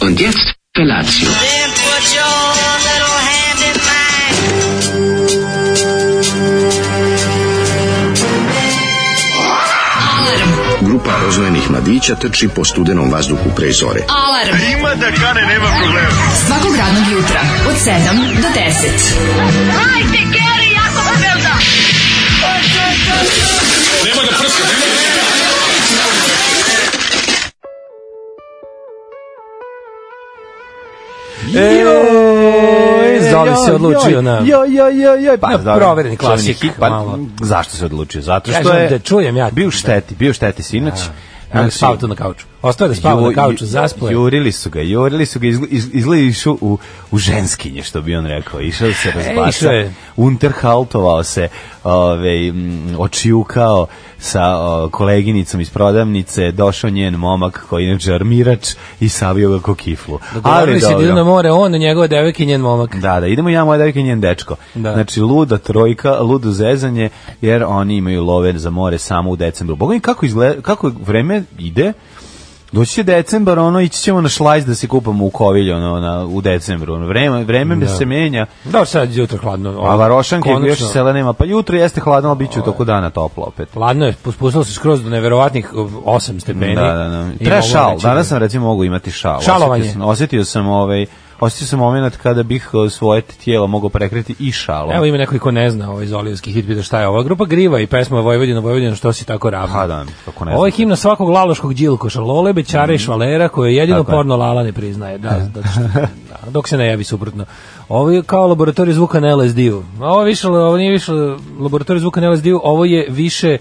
Und jetzt Felatio. Then put your little hand in mine. Grupa rozvojenih mladića trči po studenom vazduhu pre zore. Alarm. Ima da kane, nema problema. Svakog radnog jutra, od 7 do 10. E, Zoli se joj, odlučio joj, na- Joj, joj, joj, joj. Pa, Na dobro, provereni čuveni klasik, hit, pa, malo. Zašto se odlučio? Zato što Kažem je... da čujem ja. Bio u šteti, bio u šteti sinoć. Ja Znači, znači, spavao tu na kauču. Ostao je da spava ju- na kauču, ju- zaspo je. Jurili su ga, jurili su ga, izgl- iz- izgleda je išao u, u ženskinje, što bi on rekao. Išao se razbasa, E, išao je. unterhaltovao se, ove, m, očijukao sa o, koleginicom iz prodavnice, došao njen momak koji je inače armirač i savio ga ko kiflu. Dogovorili se da idu dobro. na more, on, njegova devojka i njen momak. Da, da, idemo ja, moja devojka i njen dečko. Da. Znači, luda trojka, ludo zezanje, jer oni imaju love za more samo u decembru. Boga mi, kako, izgleda, kako vreme ide, doći će decembar, ono, ići ćemo na šlajs da se kupamo u kovilju, ono, na, u decembru. Ono, vreme, vreme se menja, Da, sad je jutro hladno. a varošanke Konačno. još sela nema. Pa jutro jeste hladno, ali bit će u toku dana toplo opet. Hladno je, spustilo se skroz do neverovatnih 8 stepeni. Da, da, da. I Treba mogu šal. reći da- Danas sam recimo mogu imati šal. Šalovanje. Osjetio sam, osjetio sam ovaj Osjetio sam moment kada bih eh, svoje tijelo mogao prekriti i šalom. Evo ima neko i ko ne zna ovaj zolijevski hit, pita šta je ova grupa Griva i pesma Vojvodina, Vojvodina, što si tako ravna. Pa da, kako ne Ovo je znam. Mhm. himna svakog laloškog đilkoša, lole, bećara i švalera, koje jedino Tako je. E. porno lala ne priznaje. Da, da, da, dok se ne javi suprotno. Ovo je kao laboratorij zvuka na LSD-u. Ovo, je više, ovo nije više laboratorij zvuka na LSD-u, ovo je više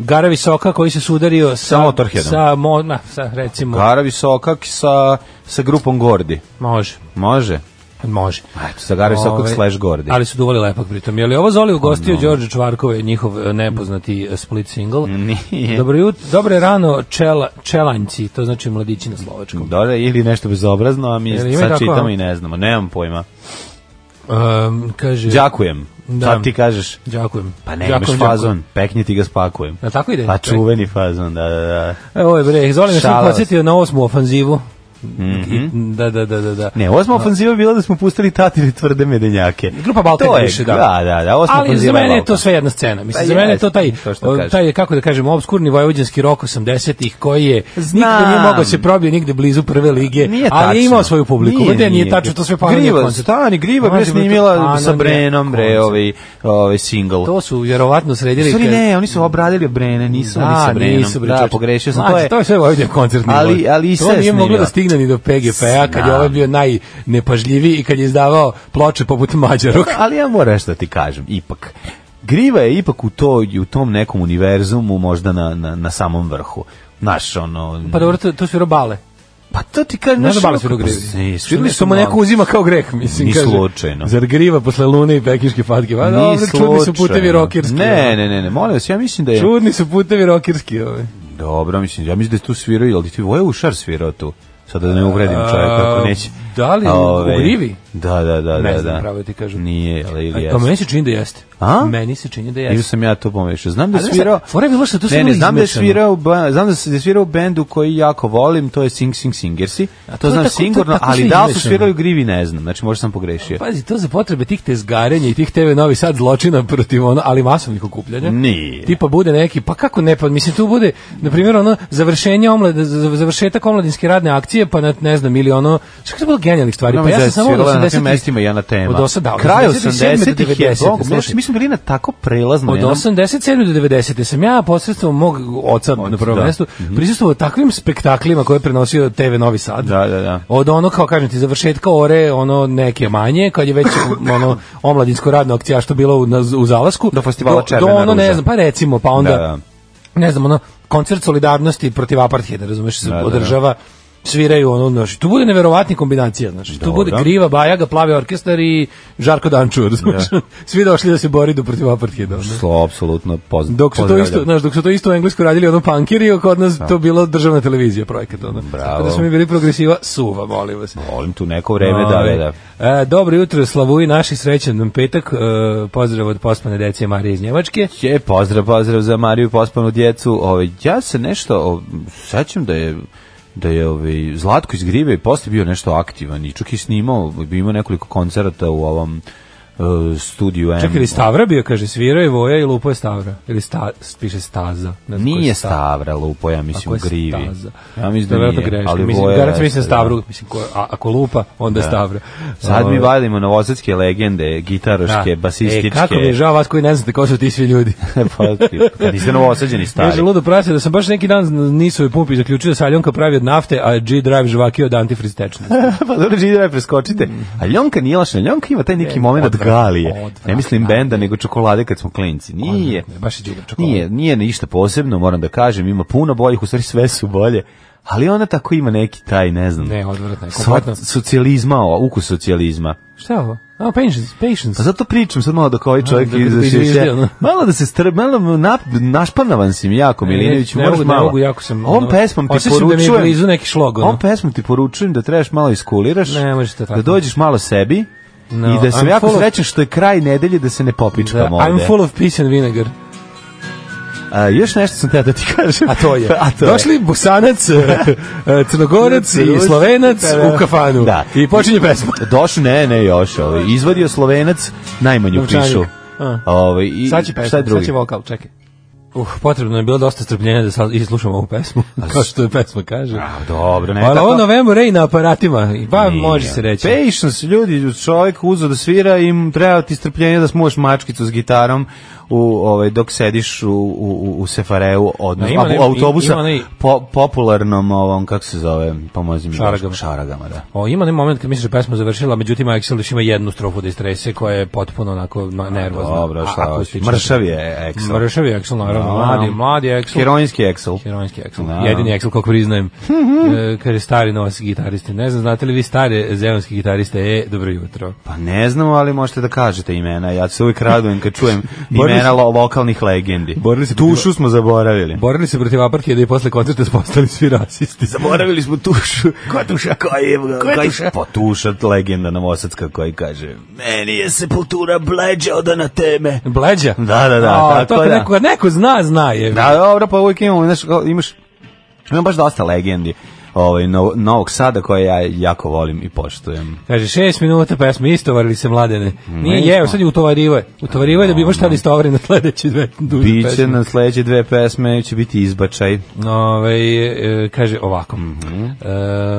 Gara Visoka koji se sudario sa, Sa Motorheadom. Sa, mo, na, sa, recimo, Gara visokak sa, sa grupom Gordi. može, Može? može. Eto, sa Gara visokak Ove, slash Gordi. Ovaj, Ali su duvali lepak pritom. Je li ovo Zoli ugostio Đorđe Čvarkova, njihov e, nepoznati e, split single? Nije. Dobro jut, dobro je rano čela, čelanjci, to znači mladići na slovačkom. Dobro, ili nešto bezobrazno, a mi Jel ima sad tako, čitamo a? i ne znamo. Nemam pojma. Um, kaže, Da. Đakujem. Da. Sad ti kažeš, Đakujem. pa ne, imaš Đakujem, fazon, pekni ti ga spakujem. Jel tako ide? Pa čuveni fazon, da, da, da. E, ovo je breh, Zoli me Šala sve vas. podsjetio na osmu ofanzivu. Mhm. I- Da, da, da, da, da. Ne, osma ofanziva je bila da smo pustili tatine tvrde medenjake. Grupa Balkan To je, više, da. Da, da, da, osma Ali za ofanziva mene je to Balkan. sve jedna scena. Mislim, Pa za mene je to jeste, taj, to što kažeš. taj, kako da kažem, obskurni vojvođanski rok 80-ih koji je niko Znam. nije mogao da se probije nigde blizu prve lige, Nije ali je tačno. imao svoju publiku. Nije, nije, tačno, to sve pananje Griva, koncert. stani, Griva bre Može biti snimila pananje sa Brenom, bre, koncert. ovaj, ovaj single. To su vjerovatno sredili. U stvari kad- ne, oni su obradili Brene, nisu oni sa Brenom. nisu, bre, da, čoveče. pogrešio sam. Mlađe, to je, to je sve Vojvodin koncertni. Ali- vojnik. ali i to sve nije moglo snimila. da stigne ni do PGP-a kad je Znam. ovaj bio najnepažljiviji i kad je izdavao ploče poput Mađarog. Ali ja moram nešto da ti kažem, ipak. Griva je ipak u, to, u tom nekom univerzumu možda na, na, na samom vrhu. Naš, ono... Pa dobro, to, to su bale. pa to ti kažem... Ne znaš, znam bale ono, su grivi. pa, ne, Videli su mu malo. neko uzima kao greh, mislim. Ni kaže. slučajno. Zar griva posle lune i pekiške fatke? Pa, Ni dobro, čudni su putevi slučajno. rokirski. Ne, ne, ne, ne, molim vas, ja mislim da je... Čudni su putevi rokirski. Ovaj. Dobro, mislim, ja mislim da je tu svirao, ali ti Voja Ušar svirao tu. Sada da ne uvredim čovjeka ako neće. da li u- Ove, u Grivi? Da, da, da. Ne da, znam, da. pravo ti kažem. Nije, ali ili A, a jeste. meni se čini da jeste. A? Meni se čini da Ili jeste. sam ja to pomešao. Znam da Ali je znaš svirao... šta, fora je bilo što je to sve ne, ne, bilo znam da je izmešano. svirao, ba- znam da se da je svirao u bendu koji jako volim, to je Sing Sing Singersi. To, to je znam tako- to je sigurno, tako sve ali da li su izmešano. Pa, svirali u Grivi, ne znam. Znači, možda sam pogrešio. Pazi, to za potrebe tih tezgarenja i tih TV Novi Sad zločina protiv ono, ali masovnih okupljanja. Nije. Tipa bude neki, pa kako ne, pa mislim tu bude, na primjer, ono, završenje omlade, za- završetak omladinske radne akcije, pa na, ne znam, ili ono, što je bilo genijalnih stvari, No, pa ja sam znači, samo od svirala na 80 tim mestima i ona tema. Od 8, da, od 87 Kraj do 80-ih je, 90, bog, mi- slušaj. mi smo bili na tako prelazno. Od jednom- 87 do 90 sam ja posredstvom mog oca na prvom da. mestu prisustvovao takvim spektaklima koje je prenosio TV Novi Sad. Da, da, da. Od ono kao kažem ti završetka ore, ono neke manje, kad je već ono omladinsko radno akcija što bilo u, na, u zalasku Do festivala do, do Červena ono ne ruža. znam, pa recimo, pa onda Da, da. ne znam, ono koncert solidarnosti protiv apartheida, razumeš, se Da, da, da. održava sviraju ono, znači, tu bude neverovatni kombinacija, znači, tu bude Dobro. Griva, Bajaga, Plavi orkestar i Žarko Dančur, razumeš? Svi došli da se bori do protiv apartheida. ono. Slo, apsolutno pozna- Dok su to pozdravljam. Da. isto, znaš, dok su to isto u Engleskoj radili ono punkiri, a kod nas to bilo državna televizija projekat ono. Tako da smo mi bili progresiva suva, molim vas. Volim tu neko vreme, da, Ovaj, da, da. E, dobro jutro Slavuji, naši srećan nam petak. E, pozdrav od pospane dece Marije iz Njemačke. Je, pozdrav, pozdrav za Mariju Pospanu djecu. Ove, ja se nešto, o, sećam da je da je ovaj Zlatko iz Grive i posle bio nešto aktivan i čak i snimao, bi imao nekoliko koncerata u ovom eh, studiju M. Čekaj, ili Stavra bio, kaže, svirao je Voja i lupo je Stavra. Ili sta, piše Staza. Ne znam ko je Nije Sta- Stavra, lupo, ja mislim, Ako je u Grivi. Staza. Ja mislim da Verovatno nije, greška. ali mislim, Voja garant jeste, mislim da. Stavru, mislim, ko, a, ako lupa, onda Stavra. Sad mi Ovaj, vadimo novosadske legende, gitaroške, da. basističke. E, kako mi je žao vas koji ne znate ko su ti svi ljudi. Pa, kad niste novosađeni Kaže, stari. ludo prase, da sam baš neki dan nisu u pumpi zaključio da saljonka pravi od nafte, a G-Drive žvaki od antifriz tečnosti. pa dobro, Židra preskočite. A Ljonka nije laša, Ljonka ima taj neki moment od odvratno, galije. odvratno. Ne mislim benda, nego čokolade kad smo klinci. Nije. Odvratno, baš je đubre čokolade. Nije, nije ništa posebno, moram da kažem, ima puno boljih, u stvari sve su bolje. Ali ona tako ima neki taj, ne znam. Ne, odvratno je, sva- kompletno. Socijalizma, o, ukus socijalizma. Šta je ovo? A, patience, patience. Pa zato pričam sad malo dok ovaj čovjek da bi izašeće. izviždio, no. Malo da se strb, malo nap, našpanavan si mi jako, Ne, Milinović, ne moraš mogu, ne malo. mogu, jako sam, Ovom ono, pesmom ti osjećam da mi je poručujem. blizu neki šlog, ono. Ovom pesmom ti poručujem da trebaš malo iskuliraš. Ne, možete tako. Da dođeš malo sebi. No, I da sam I'm jako full of- srećan što je kraj nedelje da se ne Da, popičkam ovde. I'm full of peace and vinegar. A, još nešto sam teo da ti kažem. A to je. A to je. Došli Bosanac, e, e, Crnogorac i Rus. Slovenac Da, da. u kafanu. Da. I počinje pesma. Došao, ne, ne, još. Ovaj, izvadio Slovenac najmanju Novčanik. pišu. A. Ovaj, i, Sad će pesma, šta je drugi? sad će vokal, čekaj. Uh, potrebno je bilo dosta strpljenja da sad islušam ovu pesmu, kao što je pesma kaže. A, dobro, ne. Ali E, tako- ovo novembro rej na aparatima, i pa Nije. može se reći. Mm, Patience, ljudi, čovjek uzo da svira i im treba ti strpljenje da smuvaš mačkicu s gitarom u ovaj dok sediš u u u Sefareu odnosno Da, ima a, onaj- u autobusa ima onaj- po, popularnom ovom kako se zove pomozi mi Šaragama. šaragama da. O, ima onaj moment kad misliš da je pesma završila, međutim Axel još ima jednu strofu da istrese koja je potpuno onako na- nervozna. Dobro, šta Pa A- hoćeš? akustična. Mršav je Excel. Mršav je Axel, naravno. Da, mladi, da. mladi Axel. Heroinski Excel. Heroinski Axel. Da. Jedini Axel, koliko priznajem. e, kad je stari novac gitariste. Ne znam, znate li vi stare zeonske gitariste? E, dobro jutro. Pa ne znamo, ali možete da kažete imena. Ja se uvijek radujem kad čujem Borili imena lo- lokalnih legendi. Borili se protiv- Tušu smo zaboravili. Borili se protiv apartije da i posle koncerta su postali svi rasisti. Zaboravili smo tušu. Ko tuša? Ko je? Ko je tuša? Pa tuša legenda Novosadska koji kaže Meni je sepultura bleđa da na teme. Bleđa? Da, da, da, A, tako to kad da. neko, kad neko zna, zna je. Da, dobro, pa uvijek imamo, znaš, kao, imaš, imam baš dosta legendi ovaj, no, Novog Sada koje ja jako volim i poštujem. Kaže, šest minuta pesme, istovarili se mladene. Nije nismo. jeo, sad je utovarivo je. Utovarivo je da bi možda ali istovari na sledeće dve duže Biće pesme. na sledeće dve pesme, će biti izbačaj. Ove, e, kaže ovako, Mhm. E,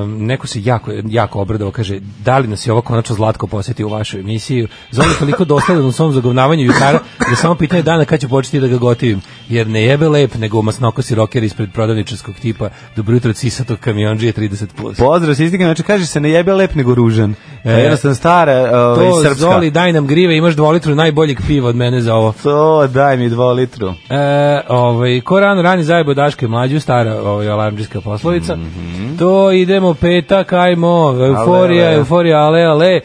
neko se jako, jako obradao, kaže, da li nas je ovo konačno Zlatko posjeti u vašoj emisiji? Zoli toliko dosledan u svom zagovnavanju jutara da samo pitanje dana kad ću početi da ga gotivim. Jer ne jebe lep, nego masnokosi roker ispred prodavničarskog tipa. Dobro jutro, cisatog kamionđije 30+. Plus. Pozdrav, sistika, znači kaže se ne jebe lep nego ružan. E, E, Jednostavno stara ovaj, to, srpska. Zoli, daj nam grive, imaš dvolitru najboljeg piva od mene za ovo. To, daj mi dva litru. E, ovaj, ko rano rani zajebo daške mlađu, stara ovaj, alarmđiska poslovica. To idemo petak, ajmo, euforija, Mhm. Ale, ale. euforija, ale, ale.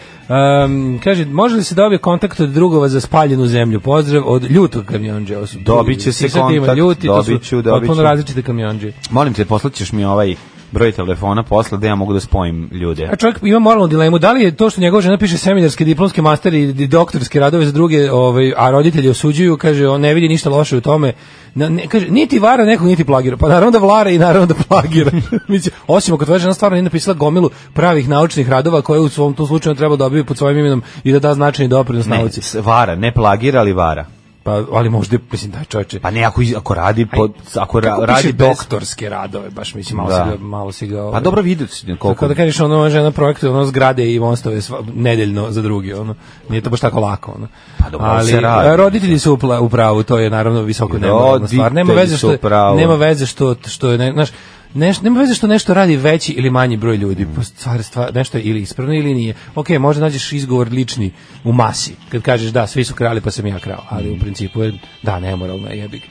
Um, kaže, može li se dobije kontakt od drugova za spaljenu zemlju? Pozdrav od ljutog kamionđe. Ovo su Dobit će se i sad ima kontakt, ljuti, to su dobit ću, dobit Potpuno ću. različite kamionđe. Molim te, poslaćeš mi ovaj broj telefona posle da ja mogu da spojim ljude. A Pa čovjek ima moralnu dilemu, da li je to što njegova žena piše seminarske, diplomske, master i di- doktorske radove za druge, ovaj, a roditelji osuđuju, kaže, on ne vidi ništa loše u tome. Na, ne, kaže, niti vara nekog, niti plagira. Pa naravno da vlara i naravno da plagira. Mislim, osim ako tvoja žena stvarno nije napisala gomilu pravih naučnih radova koje u svom tu slučaju treba dobiti pod svojim imenom i da da značajni doprinos Ne, nauci. s- vara, ne plagira, ali vara. Pa, ali možda, je, mislim, daj čovječe. Pa ne, ako, iz- ako radi, pod, ako ra- Kako radi piše bez... doktorske radove, baš mislim, malo, Da. si ga, malo si ga... Pa ovaj, dobro vidio si koliko... Tako da kažeš ono žena projektuje ono zgrade i mostove sva, nedeljno za drugi ono. Nije to baš tako lako ono. Pa dobro, ali Ali se radi. e, roditelji su upla- u pravu, to je naravno visoko nemoralna stvar. Nema Roditelji veze su što u pravu. nema veze što što je ne, znaš, neš- nema veze što nešto radi veći ili manji broj ljudi. Mm. Stvar, stvar, nešto je ili ispravno ili nije. Ok, možda nađeš izgovor lični u masi. Kad kažeš da, svi su krali pa sam ja krao. Ali Mm. u principu je, da, nemoralno je jebi ga.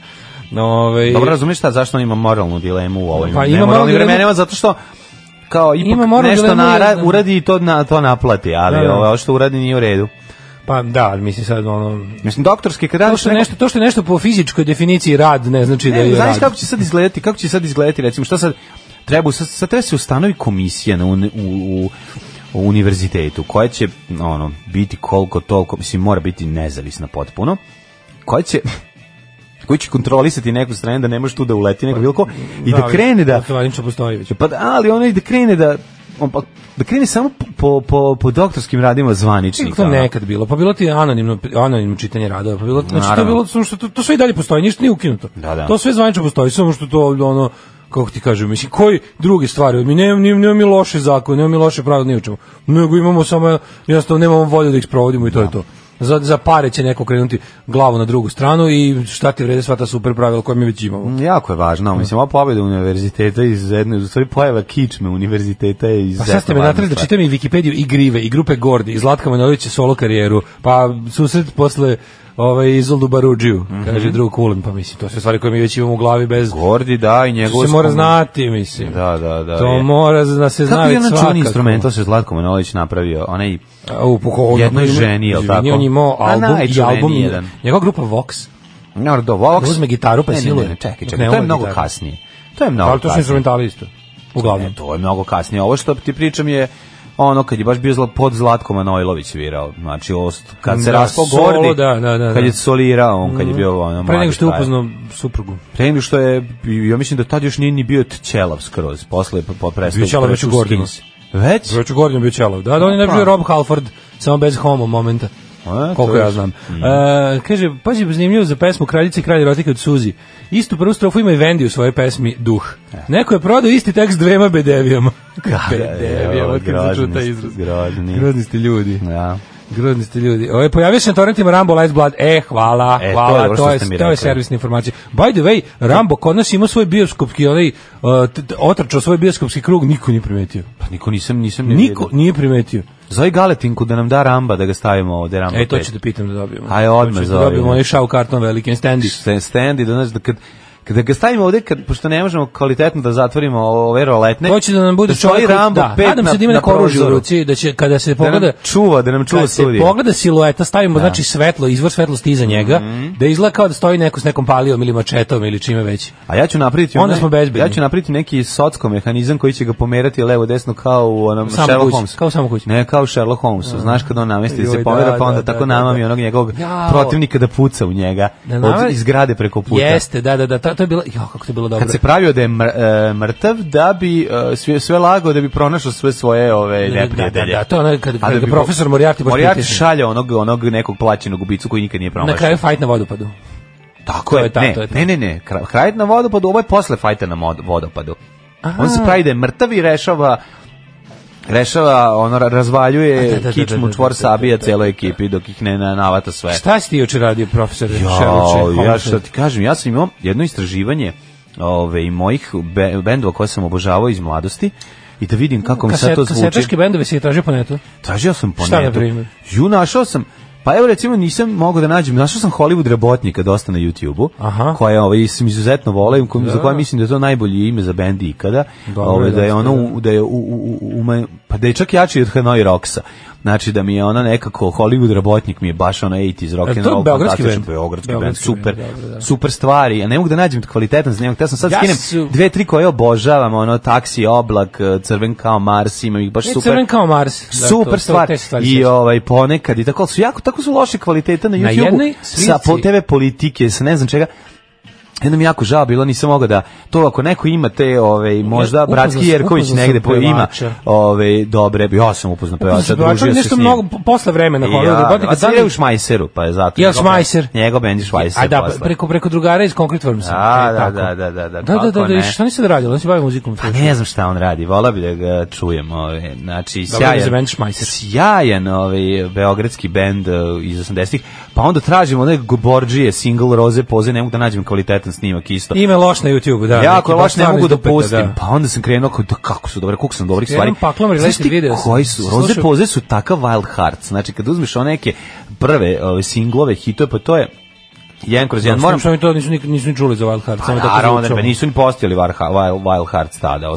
No, ovaj, Dobro razumiješ šta, zašto on ima moralnu dilemu u ovim Pa ima moralnu nemoralnim dilemu- vremenima, zato što kao ipak Ima moralnu nešto dilemu, nara, ja znam. uradi i to, na, to naplati, ali Da, da. ovo što uradi nije u redu. pa da, ali mislim sad ono, Mislim, doktorski, kad To radiš što je nešto, to što je nešto po fizičkoj definiciji rad ne znači da Ne, je E, znaš rad. kako će sad izgledati, kako će sad izgledati, recimo, šta sad treba, sad, sad treba se ustanovi komisija na uni- u, u, u univerzitetu, koja će, ono, biti koliko toliko, mislim, mora biti nezavisna potpuno, koja će koji će kontrolisati neku stranu da ne može tu da uleti neko bilo ko i da, ali- krene da Zvanično postoji već. pa da, ali ono i da krene da on pa da krene samo po, po, po doktorskim radima zvaničnika. Kako to ono. nekad bilo? Pa bilo ti anonimno, anonimno čitanje radova, pa bilo, znači to je Naravno. bilo, samo što to, to sve i dalje postoji, ništa nije ukinuto. Da, da. To sve zvanično postoji, samo što to ono, kako ti kažem, mislim, koji drugi stvari, mi nemamo ne, ne, mi loše zakone, nemamo mi loše pravila, ni u čemu, nego imamo samo, jednostavno nemamo volju da ih sprovodimo i to je to. Za, za pare će neko krenuti glavu na drugu stranu i šta ti vrede sva ta super pravila koja mi već imamo. Jako je važno, mislim, ova pobjeda univerziteta iz jedne, u stvari pojava kičme univerziteta je iz... Pa sad ste me natrali da čitam i Wikipediju i Grive i grupe Gordi i Zlatka Manojlića solo karijeru, pa susret posle ovaj, Izoldu Baruđiju, kaže drug Kulin, pa mislim, to su stvari koje mi već imamo u glavi bez... Gordi, da, i To njegovo... se mora spomen- znati, mislim. Da, da, da. to je. mora da se zna Kako je već ono svakako. čuveni instrumental se Zlatko Manolić napravio? Onaj... A, U, po, Jednoj ženi, jel tako? On je imao A, album, i najčuveniji album, jedan. njegova grupa Vox. Ne, do Vox. Da uzme gitaru pa Ne, ne, siluje. Ne, ne, čekaj, Ne, čekaj, to je ovo je mnogo gitara. kasnije. To je mnogo Ali to su kasnije. instrumentali isto. Uglavnom. Ne, to je mnogo kasnije. Ovo što ti pričam je ono kad je baš bio zla, pod Zlatko Manojlović svirao. Znači, ovo, st- kad Da, se raspao solo, Gordi, da, da, da, kad da. je solirao, on kad je bio ono, Pre nego što je mladi frajer. upoznao suprugu. Pre nego što je, ja mislim da tad još nije ni bio Ćelav skroz, posle je po- po prestao. Bio Ćelav već u prešao Gordonu. Skins. Već? Već u Gordonu bio Ćelav. Da, da on je najbolji Pa. Rob Halford, samo bez homo momenta. A, koliko to je- Mhm. ja znam. E, kaže, pazi, zanimljivo za pesmu Kraljice i kralj erotike od Suzi. Istu prvu strofu ima i Vendi u svojoj pesmi Duh. E. Neko je prodao isti tekst dvema bedevijama. bedevijama, evo, kad se čuo grozni taj ste, izraz. grozni. Grozni ste ljudi. Da. Grozni ste ljudi. Ovo, pojavio se na torrentima Rambo Lights Blood. E, hvala, E, to je hvala, dobro to što je, ste mi to je rekli. servisna informacija. By the way, Rambo kod nas ima svoj bioskopski, onaj, uh, t- t- otrčao svoj bioskopski krug, niko nije primetio. Pa niko nisam, nisam ne Niko vidio. nije primetio. Zove Galetinku da nam da ramba, da ga stavimo ovde ramba. E, to pet. ću da pitam da dobijemo. Aj, odmah To ću da zovemo. dobijemo onaj šau karton veliki, on standi. Stand- standi, da znaš, da kad, kada ga stavimo ovde, kad, pošto ne možemo kvalitetno da zatvorimo ove roletne, To će da nam bude da stoji čovjek, Rambo da, pet nadam se da ima na, neko oružje u prozoru. ruci, da će, kada se Da nam pogleda, čuva, da nam čuva kada se studije. Da. Mhm. pogleda silueta, stavimo, znači, svetlo, izvor svetlosti iza njega, da izgleda kao da stoji neko s nekom palijom ili mačetom ili čime već. A ja ću napraviti Onda onaj- smo bezbedni. Ja ću napraviti neki socko mehanizam koji će ga pomerati levo desno kao u onom Samo Sherlock kući, Holmes. kao samo kući. Ne, kao u Sherlock Holmes. Znaš kad on namesti da Joj, se pomera da, pa onda da, da, tako da, namami da. onog njegovog Jao. protivnika da puca u njega Da, od nama- iz zgrade preko puta. Jeste, da, da, da, to, to je bilo, jo, kako to je bilo dobro. Kad se pravio da je mr- e, mrtav da bi e, sve sve lago da bi pronašao sve svoje ove Da, da, neprijatelje. da, da, to je ono kad- A kad ga bi- profesor Moriarty baš Moriarty pritisne. šalje onog onog nekog plaćenog ubicu koji nikad nije promašio. Na kraju fajt na vodopadu. Tako To je, je ta- ne, to je ta. ne, ne, ne, kra- kraj na vodopadu, ovo je posle fajta na mod- vodopadu. On se pravi da je mrtav i rešava rešava, ono, ra- razvaljuje Da, da, da, kičmu da, da, čvor da, da, sabija da, da, cijeloj ekipi dok ih ne na- navata sve. Šta si ti juče radio, profesor Šerloče? Jao, E. ja što ti kažem, ja sam imao jedno istraživanje ove, i mojih be- bendova koje sam obožavao iz mladosti i da vidim kako mi sad to zvuči. Kasetaške bendove si je tražio po netu. Tražio sam po Šta, na netu. primjer? Ju, našao sam. Pa evo recimo nisam mogao da nađem, našao sam Hollywood Rebotnika dosta na YouTubeu, Aha. koja ovaj, sam izuzetno volim, kom, za koje mislim da je to najbolje ime za bend ikada, Dobro, ovaj, da je dosta, ono, da. u- da je u, u, u, ume- pa da je čak jači od Hanoi Rocksa. Znači da mi je ona nekako Hollywood Rebotnik mi je baš ono 80s rock Jel and E, to roll. beogradski fantastičan bend? Beogradski bend, Beogradski super, bend, dobro, da. super stvari. A ne mogu da nađem kvalitetan snimak. Ja sam sad Ja skinem su- dve, tri koje obožavam, ono Taksi, Oblak, eh, Crven kao Mars, imam ih baš Ne, super. crven kao Mars. Da, super to- to- stvar. te stvari I ovaj ponekad i tako ali su jako tako su loše kvalitete na Na jednoj YouTubeu sa slici- po TV politike, sa ne znam čega. Jedno mi je jako žao bilo, nisam mogao da to ako neko ima te ovaj možda upoznao Bratski sam- Jerković upoznao sam negde po ima pevača. ovaj dobre, ja sam upoznao Pevača, pevača, družio se s nešto njim. mnogo po- posle vremena Hollywood Ja, Robotica. a Da li- svira u Šmajseru, pa je zato. Jel njegov- Šmajser? Njegov bend je Šmajser. A da, posle. preko, preko drugara iz Concrete Wormsa. A, E, da, tako. da, da, da, da, Da, da, kako da, da, i ne. šta nisi da radila? On se bavi muzikom. Pa ne znam šta on radi, vola bi da ga čujem. Ove, znači, Dobro, za sjajan, band Schmeisser. sjajan ovaj, beogradski bend eh, iz 80-ih. Pa onda tražim onaj Goborđije, single Roze Poze, ne mogu da nađem kvalitetan snimak isto. Ime loš na YouTube, da. jako je neki loš, ne baš mogu da stvarno iz dupeta, pustim. Pa onda sam krenuo kao, da, kako su dobre, koliko sam dobrih Skrenuo stvari. paklom, ali Znaš gledajte ti video sam. koji su? Roze Slušaj- Poze su takav wild hearts. Znači, kad uzmeš one neke prve ove, singlove, hitove, pa to je jedan kroz Ja jedan. Moram, što mi to nisu, nik- nisu ni čuli za Wild Heart, samo tako Naravno, da, zvučalo. pa nisu ni postojali Wild, Wild, Wild Hearts tada,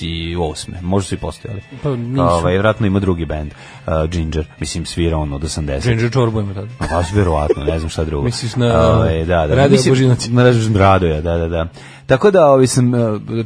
88. Možda su i postojali. Pa nisu. Ovaj, vjerojatno ima drugi band, uh, Ginger, mislim svira on od 80. Ginger Čorbu ima da. tada. Pa baš verovatno, ne znam šta drugo. Misliš na Ovaj, da, da. Radoja Božinovića? Na Radoja, Radoja, da, da, da. Tako da ovaj, sam e,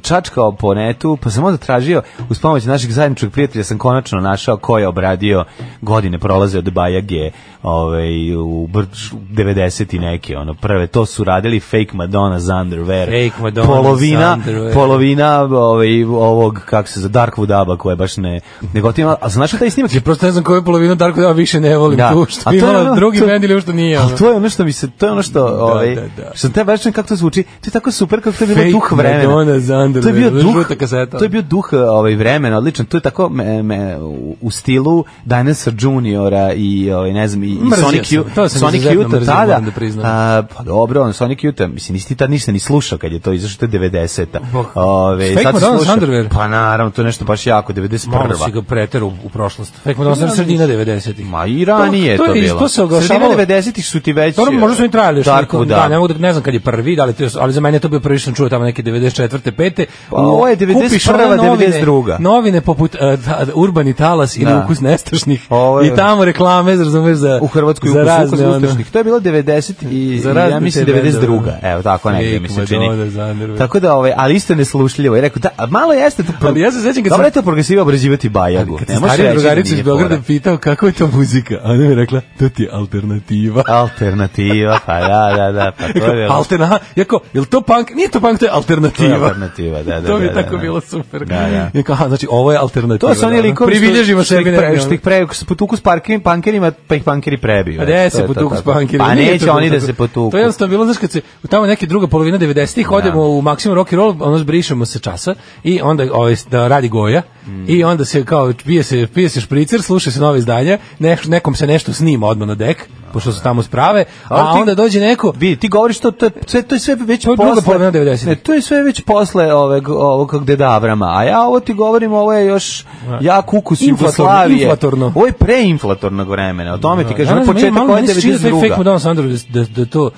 čačkao po netu, pa sam onda tražio, uz pomoć naših zajedničkog prijatelja sam konačno našao ko je obradio godine prolaze od Bajage ovaj, u br- 90 i neke, ono, prve. To su radili Fake Madonna's Underwear. Fake Madonna's polovina, Underwear. Polovina ovaj, ovog, kako se zove, Darkwood Abba koje baš ne, ne gotivim. A znaš li taj snimak? Ja Znači, prosto ne znam koju polovinu Darko Dava više ne volim Da. da. tu, što A to je imala ono- drugi to- bend ili što nije. Ali ono. to je ono što mi se, to je ono što, ovaj, da, da. što sam te baš čujem kako to zvuči, to je tako super kako to je bilo Fake duh vremena. Madonna za underwear, to je bio da, duh, žuta kaseta. to je bio duh ovaj, vremena, odličan, to je tako me, me, u- u stilu Dinosaur Juniora i, ovaj, ne znam, i, i Mrzio Sonic sam, to Youth, sam Sonic izuzetno Youth mrzio, tada, moram da priznam. a, pa dobro, on Sonic Youth, mislim, nisi ti tad ništa ni slušao kad je to izašlo, to je 90-a. Bog. Ove, Oh. Fake sad si Madonna's slušao. Underwear. Pa naravno, to je nešto baš jako, 91. Malo si ga preteru u prošlost. Fek Pa Madonna sam sredina 90-ih. Ma i ranije To- to to, je- bilo. to se oglašavalo- Sredina 90-ih su ti već... Dobro, možda su i trajali još neko, Darkwood, da, ne mogu da ne znam kad je prvi, da li to je, ali za mene je to bio prvi što sam čuo tamo neke 94. 5. Pa, ovo je 91., 92.. Novine, novine poput uh, da, Urbani talas ili Da. ukus nestašnih Ovo je- i tamo reklame, razumeš, za u Hrvatskoj za ukus razne, ukus ono- uspešnih. To je bilo 90 i Za ja razne mislim te da, 92. bendove. Evo tako negde Lik mi se Madonna čini. za Underwear. Tako da ovaj ali isto je neslušljivo i rekao da a malo jeste to. pro- Ali ja se sećam kad Dobro sam- je to progresivo obrađivati bajagu. Kad Ne sam možeš stariju reći da drugaricu iz nije Beograda fora. pitao kako je to muzika, a ona mi je rekla, to ti je alternativa. Alternativa, pa da, da, da, pa to je bilo. Alterna, jako, je li to punk? Nije to punk, to je To je alternativa. alternativa, da, da. to mi je da, da, tako da. bilo super. Da, da. Jako, aha, znači, ovo je alternativa. To su oni da, ono. likovi što- Pribilježimo što ih sebi da pre- negdje, što ih pre potuku s parkim pankerima, pa ih pankeri prebiju. A eto, gde to se je to potuku s tako. punkerima? Pa Nije neće to oni da tako. se potuku. To je jednostavno bilo, znaš, kad se u tamo neke druga polovina 90-ih odemo Da. u Maximum Rock and Roll, ono zbrišemo se časa i onda ovaj, da radi goja Mm. i onda se kao pije se, pije se špricer, sluša se nove izdanja, ne, nekom se nešto snima odmah na dek, pošto su tamo sprave, a Ali Pa ti- onda dođe neko... Vidi, ti govoriš to, to, je, sve, to je sve već To je druga posle... polovina 90-ih. Ne, to je sve već posle ovog, ovog kog deda Avrama. A ja ovo ti govorim, ovo je još jak ukus Da. Inflatorno, Jugoslavije. inflatorno. Ovo je preinflatornog vremena. O tome ti kažem, na Danas meni početak Da, malo ovo je ne sviđa taj Fake 92. Madonna Sandro, da, da, da to...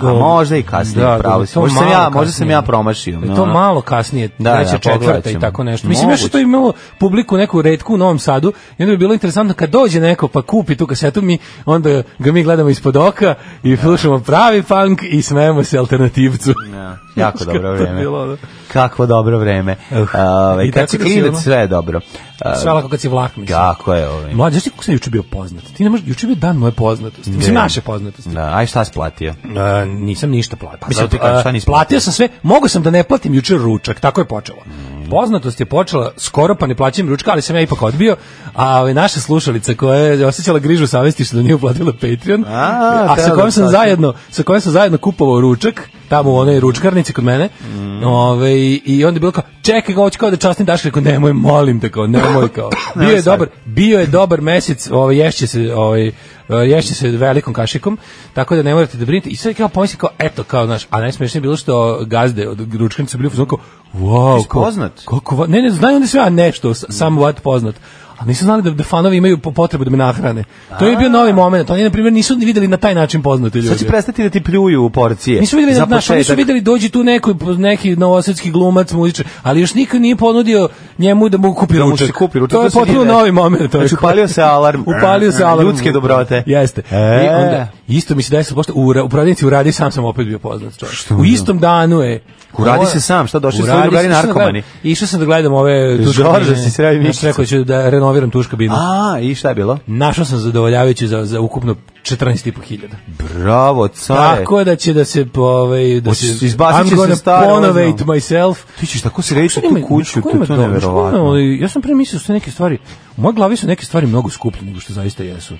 A možda i kasnije, Da, da, pravo da, si. to Možda sam malo ja- možda sam kasnije. ja promašio, Da je no, to no. malo kasnije, Da, da, treća, da, pogledat četvrta i ćemo. tako nešto. Mislim, Moguće. nešto to je imalo publiku neku redku u Novom Sadu i onda bi bilo interesantno kad dođe neko pa kupi tu kasetu, mi, onda ga mi gledamo ispod oka i slušamo pravi punk i smejemo se alternativcu. Ja, jako dobro Kako je vreme. bilo, da. Kakvo dobro vreme. Uh, I kad tako si da si klinec, ono- sve je dobro. Uh, Sve lako kad si vlak, mislim. Kako je ovaj. Mlađe, znaš ti kako sam juče bio poznat? Ti ne možeš, juče je bio dan moje poznatosti. Mislim, Ne. naše poznatosti. Da, aj šta si platio? E, nisam ništa platio. Pa zato ti kažem, šta nisi platio? platio sam sve, mogao sam da ne platim juče ručak, tako je počelo. Mm. Poznatost je počela skoro pa ne plaćam ručka, ali sam ja ipak odbio, a ovaj, naša slušalica koja je osjećala grižu savesti što nije uplatila Patreon, A, a, da, sa kojom sam da, zajedno, sa kojom sam zajedno kupovao ručak, tamo u onoj ručkarnici kod mene, ovaj, i onda je bilo kao, čekaj ga, hoću kao da častim daš, rekao, nemoj, molim te, kao, nemoj, kao. Bio je sad. dobar, bio je dobar mesec, ovaj ješće se, ovaj eh, ješće se velikom kašikom, tako da ne morate da brinete. I sad kao pomislim kao eto kao znaš, a najsmešnije je bilo što gazde od ručkanice bili u fazonu kao wow, Jesi kao, poznat? Kako va- ne ne znaju oni sve a nešto, s- samo vat poznat. A nisu znali da, da fanovi imaju po- potrebu da me nahrane. To je bio novi moment. Oni, na primjer, nisu ni videli na taj način poznati ljudi. Sad će prestati da ti pljuju u porcije. E, pa Nisu videli, Za znaš, oni su početak. videli dođi tu neko, neki novosadski glumac, muzičar, ali još niko nije ponudio njemu da mu kupi Da mu ručak. se kupi ručak, To je to se potpuno vidi. novi moment. to je Znači, upalio se alarm. E, upalio se alarm. Ljudske dobrote. Jeste. E. I onda, isto mi se desilo, pošto u, ra- u prodavnici u Radi sam sam opet bio poznat čovjek. U istom danu je. U Radi Ovo- si sam, šta, došli U su tvoji Radi drugari sam, išao sam da narkomani? gledam- Išao sam da gledam ove tuške Žorže, kabine. si sredio Ja mišicu. sam rekao ću da renoviram tuška binu. A, i šta je bilo? Našao sam zadovoljavajući za, za ukupno 14,5 hiljada. Bravo, care. Tako da će da se ovaj da Hoćeš- se izbacit će se staro, ono ponovate znam. myself. Ti ćeš tako srediti Što tu nema- kuću, što tu nema to je dobro, što nema, neverovatno. ali Ja sam pre mislio da su neke stvari u mojoj glavi su neke stvari mnogo skuplje nego što zaista jesu.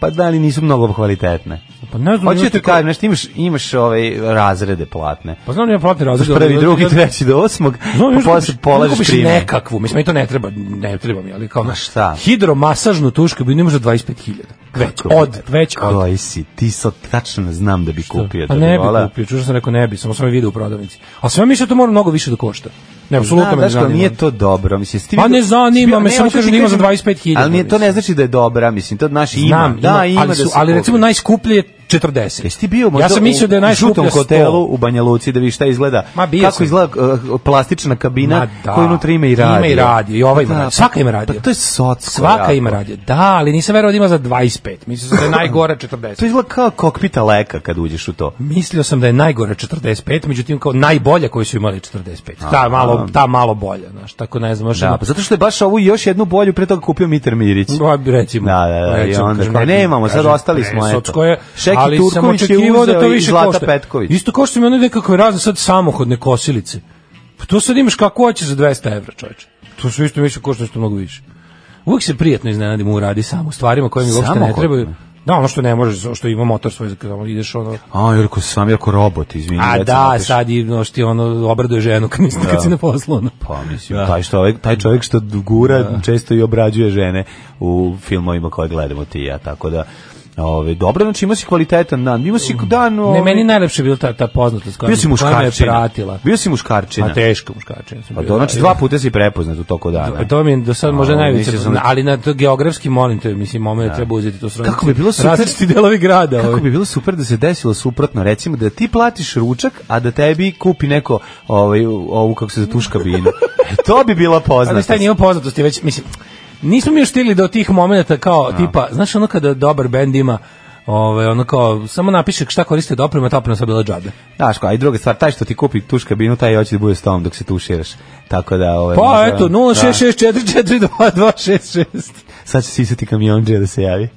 Pa da li nisu mnogo kvalitetne? Pa ne znam. Hoću da još ti tako- kažem, nešto imaš, imaš ovaj razrede platne. Pa znam da ja platni razred. ali- Prvi, drugi, treći do osmog, Znam, pa još posle kupiš- polažeš kupiš prime. nekakvu, mislim, meni to ne treba, ne treba mi, ali kao naš šta? Hidromasažnu tušku bi ne može 25.000. Već od, već od. Koji si, ti sad tačno znam da bi kupio. Pa da ne voleo. bi kupio, čuo sam rekao ne bi, samo sam je video u prodavnici. A sve mi se to mora mnogo više da košta. Ne, apsolutno me Da, ne Daško, zanima. nije to dobro, mislim. si ti Pa vidio- ne zanima si bio- me, ne, samo hoću ti kažem da ima za kažem, 25.000, Ali nije, to ne mislim. znači da je dobra, mislim, to naš ima. Znam, da, ima ali, da su, se ali kupi. recimo najskuplje je 40. Jesi ti bio možda ja sam mislio da je u žutom najskuplja 100. hotelu u Banja Luci da vidiš šta izgleda, Ma, bio kako sam. izgleda uh, plastična kabina Ma da. koju unutra ima i radio. Da, Ima i radio, i ova ima radio. Svaka ima radio. Pa to je socko. Svaka jako. ima radio. Da, ali nisam verovao da ima za 25. Mislio sam da je najgora 40. To izgleda kao kokpita leka kad uđeš u to. Mislio sam da je najgora 45, međutim kao najbolja koju su imali 45. Ta malo, ta malo bolja, znaš, tako ne znam, još Da, ima- pa zato što je baš ovu još jednu bolju pre toga kupio Mitar Mirić. Pa, recimo. Da, da, da, i recimo, onda kažem, kao, neki- nemamo, sad kažem, ostali smo, eto. Socko je, Šeki ali sam Turković je očekivao da to uzeo i više Zlata košta. Petković. Isto kao što mi ono nekakve razne sad samohodne kosilice. Pa to sad imaš kako hoćeš za 200 evra, čoveče. To su isto više košta što mnogo više. Uvijek se prijatno iznenadim u radi samo, u stvarima koje mi uopšte ne Samohodne? trebaju. Da, ono što ne možeš, što ima motor svoj, kad ono ideš ono... A, Jerko, sam Jerko robot, izvini. A recimo, Da. da, otišao. sad i no, što ti ono obraduje ženu kad, nisi, kad si na poslu. Ono. Pa mislim, Da. taj, što, ovaj- taj čovjek što gura često i obrađuje žene u filmovima koje gledamo ti i ja, tako da... Ove, dobro, znači ima si kvalitetan dan, ima si dan... ovaj, Ove, Mm. Ne, meni najlepše je bila ta, ta poznatost koja, bio si mi- koja me muškarčina. pratila. Bio si muškarčina. A teško muškarčina sam Pa bio, to, znači da. dva puta si prepoznat u toku To- dana. Pa To mi je do sad možda A, najveće, mislio sam da- ali na to geografski molim te, mislim, ovo je treba uzeti to sravnicu. Kako bi bilo super- znači, Različiti delovi grada. Kako ovaj. bi bilo super da se desilo suprotno, recimo da ti platiš ručak, a da tebi kupi neko ovaj, ovu, kako se zatuš kabinu. E, to bi bila Ali poznata. taj nivo poznatosti već, mislim, nismo mi još stigli do tih momenata kao, Da. tipa, znaš ono kada dobar bend ima, ovaj, ono kao, samo napiše šta koriste do opreme, ta oprema sva bila džabe. Znaš, ko, a i druga stvar, taj što ti kupi tuš kabinu, taj hoće da bude s tom dok se tuširaš. Tako da... Ovaj, Pa možda- eto, 066442266. Sad će sisati kamionđe da se javi.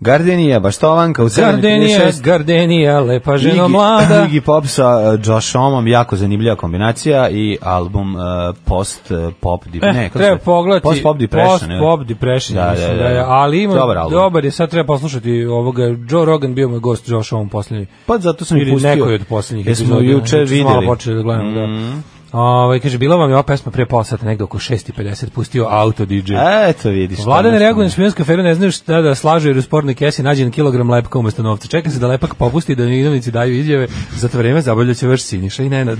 Gardenija, baštovanka u 7.36. Gardenija, Gardenija, lepa ženo Iggy- mlada. Iggy Pop sa uh, Joshomom, jako zanimljiva kombinacija i album uh, Post uh, Pop Deep. E, ne, kako treba se- pogledati Post Pop Depression. Post je li? Pop Depression, Da, mislim da, da. je, ali ima Dobar dobar, album. je, sad treba poslušati ovoga, Joe Rogan bio moj gost Josh ovom posljednji, Pa zato sam i ili pustio. nekoj od posljednjih Jesmo epizoda, juče znači, smo videli. Mhm. Malo počeli da gledamo, da. Ovaj, kaže, bila vam je ova pesma prije pola sata, negde oko 6.50, pustio auto DJ. Eto, vidiš. Vlada ne nešto reaguje na špionsku aferu, ne znaju šta da slažu jer u spornoj kesi nađen kilogram lepka umesto novca. Čeka se da lepak popusti i da nidovnici daju izjave, za to vreme zabavljaće vaš Siniša i Nenad.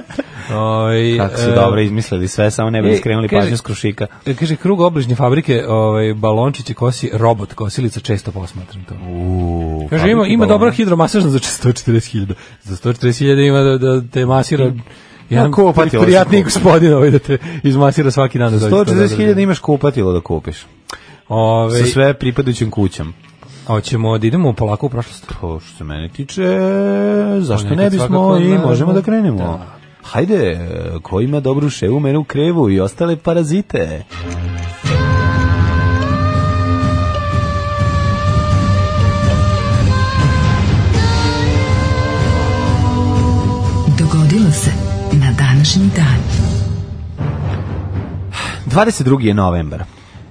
Oj, Kako su e, dobro izmislili sve, samo ne e, bi skrenuli kaže- pažnju s krušika. E, Kaže, krug obližnje fabrike, ovaj, balončiće kosi robot, kosilica, često posmatram to. Uuu, pa Kaže, ima, ima dobra hidromasažna za 140.000. Za 140.000 ima da, da te masira jedan Mm. Ja, kupatilo prijatniji sam gospodin ovaj, da te izmasira svaki dan. da dođeš kod nas da 140.000 imaš kupatilo da kupiš. Ove, Sa sve pripadajućim kućom. Hoćemo da idemo polako u prošlost. To što se mene tiče, zašto Pa ne nekad bismo svakako, i naravno. možemo da krenemo. Da. Hajde, e, ko ima dobru ševu, mene u krevu i ostale parazite. Dogodilo se na današnji dan. 22. je novembar.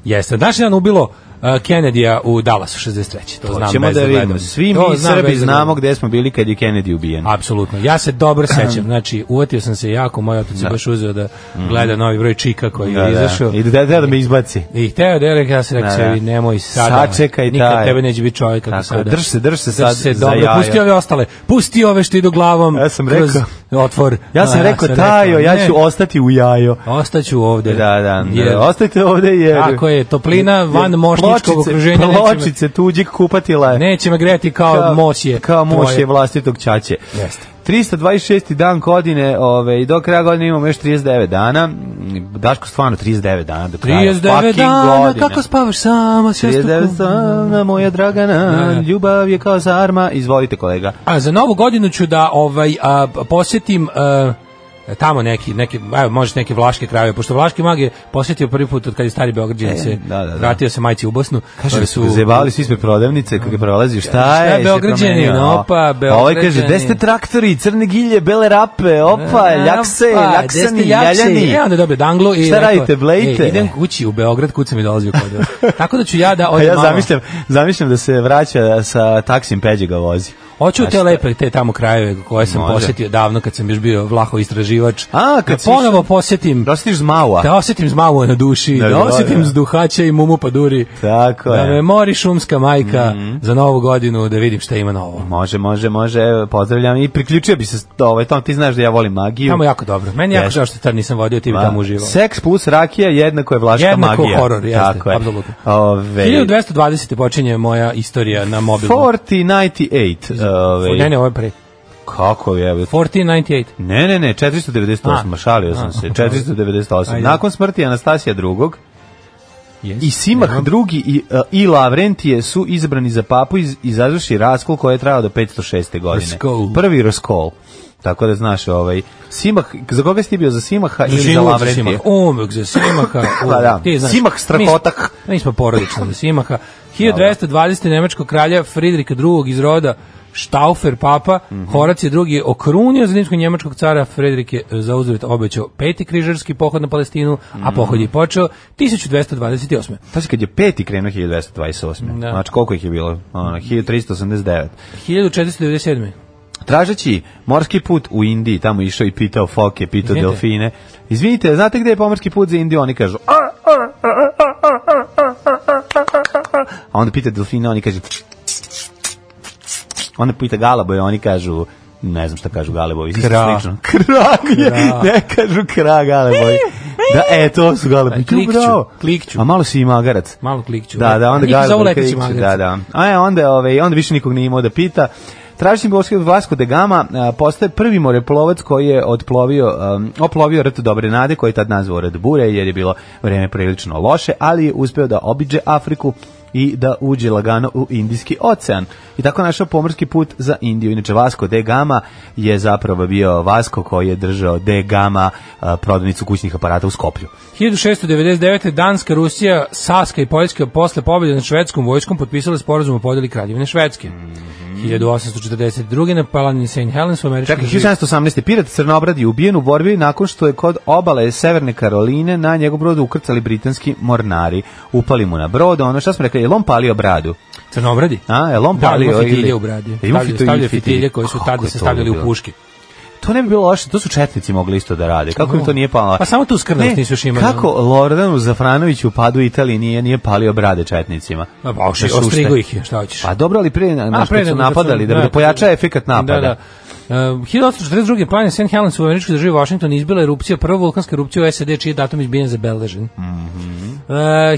Jeste, danas je dan ubilo uh, Kennedyja u Dallasu 63. To, znam Hoćemo bez da gledam. vidimo. Svi To mi znam Srbi bez da znamo gledam. gde smo bili kad je Kennedy ubijen. Apsolutno. Ja se dobro sećam. Znači, uvatio sam se jako, moj otac je baš uzeo da gleda novi broj Čika koji Mhm. Da, je da. izašao. I da, da, da me izbaci. I hteo da je rekao, ja sam rekao Da, sebi, da. nemoj sada. Sačekaj Nikad taj. tebe neće biti čovjek kako Tako, sada. drž se, drž se Drž sad za dobro, jaja. Pusti ove ostale. Pusti ove što idu glavom. Ja sam kroz rekao- otvor. Ja sam A, rekao, tajo, ja ne, ću ostati u jajo. Ostaću ovde. Da, da, Jer- da. Ostajte ovde jer... Tako je, toplina jer- van mošničkog pločice- okruženja neće me- Pločice tuđih kupatila. Neće me grejati kao, mosje. Kao tvoje. mošje vlastitog čače. Jeste. 326. dan godine, ove, i do kraja godine imamo još 39 dana. Mm, Daško, stvarno 39 dana do kraja. 39 Fucking dana, godine. kako spavaš sama, sve 39 dana, moja dragana, Ne. ljubav je kao zarma. Izvolite, kolega. A za novu godinu ću da ovaj a, posjetim a, tamo neki neki evo možete neke vlaške krajeve pošto vlaški mag je posjetio prvi put od kad je stari beograđanin E, se da, da, da. vratio se majci u Bosnu Kaže pa da su zebali svi ispred prodavnice kako je prolazi, šta Šta je? je se Beograđanin, promenio? opa, A Ovaj kaže, Beograđanin. gde ste traktori, crne gilje, bele rape, opa, A, ljakse, pa, gde ljaksani, ste ljakse? ljaljani. E, onda je dobio danglu i Šta rekao, radite, blejte? "E, idem kući u Beograd, kuca mi dolazi kod vas. Tako da ću ja da A odem Pa ja malo- zamišljam, zamišljam da se vraća sa taksim peđe ga vozi. Hoću Znači, te lepe te tamo krajeve koje sam Može. posjetio davno kad sam još bio vlaho istraživač. A, kad da si ponovo išao- posjetim, Da osjetiš zmaua. da osjetim zmavu na duši, da, Da, da, osjetim da. zduhaća i mumu paduri. Tako da me je. Mhm. mori šumska majka za novu godinu da vidim šta ima novo. Može, može, može, evo, pozdravljam i priključio bi se s- ovaj tom, ti znaš da ja volim magiju. Tamo je jako dobro. Meni je jako Jeste. žao što tad nisam vodio, ti bi Ma, tamo uživao. Seks plus rakija jednako je vlaška Jednako magija. horor, jeste, Tako je. apsolutno. Ove, 1220. počinje moja istorija na mobilu. 4098. Ove, Ne, ne, ovo je pre. Kako je? evo, 1498. Ne, ne, ne, 498, A. šalio sam A. se, 498. Ajde. Nakon smrti Anastasija drugog, Yes. I Simah drugi i, uh, i Lavrentije su izabrani za papu i, i završi raskol koji je trajao do 506. godine. Raskol. Prvi raskol. Tako da znaš, ovaj, Simah, za koga si ti bio? Za Simaha ili za Lavrentije? Umog za Simaha. Pa da. Ti znaš, Simah Strakotak. Mi smo, mi smo porodični za Simaha. da. 1220. nemačkog kralja Fridrika II. iz roda Štaufer papa, Mhm. Horacije II. je okrunio zimskog njemačkog cara Fredrike za uzvrat obećao peti križarski pohod na Palestinu, Mhm. a pohod je počeo 1228. Pazi, kad je peti krenuo 1228. Da. Znači, koliko ih je bilo? Ono, 1389. 1497. Tražeći morski put u Indiji, tamo je išao i pitao foke, pitao Izvinite. delfine. Izvinite, znate gde je pomorski put za Indiju? Oni kažu... "Ar, ar, ar, ar, ar, ar, ar, ar, ar, ar." A onda pita delfine, oni kažu... Onda pita galaboje, oni kažu... Ne znam šta kažu galebovi, isto Kra. slično. Krag je, ne kažu kra galebovi. Da, e, to su galebovi. Klikću, Bravo. klikću. A malo si i magarac. Malo klikću. Da, da, onda Njih ga zovu leteći magarci. Da, da. A je, onda, ovaj, onda više nikog nije imao da pita. Tražim Boška Vlasko de da Gama a, postaje prvi moreplovac koji je odplovio, um, oplovio rt Dobre Nade, koji je tad nazvao rt Bure, jer je bilo vreme prilično loše, ali je uspeo da obiđe Afriku i da uđe lagano u Indijski ocean. I tako našao pomorski put za Indiju. Inače, Vasco de Gama je zapravo bio Vasco koji je držao de Gama a, prodavnicu kućnih aparata u Skoplju. 1699. Danska, Rusija, Saska i Poljska posle pobjede nad švedskom vojskom potpisale sporazum o podeli Kraljevine Švedske. 1842. na Palanini St. Helens u američkom... Mhm. Čekaj, državi- 1718. Pirat Crnobrad je ubijen u borbi nakon što je kod obale Severne Karoline na njegov brod ukrcali britanski mornari. Upali mu na brod, ono šta smo rekli, je on palio bradu? Crnobradi. A, je on Da, palio ima fitilje ili- u bradi. E, ima Stavljaju, fitilje, stavljaju fitilje. fitilje koje su Kako tada je se to stavljali u bilo? puške. To ne bi bilo loše, to su četnici mogli isto da rade. Kako im to nije palo? Pa samo tu skrnanost nisu još imali. Kako Lordanu Zafranoviću u padu Italije nije, nije palio brade četnicima? Ma, pa, oši- Da su ušte- ostrigo ih je, šta hoćeš. Pa dobro, ali prije na, na, A, pre su nego što napadali, da, da pojača efekat napada. Da, da. Uh, 1842. planina St. Helens u američkoj državi Washington izbila erupcija, prva vulkanska erupcija u SAD, čiji je datum izbijen zabeležen. Mm Mhm. uh,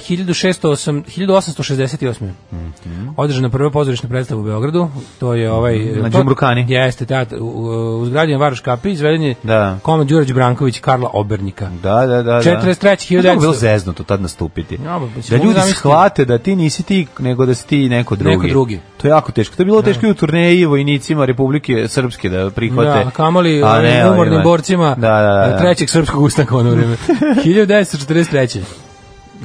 1608, 1868. Mm Mhm. Održana prva pozorišna predstava u Beogradu, to je ovaj... Na to- Đumrukani. Jeste, teatr, u, u, u zgradi na Varoš Kapi, izveden je Da. Koma Đurađ Branković, Karla Obernika. Da, da, da. 43 da. Kako je 1900. bilo zeznuto tad nastupiti. Ja, ba, mislim, da mogu ljudi zamisliti. shvate da ti nisi ti, nego da si ti neko drugi. Neko drugi. Da. To je jako teško. To je bilo teško i u turneji vojnicima Republike Srpske da prihvate. Da, a kamoli A ovim ne, ovima. umornim borcima Da, da, da. trećeg srpskog ustanka u ono vreme. 1943.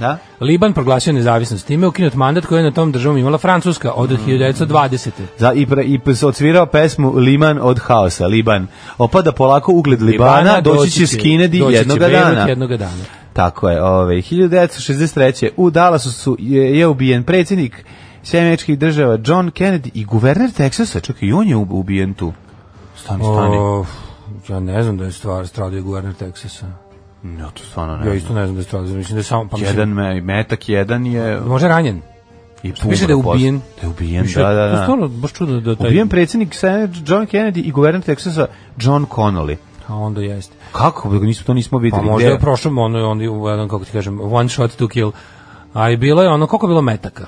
Da? Liban proglasio nezavisnost. Time je ukinut mandat koji je na tom državom imala Francuska Mm. od 1920. Za, i, pre, I p- odsvirao pesmu Liman od haosa, Liban. Opada polako ugled Libana, doći će skinedi doći će jednoga Beirut dana. Jednoga dana. Tako je, ove, 1963. u Dallasu su, je, je ubijen predsjednik Sjemeničkih država John Kennedy i guverner Teksasa, čekaj, i on je ub- ubijen tu. Stani, stani. O, ja ne znam da je stvar stradio guverner Teksasa. Ja to stvarno ne Ja znam. isto ne znam da je stradio. Mislim da je samo... Pa mislim, Jedan me, metak jedan je Možda je ranjen. i pumro. Mislim da je ubijen. Da je ubijen, Mislim, da, da, to je da. Stvarno, baš čudno da taj... Ubijen predsjednik Senat John Kennedy i guverner Teksasa John Connolly. A onda jeste. Kako? Nismo, to nismo videli. Pa možda Gde? je prošlo ono, ono, u jedan, kako ti kažem, one shot to kill. A i bilo je ono, koliko je bilo metaka?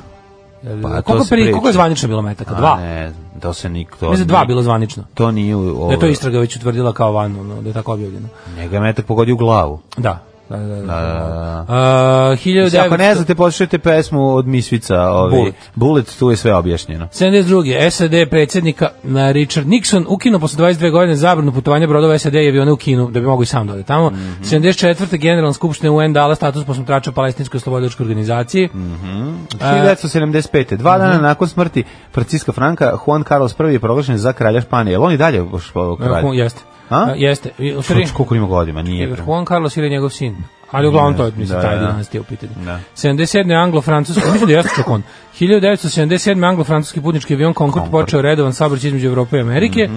Jel- Pa, to koliko, se pri, priča. koliko je zvanično bilo metaka? A, Dva. Ne, znam, da se nik to... Mislim da je dva bilo zvanično. To nije... u- Da je to ovo- istraga već utvrdila kao van, ono, da je tako objavljeno. Njega je metak pogodio u glavu. Da. Da, da, da. da, da, A, 1900 Ako ne znate, poslušajte pesmu od Misvica. Ovi. Bullet. Bullet, tu je sve objašnjeno. 72. SAD predsjednika na Richard Nixon ukinuo posle 22 godine zabranu putovanja brodova SAD i aviona u Kinu, da bi mogu i sam da ode tamo. Mhm. 74. generalna skupština UN dala status posmatrača palestinskoj slobodiločkoj organizaciji. Mhm. 1975. Dva dana nakon smrti Francisca Franka, Juan Carlos I je proglašen za kralja Španije. Jel on i dalje baš kralj? Ju- Jeste. A? A, Jeste. I- u stvari- Čuč, koliko ima godina, nije pre. Juan Carlos ili njegov sin. Ali uglavnom to je, mislim, Da, taj da. dinastija u pitanju. Da. 77. anglo-francuski, mislim da jeste čokon. 1977. anglo-francuski putnički Mhm. avion Concorde, počeo redovan saobraćaj između Evrope i Amerike.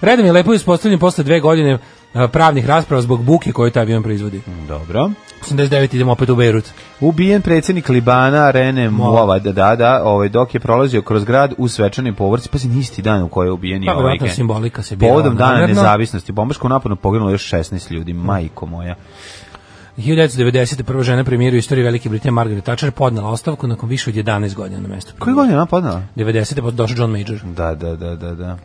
Redom je lepo ispostavljen posle dve godine e, pravnih rasprava zbog buke koju taj avion proizvodi. Dobro. 89 idemo opet u Bejrut. Ubijen predsjednik Libana Rene Muava, da, da, da, ovaj, dok je prolazio kroz grad u svečanoj povorci, pa si isti dan u kojoj je ubijen i Pa, ovaj verovatno gen. simbolika se birala. Povodom dana namerno. nezavisnosti, bombaškom napadu poginulo je još 16 ljudi, majko moja. 1990. prva žena premijeru istorije Velike Britanije Margaret Thatcher podnala ostavku nakon više od 11 godina na mestu. Koji godin je ona podnala? 90. pa došao John Major. Da, da, da, da, da.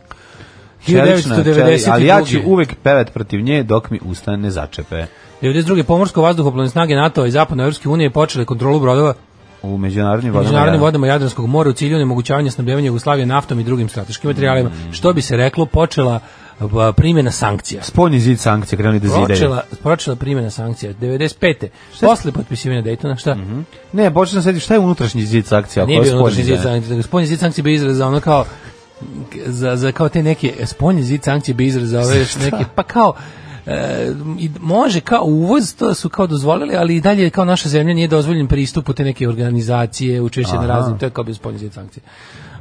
Čelična, čeli- 1992. ali ja ću uvek pevat protiv nje dok mi usta ne začepe. 92. pomorsko vazduhoplovne snage NATO i Zapadne Evropske unije počele kontrolu brodova U međunarodnim u vodama. međunarodnim da. vodama Jadranskog mora u cilju onemogućavanja snabdevanja Jugoslavije naftom i drugim strateškim materijalima. Što bi se reklo, počela a, primjena sankcija. Spoljni zid sankcije krenuli da zidaju. Počela, počela primjena sankcija 95. Posle potpisivanja Daytona, šta? Ne, počela sam sedi šta je unutrašnji zid sankcija, a Nije ko je bio unutrašnji spoljni zid zid? sankcija. Spoljni zid sankcija bi izraz za ono kao k- za, za kao te neke spoljni zid sankcije bi izraz za ove neke pa kao e, i može kao uvoz to su kao dozvolili ali i dalje kao naša zemlja nije dozvoljen pristup u te neke organizacije učešće na Aha. raznim to je kao bio spoljni zid sankcija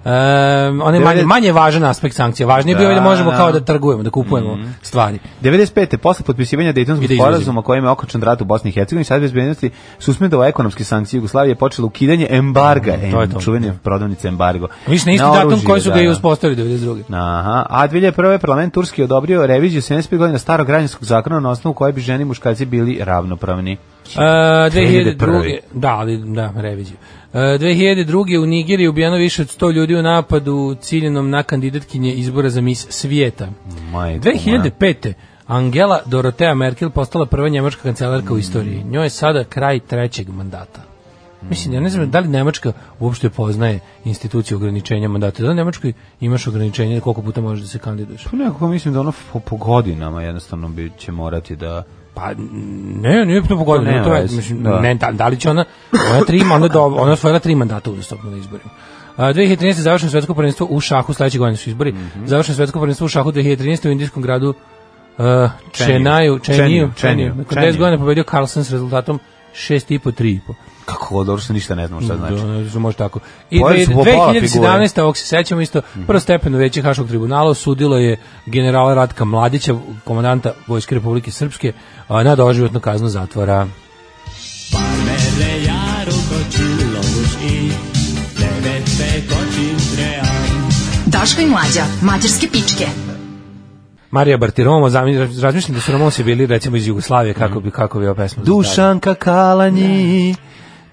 Um, on je manje, Devedeset- manje važan aspekt sankcija. Važnije je bio Da, da možemo da. Mhm. kao da trgujemo, da kupujemo stvari. 95. posle potpisivanja I da Dejtonskog izvozimo. sporazuma kojim je okončan rat u Bosni i Hercegovini, Savjet bezbednosti suspendovao ekonomske sankcije Jugoslavije počelo ukidanje embarga, Mm, to je em, to. Da. čuvene prodavnice embargo. Više na isti Na datum oružje, koji su da, ga i da. uspostavili 92. Aha, a 2001. parlament Turski je odobrio reviziju 75 godina starog građanskog zakona na osnovu koje bi žene i muškarci bili ravnopravni. Uh, 2002. Da, ali da, reviziju. Uh, 2002. u Nigeriji ubijeno više od 100 ljudi u napadu ciljenom na kandidatkinje izbora za mis svijeta. Majko moja. 2005. Angela Dorotea Merkel postala prva njemačka kancelarka u istoriji. Njoj je sada kraj trećeg mandata. Mislim, ja ne znam da li Nemačka uopšte poznaje instituciju ograničenja mandata. Da li u Nemačkoj imaš ograničenje koliko puta možeš da se kandiduješ? Pa nekako mislim da ono po, po godinama jednostavno bi, će morati da... Pa ne, nije to Pa pogodno, nema to je, veze, mislim, da. ne, da, da li će ona, ona tri, onda do, ona je osvojila tri mandata uzastopno na izborima. A, 2013. završeno svetsko prvenstvo u šahu, sledeće godine su izbori, Mhm. završeno svetsko prvenstvo u šahu 2013. u indijskom gradu uh, Čenaju, Čeniju. Čeniju, Čeniju, Čeniju, nakon Čeniju. 10 godina pobedio Carlsen s rezultatom 6,5-3,5. Kako ovo, dobro što ništa ne znamo šta znači. Da, ne znam, može tako. I Pojeli su Popova 2017. ovog se sećamo isto, Mhm. prvostepeno veće Haškog tribunala osudilo je generala Ratka Mladića, komandanta Vojske Republike Srpske, a, na doživotnu kaznu zatvora. Daško i mlađa, mađarske pičke. Marija Bartiromo, zami- razmišljam da su Ramonsi bili recimo iz Jugoslavije, Mhm. kako bi, kako bi ova pesma zazvali. Dušanka Kalanji, Nije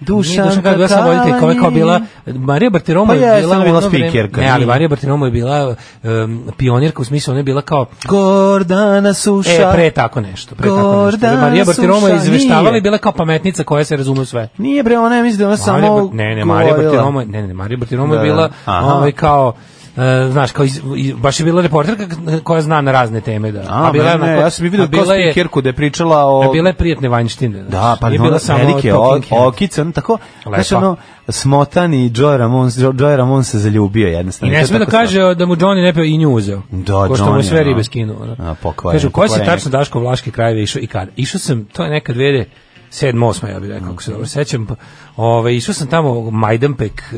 Dušanka, Dušanka Kalanji. Bila da sam voditelj, koja je kao bila, Marija Bartiromo Pa je jeste, bila, ona je bila u ono vreme- spikerka, Ne, ali nije. Marija Bartiromo je bila um, pionirka, u smislu ona je bila kao Gordana Suša. E, pre tako nešto. Pre tako nešto. Gordana Marija Bartiromo je Suša, izveštavala nije. i bila kao pametnica koja se razume u sve. Nije bre, ona je mislim da ona Marija samo... Bar- ne, ne, Marija govorila. Bartiromo, je- ne, ne, Marija Bartiromo je Da, da. bila Aha. ovaj kao e, znaš, kao iz, iz- baš je bila reporterka k- koja zna na razne teme. Da. A, bila je ne, onako- ja sam je a vidio kao bila je- spikerku da je pričala a o... Bila je prijatne vanjštine. znaš. Da, pa Nije je bila bila samo velike o- talking head. okice, on tako, Lepa. znaš ono, smotan i Joe Ramon, Joe Ramon se zaljubio I jednostavno. ne To je smije da tako kaže da mu Johnny ne peo i nju uzeo. Da, Ko što mu je Johnny, sve da. ribe skinuo. ono. A, pokvaren, Kažu, ko si pokvarenik. tačno Daško u Vlaške krajeve išao i kada? Išao sam, to je nekad vede, 7. 8. ja bih rekao, ako se dobro sećam. Pa, Ove, išao sam tamo u Majdanpek, e,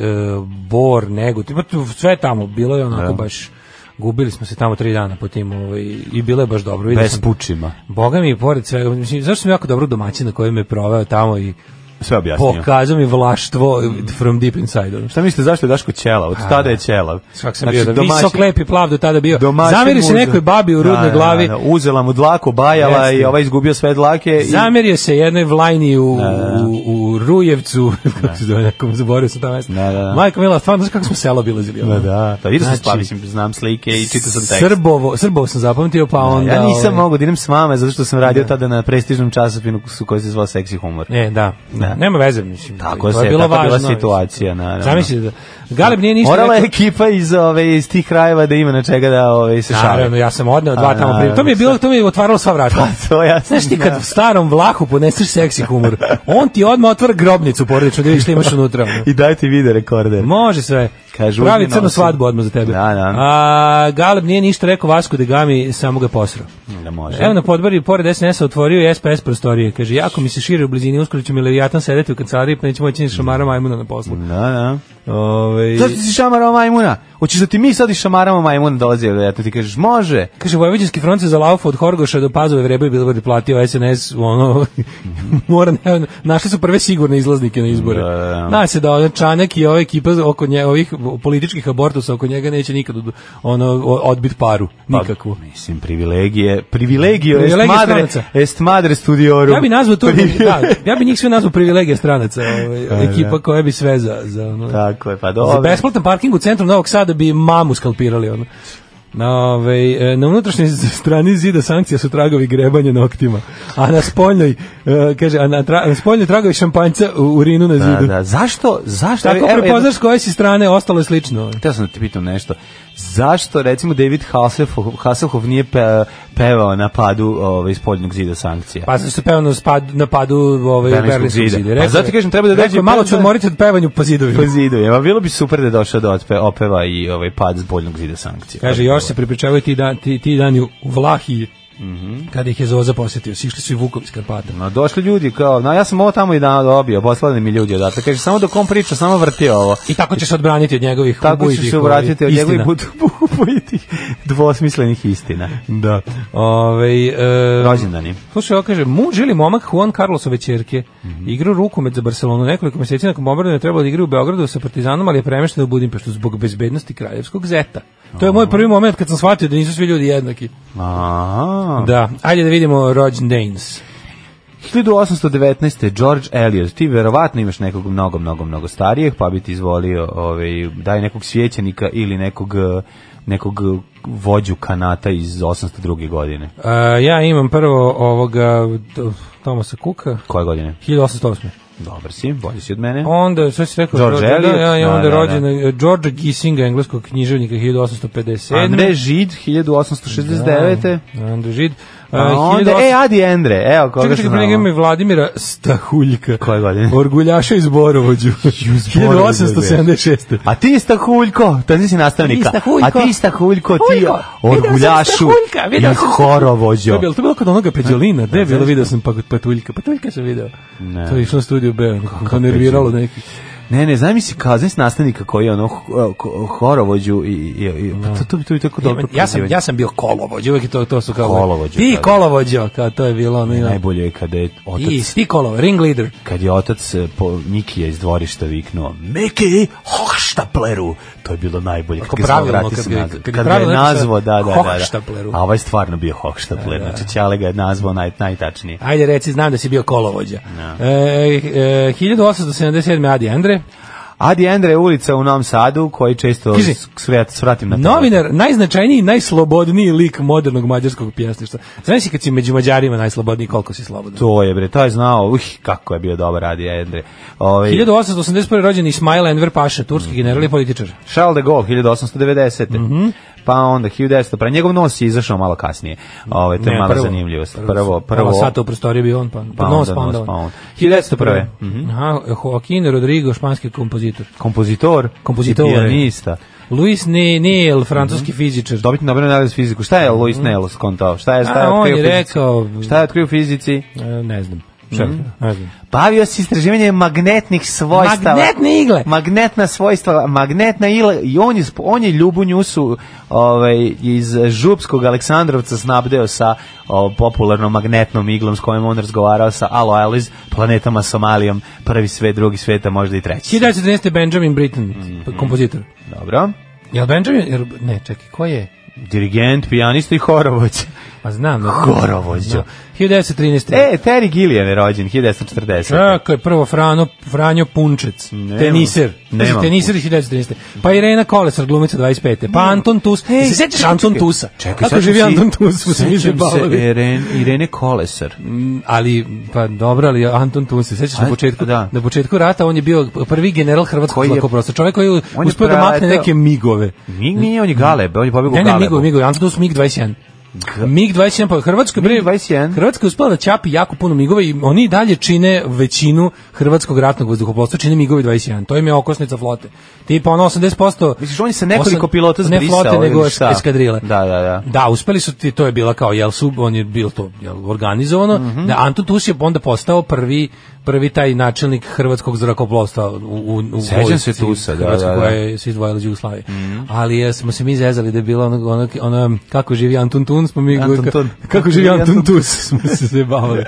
Bor, Negut, ima tu sve tamo, bilo je Da. onako baš, gubili smo se tamo tri dana po tim ovaj, i bilo je baš dobro. strašno. Vidio Bez sam, pučima. Boga mi, pored svega, mislim, zašto sam jako dobro domaćina koji me proveo tamo i Sve objasnio. pokazao mi vlaštvo from deep inside. ono. Šta mislite zašto je Daško ćelav? Od tada je ćelav. Svak Znači, sam bio, da visok, lep i plav do tada bio. domaćin Zamiri se muž- nekoj babi u rudnoj Da, da, glavi, da, uzela mu dlaku, bajala Jeste. i ovaj izgubio sve dlake. i- zamirio se jednoj vlajni u, Da, u, u Rujevcu, kako se zove, nekom zaboravio sam tamo mesto. Da, da, da. Majko Mila, stvarno, znaš kako smo selo obilazili. ono? Da, da, da, vidio sam Znači, stvari, mislim, znam slike i čitao sam tekst. Srbovo, Srbovo sam zapamtio, pa onda... ja nisam ovaj, Da. mogao da idem s vama zato što sam radio tada na prestižnom časopinu su koji se zvao Sexy Humor. E, da. Da. Nema veze, mislim. Tako to je se- bilo tako je bila važno, situacija, mislim. naravno. Zamisli da... Galeb nije ništa... Morala je rekao- ekipa iz, ove, iz tih krajeva da ima na čega da ove, se Naravno, šale. ja sam odneo dva A, tamo prije. To da. mi je bilo, to mi je otvaralo sva vrata. to ja sam Znaš ti kad znao. u starom vlahu poneseš seksi humor, on ti odmah otvara grobnicu porodičnu da vidiš šta imaš unutra. ono. I daj ti vide rekorder. Može sve. Kažu, Pravi uzmi crnu nosi. svadbu odmah za tebe. Da, da. A, Galeb nije ništa rekao Vasku da Gami, samo ga posrao. Da može. Evo na podbari, pored SNS-a otvorio je SPS prostorije. Kaže, jako mi se šire u blizini, uskoro ću mi levijatan sedeti u kancelariji, pa neću moći ni šamara majmuna na poslu. Da, da. Ovaj Zašto si šamarao majmuna? Hoćeš da ti mi sad i šamaramo majmuna dolazi, da ti kažeš, može. Kaže, Vojvođanski front se za laufu od Horgoša do Pazove vreba i Bilbord je platio SNS, ono, mora, ne, našli su prve sigurne izlaznike na izbore. Da, da, da. Zna se da ono, Čanak i ova ekipa oko nje, ovih političkih abortusa oko njega neće nikad od- ono, o- odbit paru, nikakvu. Pa, Mislim, privilegije, privilegio est Privilegije madre, stranaca. est madre studiorum. Ja bi nazvao to, da, ja bi njih sve nazvao privilegija stranaca, ovaj, ekipa koja bi sve za, za ono, Tako je, da. pa Za dobro. besplatan parking u centru Novog Sada bi mamu skalpirali ono. Na, ovaj, e, na unutrašnjoj strani zida sankcija su tragovi grebanja noktima, a na spoljnoj, e, kaže, a na, tra, na spoljnoj tragovi šampanjca u urinu na Da, zidu. da. Zašto, zašto? Tako Evo, evo, prepoznaš koje si strane, ostalo je slično. ovaj. Htio sam da te pitam nešto. Zašto, recimo, David Hasselhoff, Hasselhoff nije pe, pevao na padu ovaj, spoljnog zida sankcija? Pa zato što peva na, spad, na padu ovaj, Berlinskog Berlinskog zida. zida. Pa zato ti kažem, treba da rekao je, dođe- malo ću odmoriti od pevanju po zidovima. po zidu. Ja, bilo bi super da je došao da otpe, opeva i ovaj pad spoljnog zida sankcija. Kaže, još se pripričavaju ti, dan, ti, ti dani u Vlahiji, Mhm. kada ih je Zoza posetio, sišli su i Vukovi iz Karpata. Ma došli ljudi kao, na ja sam ovo tamo i dan dobio, poslali mi ljudi odatle. Kaže samo dok on priča, samo vrti ovo. I tako ćeš se odbraniti od njegovih Tako ćeš ubojitih, se obratiti od ovaj, njegovih istina. butubojitih dvosmislenih istina. Da. Ovaj e, Rođendani. Slušaj, ovo kaže, muž ili momak Juan Carlosove ćerke Mhm. igrao rukomet za Barcelonu nekoliko meseci nakon bombardovanja trebalo da igra u Beogradu sa Partizanom, ali je premešten u Budimpeštu zbog bezbednosti kraljevskog zeta. To je moj prvi moment kad sam shvatio da nisu svi ljudi jednaki. Aha. Da. Ajde da vidimo rođendanes. E, 1819. George Eliot, ti verovatno imaš nekog mnogo, mnogo, mnogo starijeg, pa bi ti izvolio ovaj, daj nekog svjećenika ili nekog, eh, nekog vođu kanata iz 802. godine. E, ja imam prvo ovoga t- Tomasa Kuka, Koje godine? 1808. Dobar si, bolji si od mene. Onda, sve si rekao, George rođen- da, Eliot, ja, ja, da, onda da, rođen e, George Kissinga, engleskog književnika 1857. Andre Žid, 1869. Da, Andrej Žid. A onda, e, Adi Endre, evo koga Pa Čekaj, čekaj, pre njega ima i Vladimira Stahuljka. Koje godine? Orguljaša iz Borovođu. 1876. A ti Stahuljko, to nisi nastavnika. Ti, Stahuljko. A ti Stahuljko, ti Huljko, video sam orguljašu Stahuljka, i video sam Stahuljka. To horovođo. je bilo, to je bilo kod onoga Peđolina, gde je bilo, video sam pa Patuljka, Patuljka sam video. Ne. To je išlo na studiju B, kako nerviralo neki. Ne, ne, zamisli kazni s nastavnika koji je ono h- ko- horovođu i, i, i pa to, to, bi- to bi tako dobro Da. Ja sam, prozivanje. ja sam bio kolovođ, uvek je to, to su kao... Kolovođa, Ti da. kolovođo, kao to je bilo, ono ima. Najbolje je kada je Ti, otac, ti kolovođo, ringleader. kad je otac eh, po Mikija iz dvorišta viknuo Miki, hoštapleru! To je bilo najbolje. Ako ga zvao, pravilno, vrati kad se ga je- kad nazad. ga kad ga je pravilno napisao, nazvao, da, da, da, da. hoštapleru. A ovaj je stvarno bio hoštapler, Da, znači Ćale ga je nazvao naj, najtačnije. Ajde reci, znam da si bio kolovođa. Da. E, e, 1877. Adi Andre. Adi Endre je ulica u Novom Sadu koji često Kiži. s- svrat- svratim na to. Novinar, najznačajniji, i najslobodniji lik modernog mađarskog pjesništva. Znaš si kad si među Mađarima najslobodniji, koliko si slobodan? To je bre, to je znao, uh, kako je bio dobar Adi Endre. Ovaj 1881. rođen Ismail Enver Paša, turski Mhm. general i političar. Charles de Gaulle 1890. Mhm. Pa onda 1900, pre njegov nos je izašao malo kasnije. Ovaj to je Ne, mala prvo. zanimljivost. Prvo, prvo. Pola sata u prostoriji bio on, pa, Pa pa nos, onda pa onda nos, pa on. on. 1901. Mhm. Aha, Joaquin Rodrigo, španski kompozitor. kompozitor, Kompozitor. i pijanista. Luis Ne- Mhm. Neil, francuski fizičar. Dobiti Nobelov nagradu za fiziku. Šta je Lois Nell skontao? Šta je šta je A, on otkrio je u fizici? rekao... Šta je otkrio u fizici? E, Ne znam. Šta? Mhm. Ne znam. Bavio se istraživanjem magnetnih svojstava. Magnetne igle. Magnetna svojstva, magnetna ila i on je sp- on je Ljubu Njusu ovaj iz Župskog Aleksandrovca snabdeo sa o, popularnom magnetnom iglom s kojom on razgovarao sa Alo Alice, planetama Somalijom, prvi svet, drugi svet, a možda i treći. 1913. Benjamin Britten, Mhm. kompozitor. Dobro. Jel Benjamin, jel, ne, čekaj, ko je? Dirigent, pijanista i horovođa. Pa znam. da- Horovođa. Da. 1913. E, Terry Gilliam je rođen 1940. Tako je, prvo Frano, Franjo Punčec, Nemam. teniser, Nemam Pazi, teniser 1913. Pa Irena Kolesar, glumica 25. Pa Anton Tus, Ej, se sećaš čekaj, Anton čekaj. Tusa? Čekaj, Kako sad živi si- Anton Tus? Po se Sećam se e, se, Irene, Irene Kolesar. ali, pa dobro, ali Anton Tus, se sećaš na An- početku, da. na početku rata, on je bio prvi general hrvatskog Koji je- zlakoprosta, čovjek koji je On je uspio da makne preleteo- neke migove. Mig nije, on je Galeb, on je pobegao Ne, ne, Migo, Galebu. Migo, Anton Tus, MiG-21. MiG-21, pa Hrvatska, bre, MiG-21. Hrvatska je uspela da ćapi jako puno migova i oni i dalje čine većinu hrvatskog ratnog vazduhoplovstva, čine migovi 21. To im je okosnica flote. Tipa ono 80%... Misliš, on je sa nekoliko osam- pilota zbrisao? Ne flote, ili nego šta? eskadrile. Da, da, da. Da, uspeli su ti, to Mhm. je bila kao, jel su, on je bilo to jel, organizovano, da Anton Tus je onda postao prvi prvi taj načelnik hrvatskog zrakoplovstva u, u, u Sećam vojsci se Tusa, da, Hrvatske da, da. Mhm. koja je se izdvojila iz Jugoslavije. Ali eh, smo se mi zezali da je bila ono, ono, ono kako živi Anton Tun, smo mi Anton ka- Tun. kako živi Anton Tus, smo se se bavili.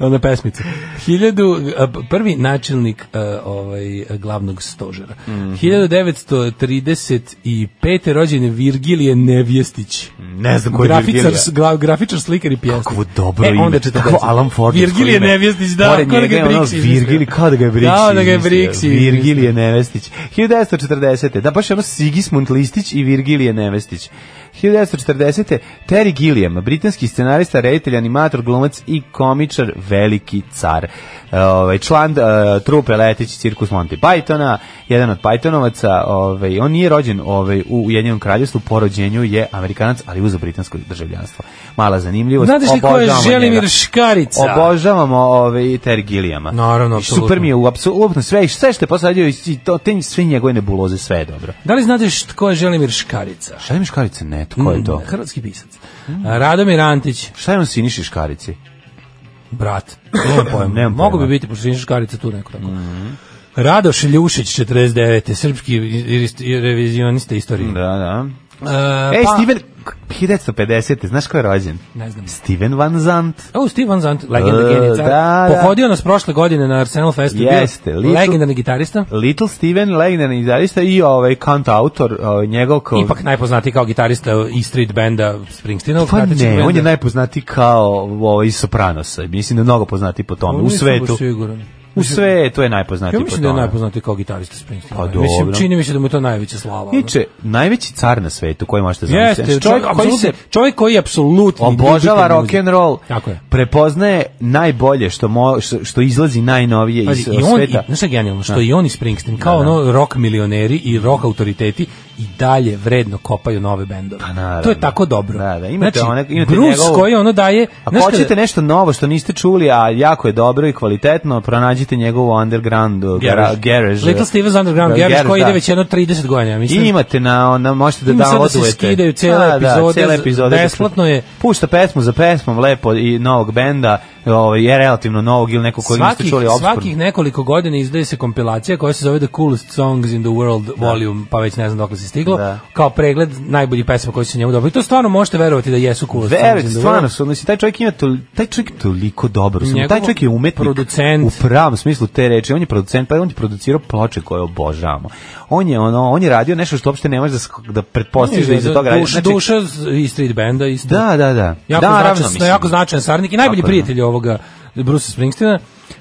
Ona pesmica. Hiljadu, a, p- prvi načelnik eh, ovaj, glavnog stožera. Mhm. 1935. rođen je Virgilije Nevjestić. Ne znam ko je grafičar, Virgilija. gra, grafičar, slikar i pjesnik. Kako dobro e, ime. Onda 40. Kako Alan Ford. Virgilije Nevjestić, da. Pored ko da njega je ga je Brix ono izmislio. Virgili, kao da ga je Brix Da, da ga je izmislio. Brix izmislio. Virgilije Nevestić. 1940. Da, baš je ono Sigismund Listić i Virgilije Nevestić. 1940. Terry Gilliam, britanski scenarista, reditelj, animator, glumac i komičar, veliki car. E, Ovaj član e, trupe Letić cirkus Monty Pythona, jedan od Pythonovaca, ovaj on nije rođen ovaj u Ujedinjenom kraljevstvu, po rođenju je Amerikanac, ali uzeo britansko državljanstvo. Mala zanimljivost. Znate li ko je obožavamo njega. Želimir Škarica? Obožavamo ove Terry Gilliama. Naravno, I Super apsolutno. mi je u apsolutno sve, i sve što je posadio i i to, te, sve njegove nebuloze, sve je dobro. Da li znate št- ko je Želimir Škarica? Šta je Miškarice? Ne, to ko je to? Mm, Hrvatski pisac. A, Radomir Antić, Šta je on Siniši Škarici? brat. Nemam pojma. Nemam Mogu pojma. bi biti, pošto je Škarica tu neko tako. Mm-hmm. Radoš Ljušić, 49. Srpski i- i- i- revizionista istorije. Da, da. E, Ej, pa- Steven, 1950. Znaš ko je rođen? Ne znam. Steven Van Zandt. O, Steve Van Zandt, legenda, E, genij, car. da, da. Pohodio nas prošle godine na Arsenal Festu. bio Jeste, lično- Legendarni gitarista. Little Steven, legendarni gitarista i ovaj kant autor, ovaj, njegov kao... Ipak najpoznatiji kao gitarista i street benda Springsteenovog. Pa pratećeg ne, benda. on je najpoznati kao ovaj Sopranosa. Mislim da je mnogo poznati po tome. U Nisam baš svetu. siguran. U svetu je najpoznati Ja po mislim da je tome. najpoznatiji kao gitarista Springsteena. Pa dobro. Mislim, čini mi se da mu je to najveća slava. ono. Niče, najveći car na svetu koji možete zamisliti. Jeste, Znači, čovjek, koji se, čovjek koji je apsolutni obožava ljubitelj rock muzike. and roll. Tako je. Prepoznaje najbolje što mo, što, što izlazi najnovije Pazi, iz eh, i on, i, sveta. Da. znaš šta je genijalno, što i on i Springsteen, kao ono rock milioneri i rock autoriteti i dalje vredno kopaju nove bendove. Pa naravno. to je tako dobro. Da, da, imate znači, one- imate Bruce njegovu- koji ono daje... Ako znaš kada- hoćete nešto novo što niste čuli, a jako je dobro i kvalitetno, pronađite njegovu underground uh, gara- garage. Little Steven's Underground Uh, Garage, koji ide da. već jedno 30 godina, ja I mislim. imate na, na možete da Ima sad da downloadujete. se skidaju cijele Da, da, epizode, cijele epizode. besplatno je. Pušta pesmu za pesmom, lepo, i novog benda, ovaj, je relativno novog ili neko koji niste svakih, čuli obskurno. svakih nekoliko godina izdaje se kompilacija koja se zove The Coolest Songs in the World Volume, pa već ne znam dokle se stiglo, Da. kao pregled najboljih pesma koji su njemu dobili. To stvarno možete verovati da jesu Coolest Verujte, Songs in the stvarno World. su, znači, taj čovjek ima tol, taj čovjek je toliko dobro, sam, taj Njegov čovjek je umetnik producent. u pravom smislu te reči, on je producent, pa on je producirao ploče koje obožavamo. On je ono, on je radio nešto što uopšte ne možeš da, sk- da pretpostaviš da iza toga radi. Duša, Znači, duša z- i street benda. Isto. Da, da, da. Jako, da, značajan, ravno, mislim. jako značajan sarnik i najbolji Tako je, da. prijatelj ovoga Bruce Springsteena.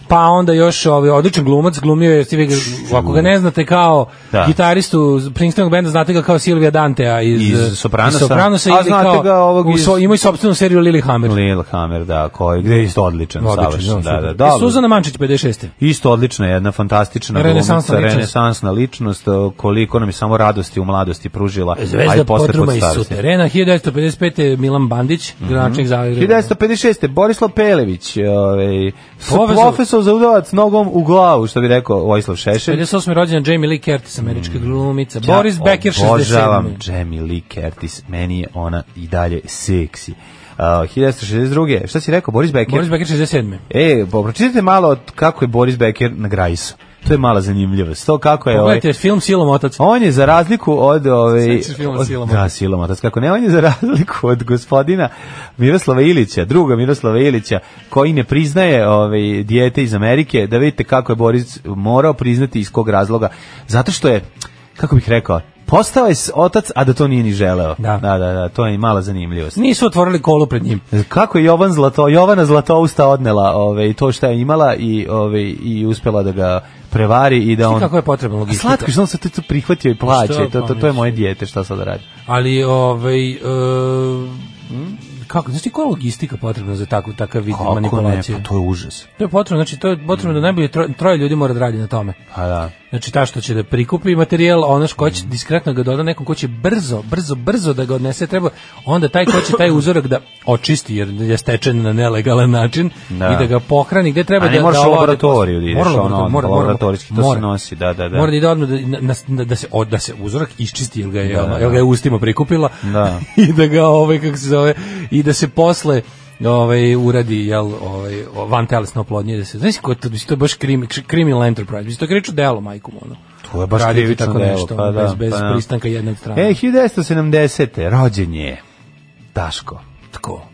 Pa onda još ovaj odličan glumac, glumio je Steve, ako ga ne znate kao Da. gitaristu Springsteenog benda, znate ga kao Silvia Dantea iz, Iz eh, Sopranosa. iz Sopranosa A ili znate kao, ga ovog u iz- svo- imao i sopstvenu seriju Lilyhammer. Lillehammer, da, koji, gde je isto odličan, savršen, da, da, da. da. Suzana Mančić 56. Isto odlična jedna fantastična Renesansna glumica, ličnost. renesansna ličnost, koliko nam je samo radosti u mladosti pružila, a Zvezda i posle podruma iz podstarosti. suterena, 1955. je Milan Bandić, Mhm. gračnik Zagreba. 1956. Borislav Pelević, ovaj, s- Profesor- profesor za udavac nogom u glavu, što bi rekao Vojislav Šešelj. 58. rođena Jamie Lee Curtis, američka glumica. Boris Becker, 67. Mm. Obožavam Jamie Lee Curtis, meni je ona i dalje seksi. Uh, 1962. Šta si rekao, Boris Becker? Boris Becker, 67. E, bo- pročitajte malo od kako je Boris Becker na Grajsu. To je mala zanimljivost. To kako je... Ovaj, Pogledajte film Silom otac. on je za razliku od ove Sećaš filma Silomotac? da Silomotac kako ne on je za razliku od gospodina Miroslava Ilića druga Miroslava Ilića koji ne priznaje ove dijete iz Amerike da vidite kako je Boris morao priznati iz kog razloga zato što je kako bih rekao postao je s- otac a da to nije ni želeo Da. da da, da, to je mala zanimljivost Nisu otvorili kolu pred njim. kako je Jovan Zlato Jovana Zlatousta odnela ove to što je imala i ove i uspela da ga prevari i da I on kako je potrebno logistika. Slatko je što on se tu prihvatio i plaće. Što, Pa To, to, to je pamet. moje dijete, šta sad da radi? Ali, ovaj... e, kako, znači koja je logistika potrebna za takvu, takav vid manipulacije? pa to je užas. To je potrebno, znači to je potrebno da najbolje troje, troje ljudi mora da radi na tome. Pa da. Mhm. Znači ta što će da prikupi materijal, ono što će diskretno ga doda nekom ko će brzo, brzo, brzo da ga odnese, treba onda taj ko će taj uzorak da očisti jer je stečen na nelegalan način Da. i da ga pohrani gde treba A da ne moraš da u ode laboratoriju da posle. ideš, Mora u ono, laboratoriju, mora, mora, laboratorijski, to se mora. nosi, da, da, da. Mora da ide odmah da, na- na- da se od- da se uzorak iščisti jer ga je, ono, jer ga je ustima prikupila Da. i da ga ovaj kako se zove i da se posle ovaj uradi jel ovaj van telesno oplodnje da se znaš kako to mislim, to je baš krimi, criminal enterprise mislim to je krivično delo majkom ono To je baš Raditi krivično tako delo, nešto, pa da, bez, bez pa da. pristanka jedne strane E, 1970. rođen je Daško. tako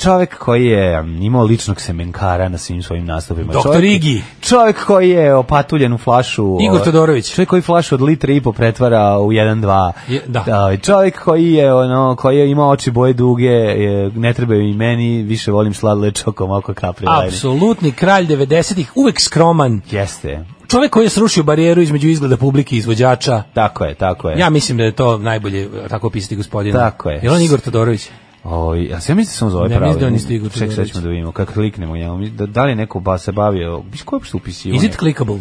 Čovek koji je mm, imao ličnog semenkara na svim svojim nastupima. Doktor Čovek- Igi. Čovek koji je opatuljen u flašu... Igor o, Todorović. Čovek koji flašu od litra i po pretvara u 1-2. Je, da. čovek ovaj, koji je, ono, koji je imao oči boje duge, je, ne trebaju i meni, više volim sladle čokom oko kapri. lajne. apsolutni kralj 90-ih uvek skroman Jeste. čovjek koji je srušio barijeru između izgleda publike i izvođača Tako je, tako je. ja mislim da je to najbolje e, tako opisati gospodina Tako je. Jel on Igor Todorović Oj, a sve mislim da se on zove Ne, pravo. mislim da on isto Igor Ček, sad Todorović. ćemo da vidimo, kako kliknemo njemu. Mi- Da, da li je neko ba se bavio, biš ko je uopšte upisio? is it clickable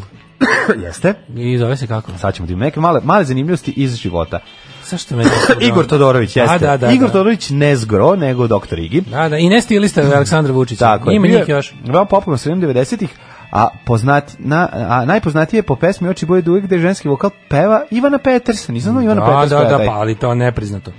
Jeste. i zove se kako Sad ćemo da vidimo neke male, male zanimljivosti iz života. zašto me Igor Todorović, jeste. da, da, Igor da. Todorović ne zgro, nego doktor Igi. Da, da, i ne stilista Aleksandra Vučića. Tako je. Ima Bio je njih još. Veoma popularno sredinom 90-ih, a, poznat, na, a najpoznatiji je po pesmi Oči boje duge gde ženski vokal peva Ivana Petersen. Nisam znao Ivana Da, Petersen. da, da, pa, ali to nepriznato.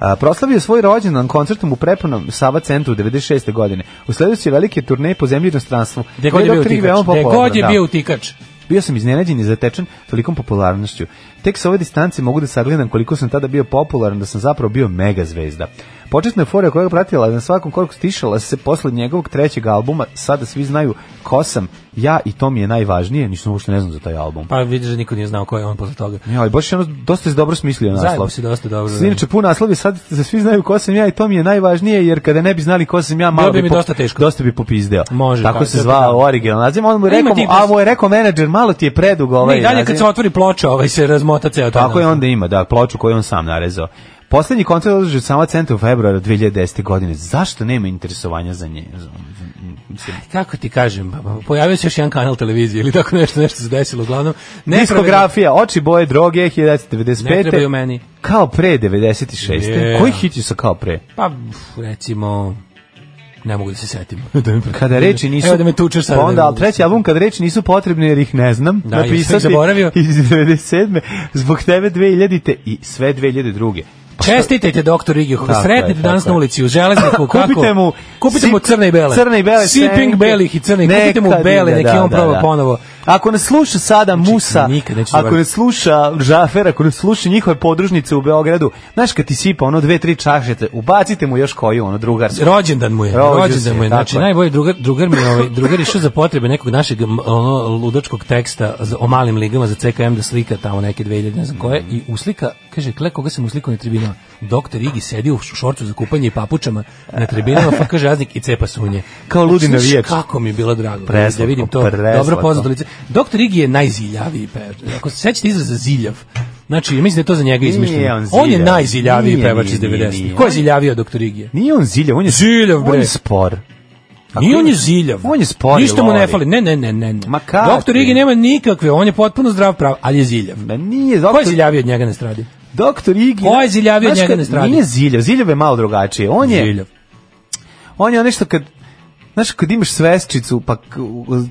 A, proslavio je svoj rođendan koncertom u prepunom Sava centru 96. godine. Usledio se velike turneje po zemlji i inostranstvu. Gde Koji god je bio Dr. Ig veoma utikač. Gde popularan, god je da. bio utikač. Bio sam iznenađen i zatečen tolikom popularnošću. Tek sa ove distance mogu da sagledam koliko sam tada bio popularan, da sam zapravo bio mega zvezda. Početna euforija koja ga pratila na svakom koraku stišala se posle njegovog trećeg albuma, sada svi znaju ko sam, ja i to mi je najvažnije, ništa uopšte ne znam za taj album. Pa vidiš da niko nije znao ko je on posle toga. Ja, ali baš je ono, dosta je dobro smislio naslov. Zajebo si dosta dobro, da. Inače, pun naslov je sad, za svi znaju ko sam ja i to mi je najvažnije, jer kada ne bi znali ko sam ja, malo Bilo bi bi, mi po- dosta teško. Dosta bi popizdeo. Može, Tako tako, se to je zvao pravo. original naziv, on mu je Ne, ima rekao, ti a bez- mu je rekao menadžer, malo ti je predug ovaj Ne, i dalje kad naziv. se otvori ploča, ovaj se razmota ceo taj. Tako je naslov. onda ima, da, ploču koju on sam narezao. Poslednji koncert održao sama centra u februara 2010. godine. Zašto nema interesovanja za nje? Za- mislim, Kako ti kažem, ba- ba- pojavio se još jedan kanal televizije ili tako nešto, nešto se desilo uglavnom. Ne pravedno- Diskografija, oči boje droge, 1995. Ne trebaju meni. Kao pre 96. Je. Koji hit je sa kao pre? Pa, pf, recimo, ne mogu da se setim. da mi Kada reči nisu... Evo da me tučeš sad. Pa da onda, mi- ali treći album, kada reči nisu potrebne jer ih ne znam, Da, jer sam ih napisati zaboravio. iz 97. Zbog tebe 2000. i sve 2002. Čestitajte doktor Igi, Tako kako je, sretnete da danas Da, tako na je. ulici u Železniku, kako? Kupite mu kupite sip- mu crne i bele. Crne i bele. Sipping senke. belih i crne, kupite mu Neka bele, divna, neki da, on da, proba da. ponovo. Znači, Ako ne sluša sada Musa, nikad neću ako ne zaboraviti. sluša Žafer, ako ne sluša njihove podružnice u Beogradu, znaš kad ti sipa ono dve, tri čašete, ubacite mu još koju, ono drugarsku. Rođendan mu je, Rođen rođendan si, mu je. Znači tako je. najbolji drugar drugar mi je ovaj drugar išao za potrebe nekog našeg m, ono ludačkog teksta za, o malim ligama za CKM da slika tamo neke 2000 ne znam koje Mhm. i uslika kaže kle koga sam uslikao na tribinama. Doktor Igi sedi u š- šorcu za kupanje i papučama na tribinama pa kaže aznik i cepa sunje. Znači, Kao ludi Znaš navijač. Kako mi je bilo drago. Preslatko, da vidim to. Dobro preslatko. poznato lice. Doktor Igi je najziljaviji pevač. Ako se sećate izraza ziljav, Znači, mislim da je to za njega izmišljeno. on On, je ziljav. najziljaviji Nije, pevač iz nije, nije, 90-ih. nije. Ko je ziljavio doktor Igija? Nije on ziljav, on je, Ziljav, on bre. je spor. Nije Ako on ima- je ziljav. Pa On je spor i Ništa mu ne lovi. fali. Ne, ne, ne, ne. ne. Ma kad Doktor Igi ti? nema nikakve, on je potpuno zdrav prav, ali je ziljav. Ma nije, Ko je doktor, ziljavio od njega na stradi? doktor Igi. Ko je ziljavio Znaš njega kad- na stradi? Nije ziljav, ziljav je malo drugačije. On je, Ziljav. on je nešto kad Znaš, kad imaš svesčicu, pa, k-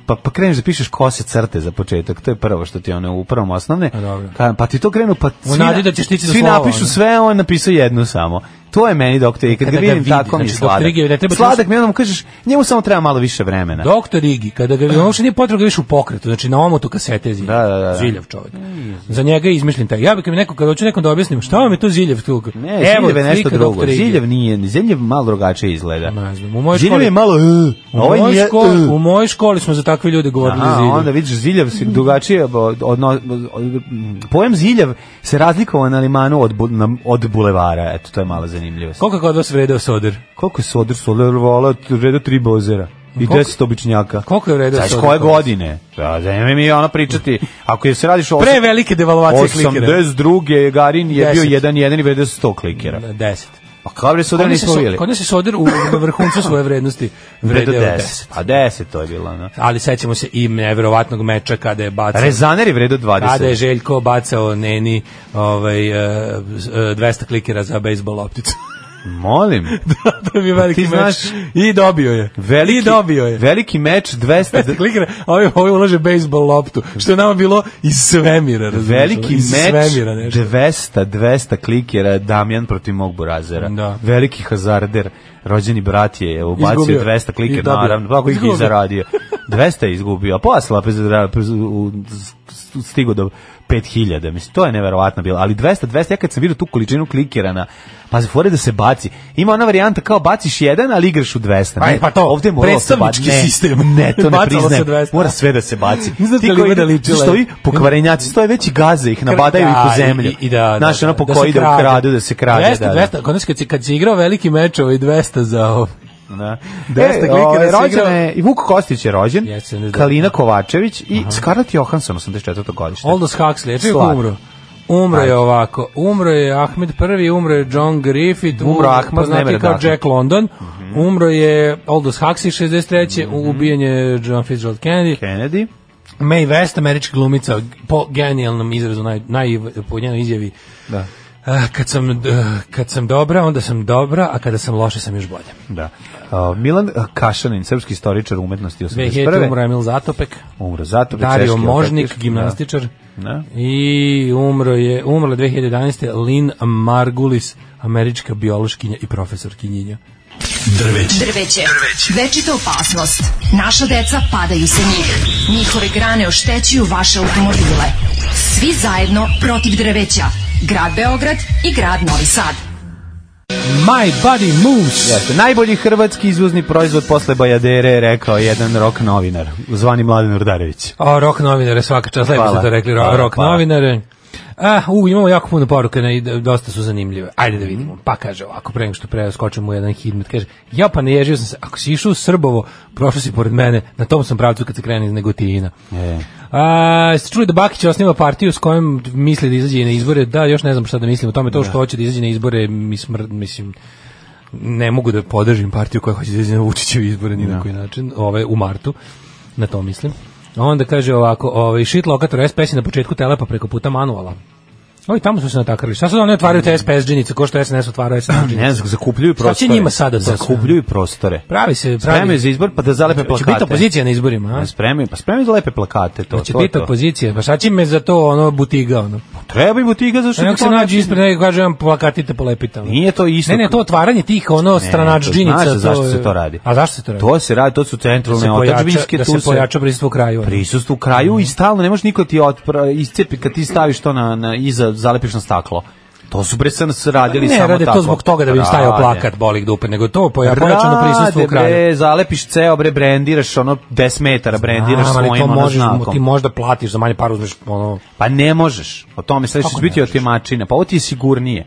pa, pa kreneš da pišeš kose crte za početak, to je prvo što ti je ono u prvom osnovne, A, dobro. Ka- pa ti to krenu, pa svi, nadi da ćeš stići do svi slova, napišu ono. sve, on napisao jednu samo. To je meni, doktor, i kad Kada ga ga vidim, vidi, tako mi je znači, doktor sladak. Igor, ne treba ti sladak mi je, onda mu kažeš, njemu samo treba malo više vremena. Doktor Igi, kada ga ono što nije potrebno ga više u pokretu, znači na omotu kasete je ziljav. Da, da, da, da. Ziljav čovjek. Za njega je izmišljen taj. Ja bih kad mi neko, kada hoću nekom da objasnim, šta vam je to ziljav tu? Ne, ziljev je nešto slika drugo. doktora Igija. Ziljev nije, ziljev malo drugačije izgleda. Ne znam, u mojoj Ziljev školi- je malo, uh, U a ovaj mojoj, nije, školi, uh. u mojoj školi smo za takve ljude govorili Aha, ziljav. onda vidiš ziljav se drugačije bo- odno, od- pojem ziljav se razlikovao na limanu od bu- na- od bulevara. Eto to je malo zanimljivo. Koliko je kod vas vredeo soder? Koliko su odr solar vola redo tri bozera i Koliko- 10 običnjaka. Koliko je vredeo Znaš soder? koje kod vas? godine? Da, zanima mi ona pričati. Ako je se radiš o Pre velike devalvacije klikera. 82. Garin je bio Deset. Da. 1-1 i vredio 100 klikera. 10. Pa kao bre soder Kod nas je nismo so- vidjeli. Kod nas je soder u u vrhuncu svoje vrednosti Vredio vredeo 10. 10. Pa 10 to je bilo. No. Ali sećamo se i neverovatnog meča kada je bacao Rezaner je Pa vredio 20. kada je Željko bacao Neni ovaj, e, z- e, 200 klikera za bejsbol lopticu. Molim. to mi je veliki Pa Ti meč. znaš- I dobio je. Veliki, I dobio je. Veliki meč 200... Klikne, ovaj, ovaj ulaže bejsbol loptu, što je nama bilo iz svemira. razumiješ, Veliki iz meč svemira nešto. 200, 200 klikera Damjan protiv mog Burazera. Da. Veliki hazarder, rođeni brat je ubacio Izgubio. 200 klikera, I dobio. naravno, kako ih Izgubio. je zaradio. 200 je izgubio, a posla stigo do 5000, mislim, to je neverovatno bilo, ali 200, 200, ja kad sam vidio tu količinu klikera na, pa se fore da se baci, ima ona varijanta kao baciš jedan, ali igraš u 200, Aj, pa to, ovde mora predstavnički sistem. ne, to ne Bacalo se priznajem, 200. mora sve da se baci, Ne znam Ti da li koji ima da idu- ličila što je. vi pokvarenjaci stoje već i gaze ih, nabadaju ih u zemlju. da I, i da, Znaš, da, ono po koji se ide u krade. kradu, da se krađe. 200, da, da. 200, kod nas kad si, kad si igrao veliki meč, ovaj 200 za ovo. Da. 200 E, klikera ovaj, se igrao. rođena je, i Vuk Kostić je rođen, Jeste, ne znam. Kalina Kovačević i Scarlett Johansson, 84. godište. Aldous Huxley, čovjek Slat. umro. Umro Ajde. je ovako, umro je Ahmed I, umro je John Griffith, Umro Ahmad, poznati Nemanja kao Ahmed. Mhm. Jack London, umro je Aldous Huxley 63. ubijen je John Fitzgerald Kennedy, Kennedy. Mae West, američka glumica, po genijalnom izrazu, naj, naj, po njenoj izjavi, Da. "Ah, kad sam, d- kad sam dobra, onda sam dobra, a kada sam loša sam još bolja. Da. A, Milan Kašanin, srpski istoričar umetnosti 2001. 81. umro je Emil Zatopek, Umro zato. Dario češki Možnik, atletič. Da, gimnastičar, Da. Da. I umro je, umrla 2011. Lynn Margulis, američka biološkinja i profesor kinjenja. Drveće. Večita opasnost. Naša deca padaju sa njih. Njihove grane oštećuju vaše automobile. Svi zajedno protiv drveća. Grad Beograd i grad Novi Sad. My body moves! Jeste, najbolji hrvatski izvozni proizvod posle Bajadere, rekao je jedan rok novinar, zvani Mladen Urdarević. A, rok novinare, svaka čast, lepo Hvala. ste to rekli, ro- Hvala, rok hvala. novinare. Ah, u, imamo jako puno poruka ne, i d- dosta su zanimljive. Ajde Mhm. da vidimo. Pa kaže ovako, pre nego što preskočimo u jedan hidmet, kaže, ja pa ne ježio sam se, ako si išao u Srbovo, prošao si pored mene, na tom sam pravcu kad se krene iz Negotina. E. A, jeste čuli da Bakić osniva partiju s kojom misli da izađe na izbore? Da, još ne znam šta da mislim o tome. To što hoće da izađe na izbore, mi smr, mislim, ne mogu da podržim partiju koja hoće da izađe na Vučićevi izbore Da. ni na koji način, ove, u martu, na to mislim. Onda kaže ovako, ovaj, shit lokator SPS je na početku telepa preko puta manuala. Ovi tamo su se natakarili. Šta sad oni otvaraju te SPS džinice, ko što SNS otvaraju SNS džinice? Ne znam, zakupljuju Šta će prostore. njima sada to sve? Zakupljuju prostore. Pravi se, Spremaju pravi. za izbor pa da zalepe Će biti plakate. opozicija na izborima, a? Pa spremaju, pa spremaju da lepe plakate to. Će to, je biti to. opozicija. Pa šta će me za to ono butiga ono? Treba i butiga zašto Što ti nek se to nađe ne- ispred nekog kaže vam plakatite polepite. ono. Nije to isto. Ne, ne, to otvaranje tih ono Ne, stranač to džinica. znaš to zašto je- se to radi. A zašto se to radi? To se radi, to su Da se centralne pojača- otadžbinske, da tu se pojača Mhm. prisustvo u kraju. ono. prisustvo u kraju i stalno ne može niko ti otpra, iscepi kad ti staviš to na, na iza zalepiš na staklo. To su bre SNS radili Ne, samo rade tako. to zbog toga da bi im stajao Rade. plakat bolih dupe, nego to poja- pojačano prisustvo Rade, u kraju. bre, zalepiš ceo, bre, brendiraš ono 10 metara, brendiraš Znam, ali svojim to ono možeš, znakom. ti možda platiš za manje par uzmeš ono Pa ne možeš. O tome sledeće će Kako biti ne otimačina. Pa ovo ti je sigurnije.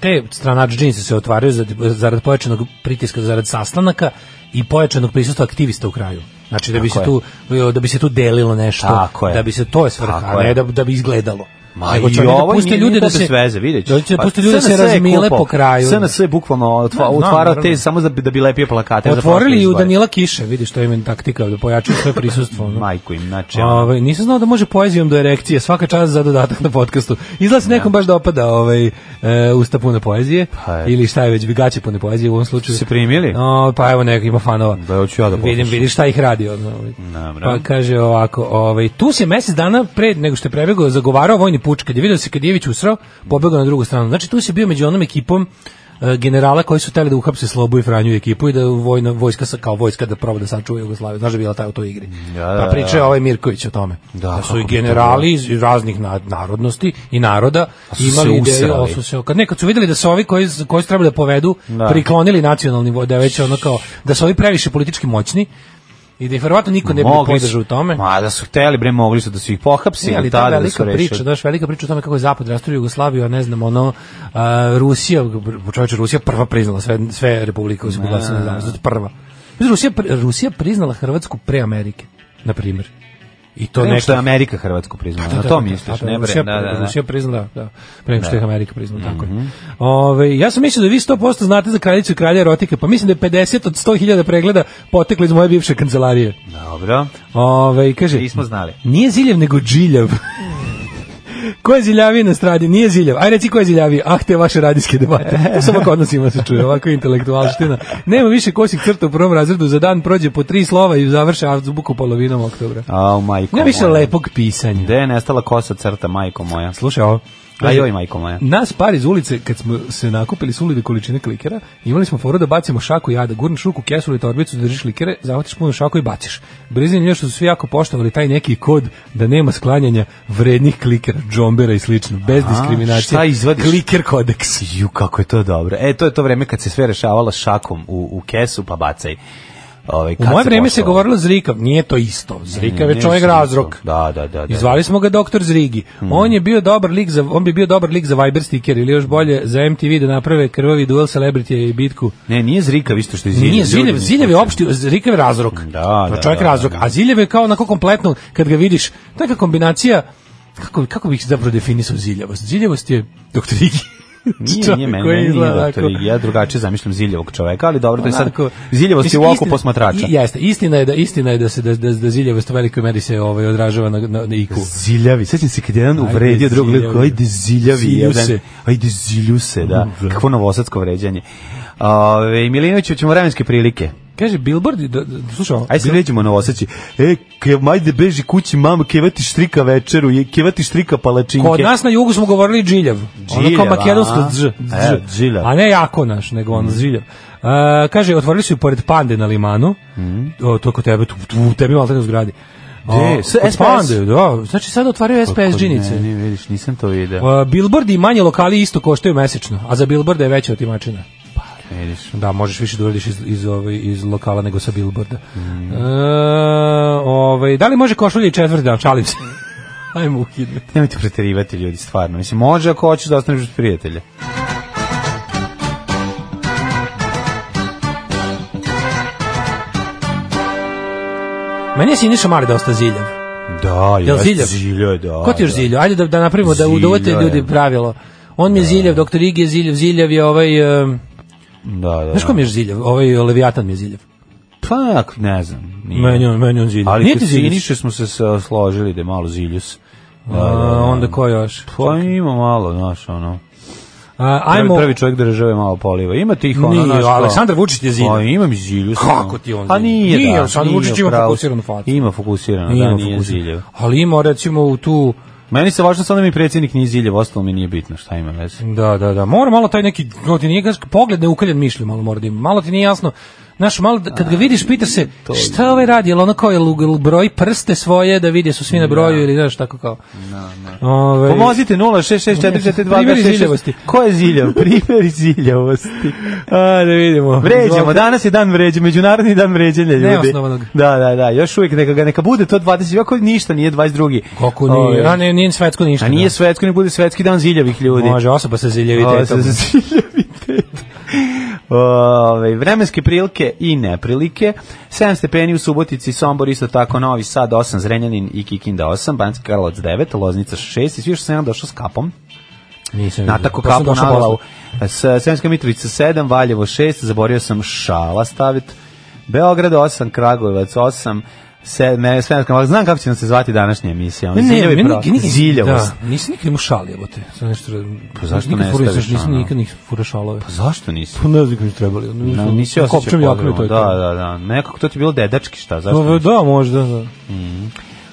te stranač džinse se otvaraju za- zarad pojačanog pritiska zarad sastanaka i pojačanog prisustva aktivista u kraju. Znači da bi Tako se tu da bi se tu delilo nešto, Tako je. da bi se to je svrha, Tako a ne je. da da bi izgledalo. Ma Nego će i oni da ovo puste nije- ljude nije da to se bez veze, vidjet ćeš. Da će Pa puste ljude da se SNS je razmile kupo. po kraju. SNS je bukvalno otva, Da, znam, otvarao naravno. te samo da bi, da bi lepio plakate. za prošle Otvorili i u izbore. Danila Kiše, vidiš to je meni taktika da pojačaju svoje prisustvo. ono. Majku im, znači. ono, Ovaj nisam znao da može poezijom do erekcije, svaka čast za dodatak na podkastu. Izgleda se nekom baš dopada ovaj e, usta puna poezije Da. Pa, eto. ili šta je već bigaće pune poezije u ovom slučaju. Su se primili? O, pa evo nek ima fanova. Da, hoću ja da Vidim, poslušam. vidiš šta ih radi ono. Ovaj. Dobro. Pa kaže ovako, ovaj tu se mesec dana pre nego što je prebegao zagovarao vojni puč kad je video se kad je Jević usrao, pobegao na drugu stranu. Znači tu se bio među onom ekipom e, generala koji su hteli da uhapse Slobu i Franju i ekipu i da vojna vojska sa kao vojska da proba da sačuva Jugoslaviju. Znaš da je bila taj u toj igri. Da, da, pa pričao je ovaj Mirković o tome. Da, Da, kako su bi i to generali iz raznih na- narodnosti i naroda su se imali ideju, usrali. ali su se kad nekad su videli da su ovi koji koji su trebali da povedu Da. priklonili nacionalni vo- da je već ono kao da su ovi previše politički moćni i da ih verovatno niko ne bi mogli su- podržao u tome. Ma da su hteli, bre, mogli su da su ih pohapsi, Ne, ali ali ta tada da su velika priča, rešili. daš velika priča o tome kako je Zapad rasturio Jugoslaviju, a ne znam, ono, a, Rusija, čovječe, Rusija prva priznala sve, sve republike koje su proglasile nezavisnost, prva. Mislim, Rusija, pri- Rusija priznala Hrvatsku pre Amerike, na primjer. I to To ne nešto je Amerika Hrvatsku priznala. Na to misliš, ne bre, Rusija, da, da, Mhm. da. Rusija priznala, da, pre nego što je Amerika priznala, tako je. Ove, ja sam mislio da vi 100% znate za kraljicu i kralja erotike, pa mislim da je 50 od 100.000 pregleda poteklo iz moje bivše kancelarije. Dobro, Ove, kaže, nismo znali. nije ziljev, nego džiljav. Ko je ziljavi na stradi? Nije ziljav. Aj reci ko je ziljavi. Ah, te vaše radijske debate. To samo kod nas ima da se čuje, ovako intelektualština. Nema više kosih crta u prvom razredu. Za dan prođe po tri slova i završe azbuku polovinom oktobra. A, majko Nema više moja. lepog pisanja. Gde je nestala kosa crta, majko moja? Slušaj ovo. A joj, majko moja. Nas par iz ulice, kad smo se nakupili sulide količine klikera, imali smo foru da bacimo šaku i jada, gurneš ruku, kesu ili torbicu, da držiš klikere, zahvatiš puno šaku i baciš. Brizin je što su svi jako poštovali taj neki kod da nema sklanjanja vrednih klikera, džombera i slično, bez A, diskriminacije. šta izvadiš? Kliker kodeks. Ju, kako je to dobro. E, to je to vreme kad se sve rešavala šakom u, u kesu, pa bacaj. Ove, U kad moje vreme se pošlo? govorilo Zrikav, nije to isto. Zrikav je Nije čovjek isto. razrok. Da, da, da. Mm. da. Izvali smo ga doktor Zrigi. On je bio dobar lik za on bi bio dobar lik za Viber stiker ili još bolje za MTV da naprave krvavi duel celebrity i bitku. Ne, nije Zrikav isto što je Ziljev. Nije Ljudi Ziljev, mi Ziljev je slušaju. opšti, Ziljev je razrok. Da, To je da, čovjek da, razrok, da. a Ziljev je kao onako kompletno kad ga vidiš, to je neka kombinacija kako kako bih zapravo definisao Ziljavost. Ziljavost je doktor Igi. Nije, Čovjek nije koji mene, nije izgleda doktor onako- Igi. Ja drugačije zamišljam Ziljevog čoveka, ali dobro, to je sad Onako, Ziljevost je u mislim, oku istina- posmatrača. i- Jeste, istina je da istina je da se da da, da Ziljavost u velikoj meri se ovaj odražava na na, na IQ. Ziljavi, sećam se kad je jedan Ajde, uvredio drugog lika, ziljavi. ajde ziljavi, Zilju jedan, se. ajde zilju se, da, kakvo novosadsko vređanje. Ove, Milinović, ćemo vremenske prilike. Kaže Billboard da, da slušaj, ovo, Ajde se vidimo na Novosadči. E, ke, majde beži kući, mama, kevati štrika večeru, je- kevati štrika palačinke. Kod nas na jugu smo govorili džiljav. Ono kao Džiljav, makedonsko a? dž, E, Mm. dž. džiljav. A ne jako naš, nego ono džiljav. Uh, kaže, otvorili su i pored pande na limanu. O, to kod tebe, tu, tu, tebi malo u zgradi. Mm. Gde? O, S- kod SPS? Pande, da. Znači sad otvaraju SPS džinice. Ne, ne, vidiš, nisam to video. Uh, Billboardi i manje lokali isto koštaju mesečno, a za billboarde je veća otimačina. Vidiš. Da, možeš više da uradiš iz, iz, ovaj, iz lokala nego sa billboarda. Mm. E, ovaj, da li može košulje i četvrti dan? Šalim se. Ajmo uhidme. Nemojte preterivati ljudi, stvarno. Mislim, može ako hoćeš da ostaneš uz prijatelja. Meni je Siniša Mali dosta ziljav. Da, Jel jeste, ziljav? Ziljo je, da. Ko ti još da. ziljav? Ajde da, da napravimo, da Ziljav udovate je. ljudi pravilo. On mi je ziljav, doktor Igi je ziljav, ziljav je ovaj... Um, Da, da. znaš ko mi je još ziljav? Ovaj Leviatan mi je ziljav. Pa, ak- ne znam. Nije. Meni on, meni on ziljav. Ali Nije kod ti ziljav? Siniše smo se sa- složili da je malo Ziljus. Da, da, A, da. onda ko još? Pa ima malo, znaš, ono. A, Ajmo. ajmo... Prvi čovjek države malo poliva. Ima tih ono, Nije, znaš, kao- Aleksandar Vučić je ziljav. Pa ima mi Zilju. Kako ti on Pa Ziljev? nije, Nije, da. Aleksandar nije, Vučić ima pravo si. fokusiranu facu. Ima fokusirano, Ima da, nije fokus. Ziljev. Ali ima recimo u tu... Meni se važno samo da mi predsjednik nije Ziljev, ostalo mi nije bitno šta ima veze. Da, da, da. Mora malo taj neki, no, ti nije gaš, pogled neukaljen mišlju, malo mora da ima. Malo ti nije jasno. Znaš, malo, da- kad ga vidiš, pitaš se, da. šta ovaj radi, jel ono kao, jel jel broj prste svoje da vidi, su svi na broju, ili znaš, tako kao. Da, Ovaj, Pomozite 0664422 Primjeri ziljavosti. Ko je Ziljev? Primjer Ziljavosti. A, da vidimo. Vređamo, da. Izvolite. danas je dan vređe, međunarodni dan vređanja ljudi. Neosnovanog. Da, da, da, još uvijek neka, ga- neka bude to 20, ako ništa, nije 22. Kako nije, Ove, a ne, nije svetsko ništa. A nije da. svetsko, ne bude svetski dan ziljavih ljudi. Može, osoba sa ziljevitetom. Ovo, sa- sa ziljavitetom. Ove, vremenske prilike i neprilike 7 stepeni u Subotici, Sombor isto tako Novi Sad 8, Zrenjanin i Kikinda 8 Banjski Karlovac 9, Loznica 6 i svi što sam ja došao s kapom Nisam vidio. Natako Pa sam kapu došao na glavu. posle. S- Sremska Mitrovica 7, Valjevo 6, zaborio sam Šala staviti. Beograd 8, Kragujevac 8, se, me, Sremska Mitrovica. Znam kako će nam se zvati današnja emisija. ono, Ne, ne, Pa Ziljevi meni pro- nikad- nikad- Ziljavost. Da, nisam nikad imao šaljevo te. Sad nešto, pa zašto ne staviš, Nisam ono? nikad nikad fura šalove. Pa zašto nisi? Pa ne znam kako mi trebali. Da, ono, nisi osjećao kopčem jaknu i to potrebu. je Da, to. da, da. Nekako to ti je bilo dedački šta, zašto? Pa, Da, možda, da.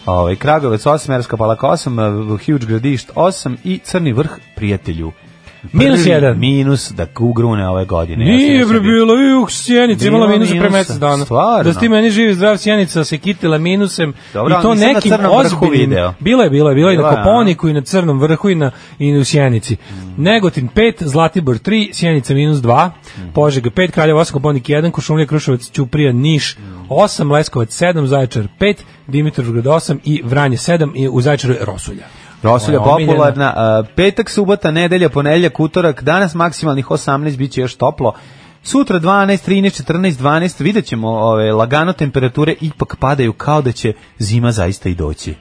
Ovaj Kragujevac 8, Merska Palaka 8, Huge Gradišt 8 i Crni vrh prijatelju. Minus Prvi jedan. Minus da ugrune ove godine. Ja Nije sam bre sebi- bilo, i u Sjenica Bilo imala minus pre minusa, mesec dana. stvarno? Da si ti meni živi zdrav Sjenica se kitila minusem Dobro, i to ali nisam na nekim Crnom vrhu ozbiljnim. video. Bilo je, bilo je, bilo je i Bila na je, Koponiku i na Crnom vrhu i na i u Sjenici. Negotin 5, Zlatibor 3, Sjenica minus 2, Požega 5, Kraljevo 8, Koponik 1, Košumlija, Kruševac, Ćuprija, Niš 8, Leskovac 7, Zaječar 5, Dimitrovgrad 8 i Vranje 7 i u Zaječaru je Rosulja. da Rosulja Moja omiljena. popularna. a, Petak, subota, nedelja, ponedeljak, utorak, danas maksimalnih 18, bit će još toplo. Sutra 12, 13, 14, 12, vidjet ćemo ove, lagano temperature ipak padaju kao da će zima zaista i doći.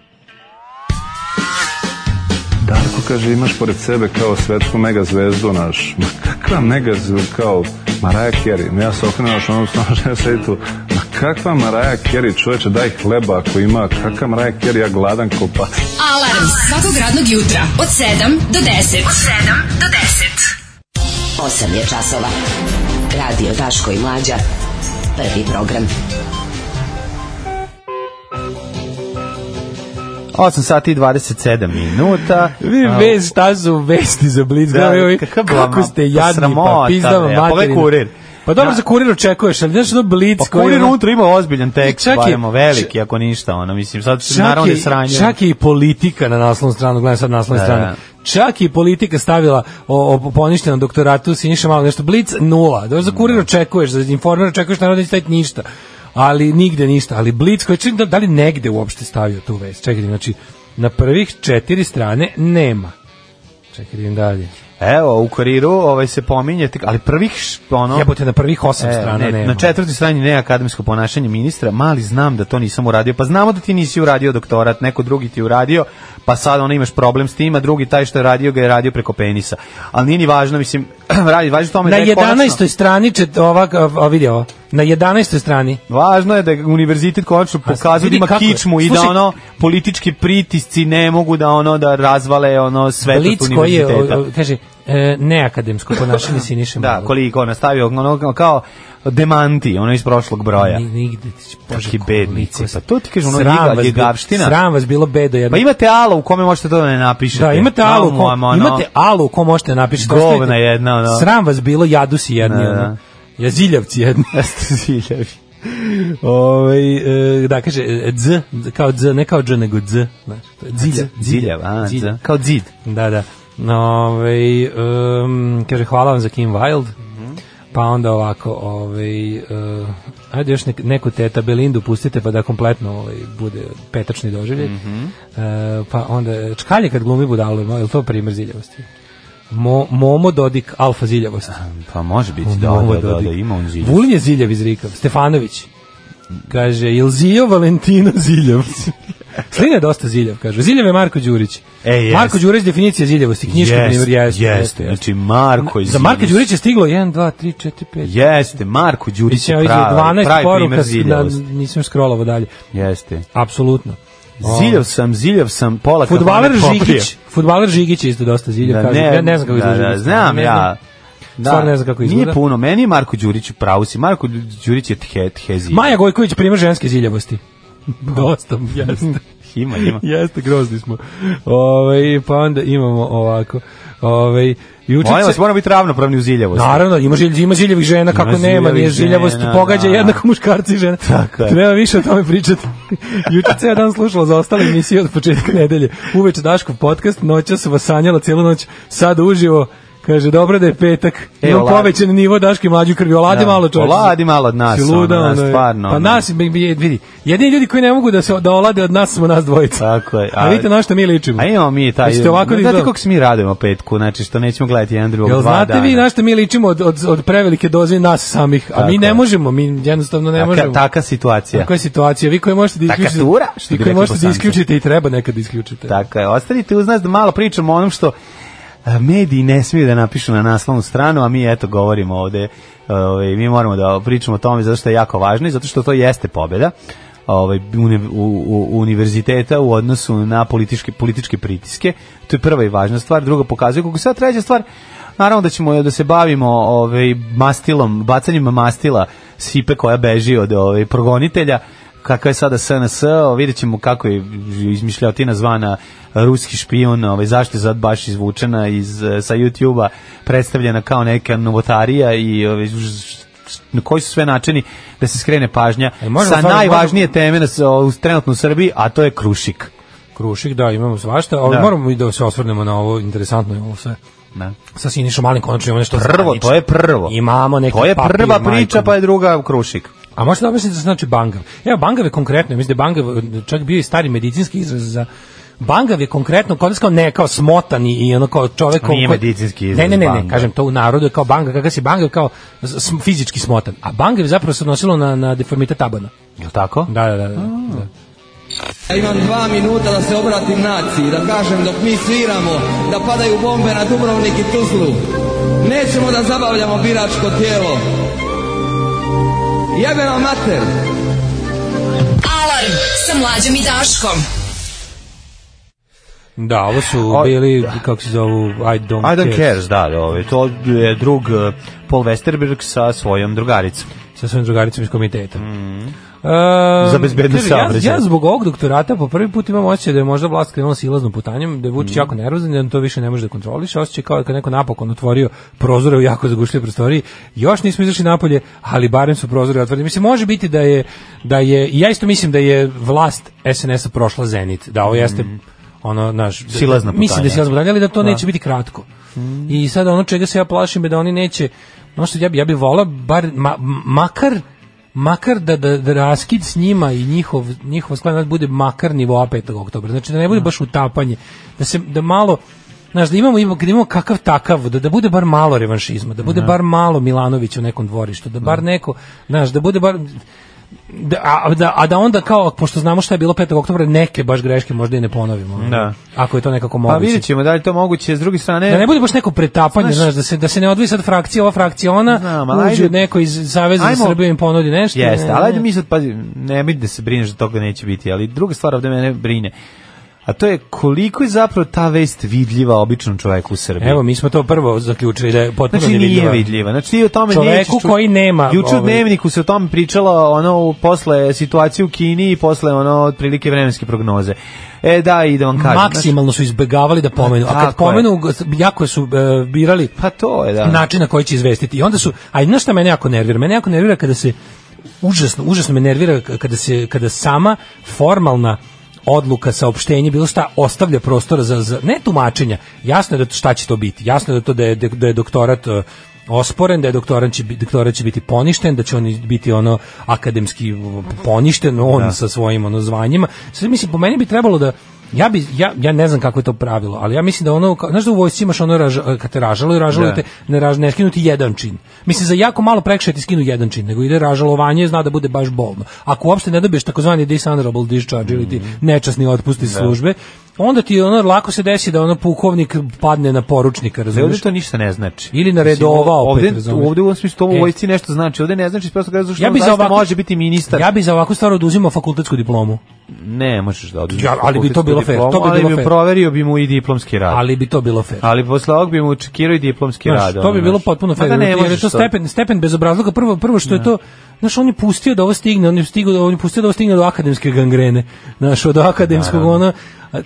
Darko Da, kaže imaš pored sebe kao svetsku megazvezdu naš. Ma kakva megazvezdu kao Mariah Carey. Ma Ja se okrenuo što ono snažno ja sedi tu. Ma kakva Maraja Keri, čoveče, daj hleba ako ima, kakva Maraja Keri, ja gladan ko pas. Alarm svakog radnog jutra od 7 do 10. Od 7 do 10. 8 je časova. Radio Daško i Mlađa. Prvi program. 8 sati i 27 minuta. Vi A, bez šta su vesti za Blitz. Da, Da, ovi, kakva kako blama- ste jadni, pa sramota, pizda vam bre, a pogledaj materinu. kurir. Pa dobro, Da. za kurir očekuješ, ali znaš ono Blitz Pa koji... kurir ono- unutra ima ozbiljan tekst, Čak je- baremo veliki, ako ništa, ono, mislim, sad se Čak naravno ne da je, sranje. čak je i politika na naslovnu stranu, gledam sad naslovnu Da, stranu. da. Čak je i politika stavila o, o poništenom doktoratu Siniša malo nešto Blitz nula. Da za kurir očekuješ, za informer očekuješ naravno da neće staviti ništa. Ali nigde ništa, ali Blitz koji čini da, da li negde uopšte stavio tu vest. Čekaj, znači na prvih četiri strane nema. Čekaj, idem dalje. Evo, u kuriru ovaj, se pominje, tek- ali prvih, š- ono... Jebote, na prvih osam E, strana ne, nema. Na četvrti strani ne akademsko ponašanje ministra, mali znam da to nisam uradio, pa znamo da ti nisi uradio doktorat, neko drugi ti je uradio, pa sad ono imaš problem s tim, a drugi taj što je radio ga je radio preko penisa. Ali nije ni važno, mislim, radi, važno tome na da je konačno- 11. strani čet, ovak, a, a vidi ovo, na 11. strani Važno je da je univerzitet konačno pokazuje da vidi ima kako je. kičmu i da Slušaj- ono politički pritisci ne mogu da ono da razvale ono svetost Blic koji je, univerziteta. o- o- kaže, e, neakademsko ponašanje Siniše Da, Malog. koliko ona stavio ono kao demanti, ono iz prošlog broja. Ni- Nigde, ti- bože, Kakvi koliko bednici, ste- pa to ti kažu, ono, Sram ljiga- vas bilo- ljigavština. Sram vas bilo bedo jedno. Pa imate alo u kome možete to da ne napišete. Da, imate alu, Mamo, ko, mamo, ono. imate alu ko možete napišete. Govna ostavite- jedna, ono. Sram vas bilo, jadusi jedni, Da, ono. da. Jaziljavci jedni. Jeste ziljevi. Ovaj e, da kaže e, dz kao dz ne kao dž nego dz znači to je dzilja Ziljev, a, Dzilja. za- kao zid. Da, da. No, ovaj, um, kaže, hvala vam za Kim Wilde. Pa onda ovako, ovaj, uh, ajde još nek, neku teta Belindu pustite pa da kompletno ovaj, bude petačni doživljaj. E, pa onda, čkalje kad glumi budalu, je li to primer ziljavosti? Mo, Momo Dodik, alfa ziljavosti. Pa može biti, da, Momo da, da, Dodik. da, ima on ziljev. Vulin je ziljav iz Rika, Stefanović. Kaže, jel Zio Valentino ziljav? Slina je dosta ziljav, kaže. Ziljav je Marko Đurić. E, jest. Marko Đurić definicija ziljavosti, knjiška Jeste, primer, jeste, jeste. Znači, Marko je Za Marka ziljev. Đurića je stiglo 1, 2, 3, 4, 5. Jeste, Marko Đurić Mislim, je ovih pravi, 12 pravi poruka, primer s- da, ziljavosti. nisam još scrollovao dalje. Jeste. Apsolutno. Ziljav Pa. sam, ziljav sam, pola Fudbaler kafane popio. Žigić, fudbaler Žigić je isto dosta ziljav, kaže. Ja ne znam kako izgleda. Da, da, znam Ne ja. Da, Stvarno ne znam kako izgleda. Nije puno, meni je Marko Đurić u pravu si. Marko Đurić je the, the ziljav. Maja Gojković primer ženske ziljavosti. Dosta, jeste. Ima, ima. Jeste, grozni smo. Ove, pa onda imamo ovako. Ove, juče Da. Molim vas, se- moramo biti ravnopravni u ziljavosti. Naravno, ima, žilj, ima žiljevih žena, kako nema, žiljevih nije žiljavost, žena, pogađa da. jednako muškarci i žena. Tako je. Treba više o tome pričati. Juče ceo dan slušala za ostale emisije od početka nedelje. Uveč Daškov podcast, noća se vas sanjala cijelu noć, sad uživo, kaže, dobro da je petak, E, imam oladi. povećan nivo Daške mlađu krvi, oladi Da. malo čovječe. Oladi malo od nas, Si ono, luda, nas ono, stvarno, Pa ono. nas, bi- bi- vidi, jedini ljudi koji ne mogu da se da olade od nas smo nas dvojica. Tako je. A, vidite na što mi ličimo. A imamo mi taj... Hoćete ovako da Znate izgleda? kako se mi radujemo petku, znači što nećemo gledati jedan drugog Jel dva znate vi dana. na što mi ličimo od, od, od prevelike doze nas samih, a mi Tako ne je. možemo, mi jednostavno ne Taka, možemo. taka situacija. Koja je situacija? Vi koji možete da Taka isključite, tura, što vi bi koji rekli možete da Bosanci. isključite i treba nekad da isključite. Tako je. Ostanite uz nas da malo pričamo o onom što a, mediji ne smiju da napišu na naslovnu stranu, a mi eto govorimo ovde, ovaj, mi moramo da pričamo o tome zato što je jako važno i zato što to jeste pobeda ovaj, uni- u, u, univerziteta u odnosu na političke, političke pritiske. To je prva i važna stvar. Druga pokazuje kako sad treća stvar, naravno da ćemo da se bavimo ovaj, mastilom, bacanjima mastila sipe koja beži od ovaj, progonitelja kakva je sada SNS, o, vidjet ćemo kako je izmišljotina zvana ruski špijun, ovaj, zašto je sad baš izvučena iz, eh, sa YouTube-a, predstavljena kao neka novotarija i ovaj, ž- ž- na koji su sve načini da se skrene pažnja E, možemo sa stvarno- najvažnije teme na, s- o, trenutno u Srbiji, a to je Krušik. Krušik, da, imamo svašta, ali Da. moramo i da se osvrnemo na ovo, interesantno je ovo sve. Da. Sa Sinišom Malim konačno imamo nešto Prvo, zvanično. to je prvo. Imamo neki To je papir, prva priča, majko pa je druga Krušik. A možete da objasnite što znači bangav? Evo, bangav je konkretno, ja mislim da je bangav čak bio i stari medicinski izraz za Bangav je konkretno kod nas kao ne kao smotan i- i ono kao čovjek Nije koji- medicinski izraz Ne, ne, ne, ne, bangav. kažem to u narodu je kao bangav, kakav si bangav kao s- s- fizički smotan. A bangav je zapravo se odnosilo na na deformitet tabana. Je tako? Da, da, da. da. da. Ja imam dva minuta da se obratim naciji, da kažem dok mi sviramo, da padaju bombe na Dubrovnik i Tuzlu. Nećemo da zabavljamo biračko tijelo. Jebena mater, Alarm sa mlađom i Daškom. Da, ovo su O- bili, kako se zovu, I don't, I don't cares, da, da, ovaj, to je drug eh, Paul Westerberg sa svojom drugaricom. Sa svojim drugaricom iz komiteta. Mm. Mhm. Za bezbednost saobraćaja. Ja, ja zbog ovog doktorata po prvi put imam osjećaj da je možda vlast krenula silaznom putanjem, da je Mhm. Vučić jako nervozan, da on to više ne može da kontroliše, osjećaj kao da je neko napokon otvorio prozore u jako zagušljivoj prostoriji. Još nismo izašli napolje, ali barem su prozore otvoreni. Mislim može biti da je da je i ja isto mislim da je vlast SNS-a prošla zenit, da ovo jeste ono naš Mhm. Silazna Mislim da je putanja. silazna putanja, ali da to neće biti kratko. I sad ono čega se ja plašim je da oni neće, ono što ja bi, ja bi volao, bar, ma, makar, makar da, da, da raskid s njima i njihov, njihov sklenac bude makar nivoa 5. oktobra. Znači da ne bude baš utapanje, da se, da malo, Znaš, da imamo, imamo, da imamo kakav takav, da, da bude bar malo revanšizma, da bude bar malo Milanovića u nekom dvorištu, da bar neko, znaš, da bude bar, da, a, da, a da onda kao, pošto znamo šta je bilo 5. oktobra, neke baš greške možda i ne ponovimo. ono, Da. Ako je to nekako Pa moguće. vidjet ćemo da li je to moguće, s druge strane... Da ne bude baš neko pretapanje, Znaš- znaš, da se da se ne odvoji sad frakcija, ova frakcija ona, Znam, ali uđe ajde- neko iz Saveza za ajmo- Srbiju im ponudi nešto. Jeste, ne, ali ne. ajde mi sad, pazi, nemoj da se brineš da toga neće biti, ali druga stvar ovde mene brine, a to je koliko je zapravo ta vest vidljiva običnom čoveku u Srbiji. Evo, mi smo to prvo zaključili da je potpuno Znači nije nevidljiva. vidljiva. Znači ti o tome Čoveku nećeš čuti. koji nema, Juče u ovaj- dnevniku se o tome pričala ono u- posle situacije u Kini i posle ono otprilike vremenske prognoze. E da, i da vam kažem. znači- Maksimalno su izbegavali da pomenu, a Tako je. kad pomenu jako su e, birali pa to je da. način na koji će izvestiti. I onda su, a znaš šta mene jako nervira? Mene jako nervira kada se, užasno, užasno me nervira k- kada se, kada sama formalna odluka, saopštenje, bilo šta, ostavlja prostora za, za ne tumačenja. Jasno je da šta će to biti. Jasno je da, to da, je, da je doktorat e, osporen, da je doktorat će, bi- doktorat će biti poništen, da će on biti ono akademski uh, poništen, on sa svojim ono zvanjima. Sve mislim, po meni bi trebalo da Ja bi ja ja ne znam kako je to pravilo, ali ja mislim da ono kao- znaš da u vojsci imaš ono raž, kad te ražalo i ražalo Da. te ne raž, ne skinuti jedan čin. Mislim za jako malo prekršaja ti skinu jedan čin, nego ide ražalovanje, zna da bude baš bolno. Ako uopšte ne dobiješ takozvani dishonorable discharge ili ti Mhm. nečasni otpust Da. iz službe, onda ti ono lako se desi da ono pukovnik padne na poručnika, Ali ovde razumeš? Da, to ništa ne znači. Ili na Mislim, redova ovde- opet, Ovde, razumeš? ovde u ovom smislu to u E. vojsci nešto znači. Ovde ne znači iz prostog razloga što Ja on bi za zaista ovako- može biti ministar. Ja bi za ovakvu stvar oduzimao fakultetsku diplomu, Ne, možeš da oduzmeš. Ja, ali bi to fakultetsku bilo fair, diplomu, to bi bilo Ali bi fair. proverio bi mu i diplomski rad. Ali, ali bi to bilo fair. posle ovog bi mu čekirao i diplomski Znaš, rad. To bi ono, bilo znaš. potpuno Ma da fair. ne jer je možeš to to. stepen stepen bezobrazluka prvo prvo što je to Znaš, on je pustio da ovo stigne, on je, stigo, on je pustio da ovo stigne do akademske gangrene. Znaš, od akademskog ono... a,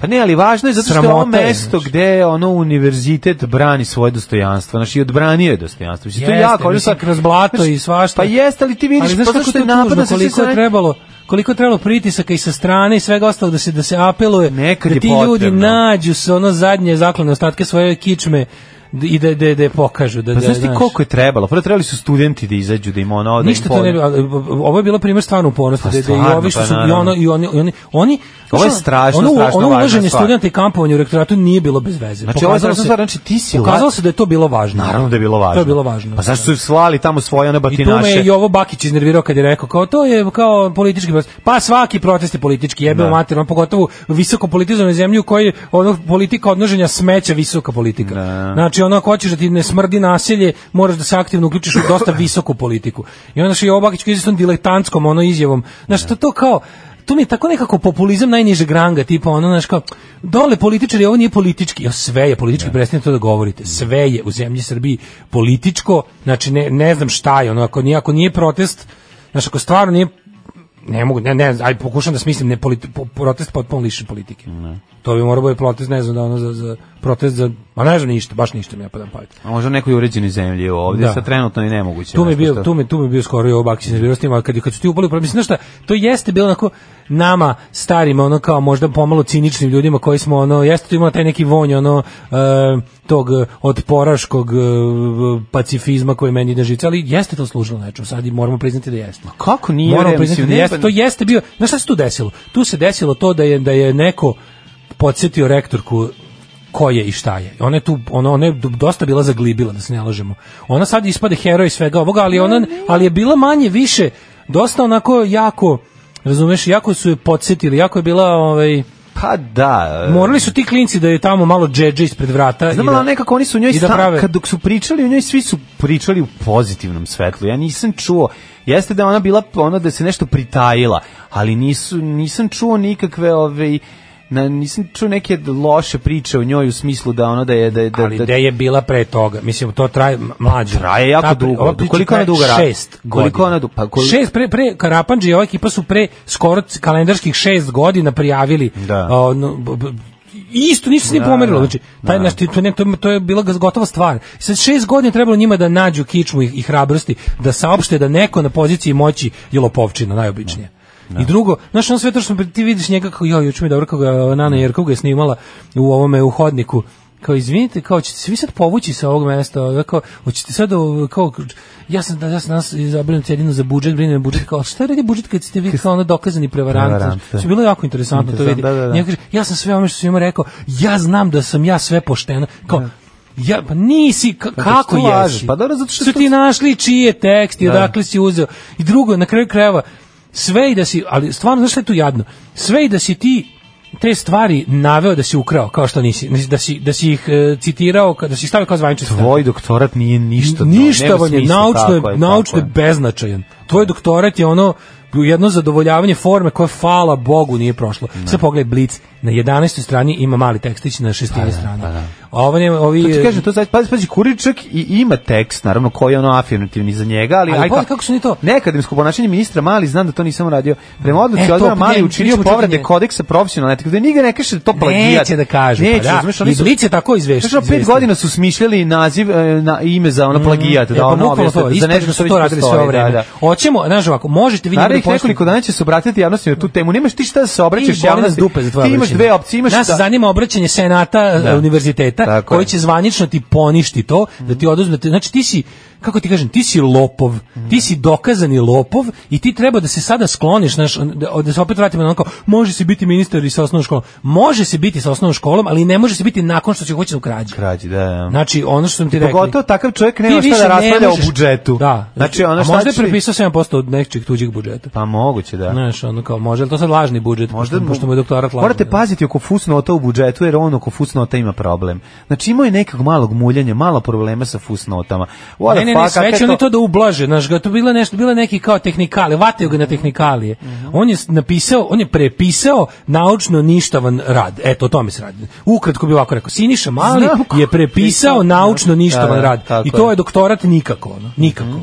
Pa ne, ali važno je zato što je ovo Sramota je, mesto znači. gde ono univerzitet brani svoje dostojanstvo, znači i odbranio je dostojanstvo. Mislim, to je Jeste, jako, ali mislim, sad- kroz blato znaš, i svašta. Pa jeste, ali ti vidiš, ali znaš pa kako zašto to je je napada tužno, sa svih koliko je strane? trebalo koliko je trebalo pritisaka i sa strane i svega ostalog da se da se apeluje Nekad je da ti ljudi potrebno. nađu se ono zadnje zaklane ostatke svoje kičme d- i da da da je pokažu da Pa da znaš ti koliko je trebalo? Prvo trebali su studenti da izađu, da im ono... da im Pa Ništa to ne podne- bi, ali, ovo je bilo primer stvarno upornosti, Pa da, da i stvarno, ovi što pa su, i naravno. ono, i oni, i oni, oni Ovo je znaš, strašno, ono, strašno ono važna ulaženje stvar. studenta i kampovanje u rektoratu nije bilo bez veze. Znači, ovo je strašna stvar, znači ti si... pokazalo se da je to bilo važno. Naravno da je bilo važno. To je bilo važno. da. Pa zašto su slali tamo svoje one I tu me batinaše? je i ovo Bakić iznervirao kad je rekao kao to je kao politički protest. Pa svaki protest je politički, jebe Da. da. mater, on pogotovo u visoko politizovanoj zemlji u kojoj je ono politika odnoženja smeća visoka politika. Da. Znači ono ako hoćeš da ti ne smrdi naselje, moraš da se aktivno uključiš u dosta visoku politiku. I onda što je ovo Bakić koji je izvestom diletantskom ono izjavom. Znači to, to kao to mi je tako nekako populizam najnižeg ranga, tipa ono, znaš, kao, dole političari, ovo nije politički, jo, sve je politički, prestanite to da govorite, sve je u zemlji Srbiji političko, znači, ne, ne znam šta je, ono, ako nije, ako nije protest, znaš, ako stvarno nije, ne mogu, ne, ne, aj pokušam da smislim, ne, politi, po, protest potpuno lišen politike. Ne. To bi morao biti protest, ne znam, da ono, za, za, protest za, a ne znam ništa, baš ništa mi ja padam pamet. A možda u nekoj uređenoj zemlji je ovdje, Da. sad trenutno i nemoguće. Tu mi je znaš, bio, pošto- tu mi, tu mi je bio skoro i ovak se nervirao s tim, ali kad, kad su ti upali, u problem, mislim, znaš šta, to jeste bilo onako nama, starima, ono kao možda pomalo ciničnim ljudima koji smo, ono, jeste tu imao taj neki vonj, ono, e, tog e, otporaškog e, pacifizma koji meni ide žice, ali jeste to služilo nečemu, sad i moramo priznati da jeste. Kako nije? Moramo bre, priznati mislim, da ne- jeste, to jeste bio, znaš šta se tu desilo? Tu se desilo to da je, da je neko podsjetio rektorku ko je i šta je. Ona je tu, ona, ona je d- dosta bila zaglibila, da se ne lažemo. Ona sad ispade heroj svega ovoga, ali, ona, ali je bila manje više, dosta onako jako, razumeš, jako su je podsjetili, jako je bila, ovaj, Pa da. e, morali su ti klinci da je tamo malo džedže ispred vrata. Znam, i da, ali nekako oni su u njoj i da stan- prave- kad dok su pričali, u njoj svi su pričali u pozitivnom svetlu. Ja nisam čuo, jeste da je ona bila ono da se nešto pritajila, ali nisu, nisam čuo nikakve ove na, nisam čuo neke loše priče o njoj u smislu da ono da je da, je- da, ali da, gde je bila pre toga? Mislim, to traje m- mlađe. Traje jako Ta- dugo. ova priča Koliko ona traje dugo radi? Šest godina. Koliko ona du- pa kol- Šest, pre, pre Karapanđe i ova ekipa su pre skoro c- kalendarskih šest godina prijavili. Da. a, no, b- b- isto, nisu se ni Da, pomerilo. da, Znači, taj, da. znaš, ti- to, je ne- to, to je bila gotova stvar. I Sad šest godina je trebalo njima da nađu kičmu i, i hrabrosti, da saopšte da neko na poziciji moći je lopovčina, najobičnije. Da. I drugo, znaš, on sve to što ti vidiš njega kao, joj, juče mi je dobro kako ga Da. Nana Jerkov ga je snimala u ovome u hodniku, kao izvinite, kao ćete se vi sad povući sa ovog mesta, Ovo, kao hoćete sad ovo, kao ja sam da ja sam danas zabrinut jedino za budžet, brinem me budžet, kao šta radi budžet kad ste vi kao ono dokazani prevarant. Prevarant, da. Što je bilo jako interesantno to vidi. Interesantno, da, da, da. Njega kaže, ja sam sve ono što sam ima rekao, ja znam da sam ja sve pošteno. Kao, Ja, pa nisi, ka, kako što lažeš? jesi? Da. Pa dobro, zato što su to- Da. ti našli čiji je tekst i odakle si uzeo. I drugo, na kraju krajeva, sve i da si, ali stvarno, znaš šta je tu jadno? Sve i da si ti te stvari naveo da si ukrao, kao što nisi, da si, da si ih e, citirao, da si ih stavio kao zvanični citat. tvoj doktorat nije ništa Ništa nema vam je, smisla, naučno tako je, naučno tako je beznačajan. Tvoj doktorat je ono jedno zadovoljavanje forme koje hvala Bogu nije prošlo. Da. Sad pogledaj Blitz, na 11. strani ima mali tekstić na 6. Pa da, strani. A ovo nema, ovi... To ti kažem, to sad, pazi, pazi, Kuričak i ima tekst, naravno, koji je ono afirmativni za njega, ali... Ali aj, pazi ka- kako su oni to- Neakademsko ponašanje ministra Mali, znam da to nisam radio. Prema odluci E, e, to, odbora ne, Mali mi učinio ćemo povrede čekati, ne. kodeksa profesionalne etike, da nigde ne kaže da je to plagijat. Neće da kažu, Neće, pa da. razumeš, oni I su- Blic je tako izveš- Znaš, ono, pet izvestio. godina su smišljali naziv, e, na, ime za ono plagijat, E, da pa ono bukvalno objasne, to, za isto nešto što su već to radili sve ovo postoji, da, vreme. da. Hoćemo, znaš ovako, možete vi Naravno njega ih da pošaljete- nekoliko dana će se obratiti javnosti na tu temu. Nemaš ti šta da se Ti obraćaš boli nas javnosti. dupe za tvoje Ti imaš obraćanje. dve opcije, imaš Nas da- zanima obraćanje senata Da. e, univerziteta Tako koji je. će zvanično ti poništi to, da ti oduzme, te- znači ti si kako ti kažem, ti si lopov, ti si dokazani lopov i ti treba da se sada skloniš, znaš, da, da se opet vratimo na onako, može se biti ministar i sa osnovnom školom. Može se biti sa osnovnom školom, ali ne može se biti nakon što se hoće da ukrađe. Krađi, da, da. Znači, ono što sam ti rekao. Pogotovo takav čovjek Ti nema šta više da ne raspravlja o možeš- budžetu. Da. Znači, ono A šta možda je će- prepisao 7% od nečeg tuđeg budžeta. Pa moguće, da. Znaš, ono kao, može, ali to sad lažni budžet, možda, mu- pošto mu je doktorat lažni. Morate paziti oko fusnota u budžetu, jer on oko fusnota ima problem. Znači, imao je nekog malog muljanja, malo problema sa fusnotama. What Ne, the ne, fuck, ne, sve kakav će oni to da ublaže, znaš, ga, to bilo nešto, bilo neki kao tehnikale, vataju ga na tehnikalije. Mhm. On je s- napisao, on je prepisao naučno ništavan rad. Eto, o tome se radi. Ukratko bi ovako rekao, Siniša Mali Znam ko- je prepisao pisao, naučno da. ništavan Da, da, rad. tako I to je. je doktorat nikako, ono, nikako.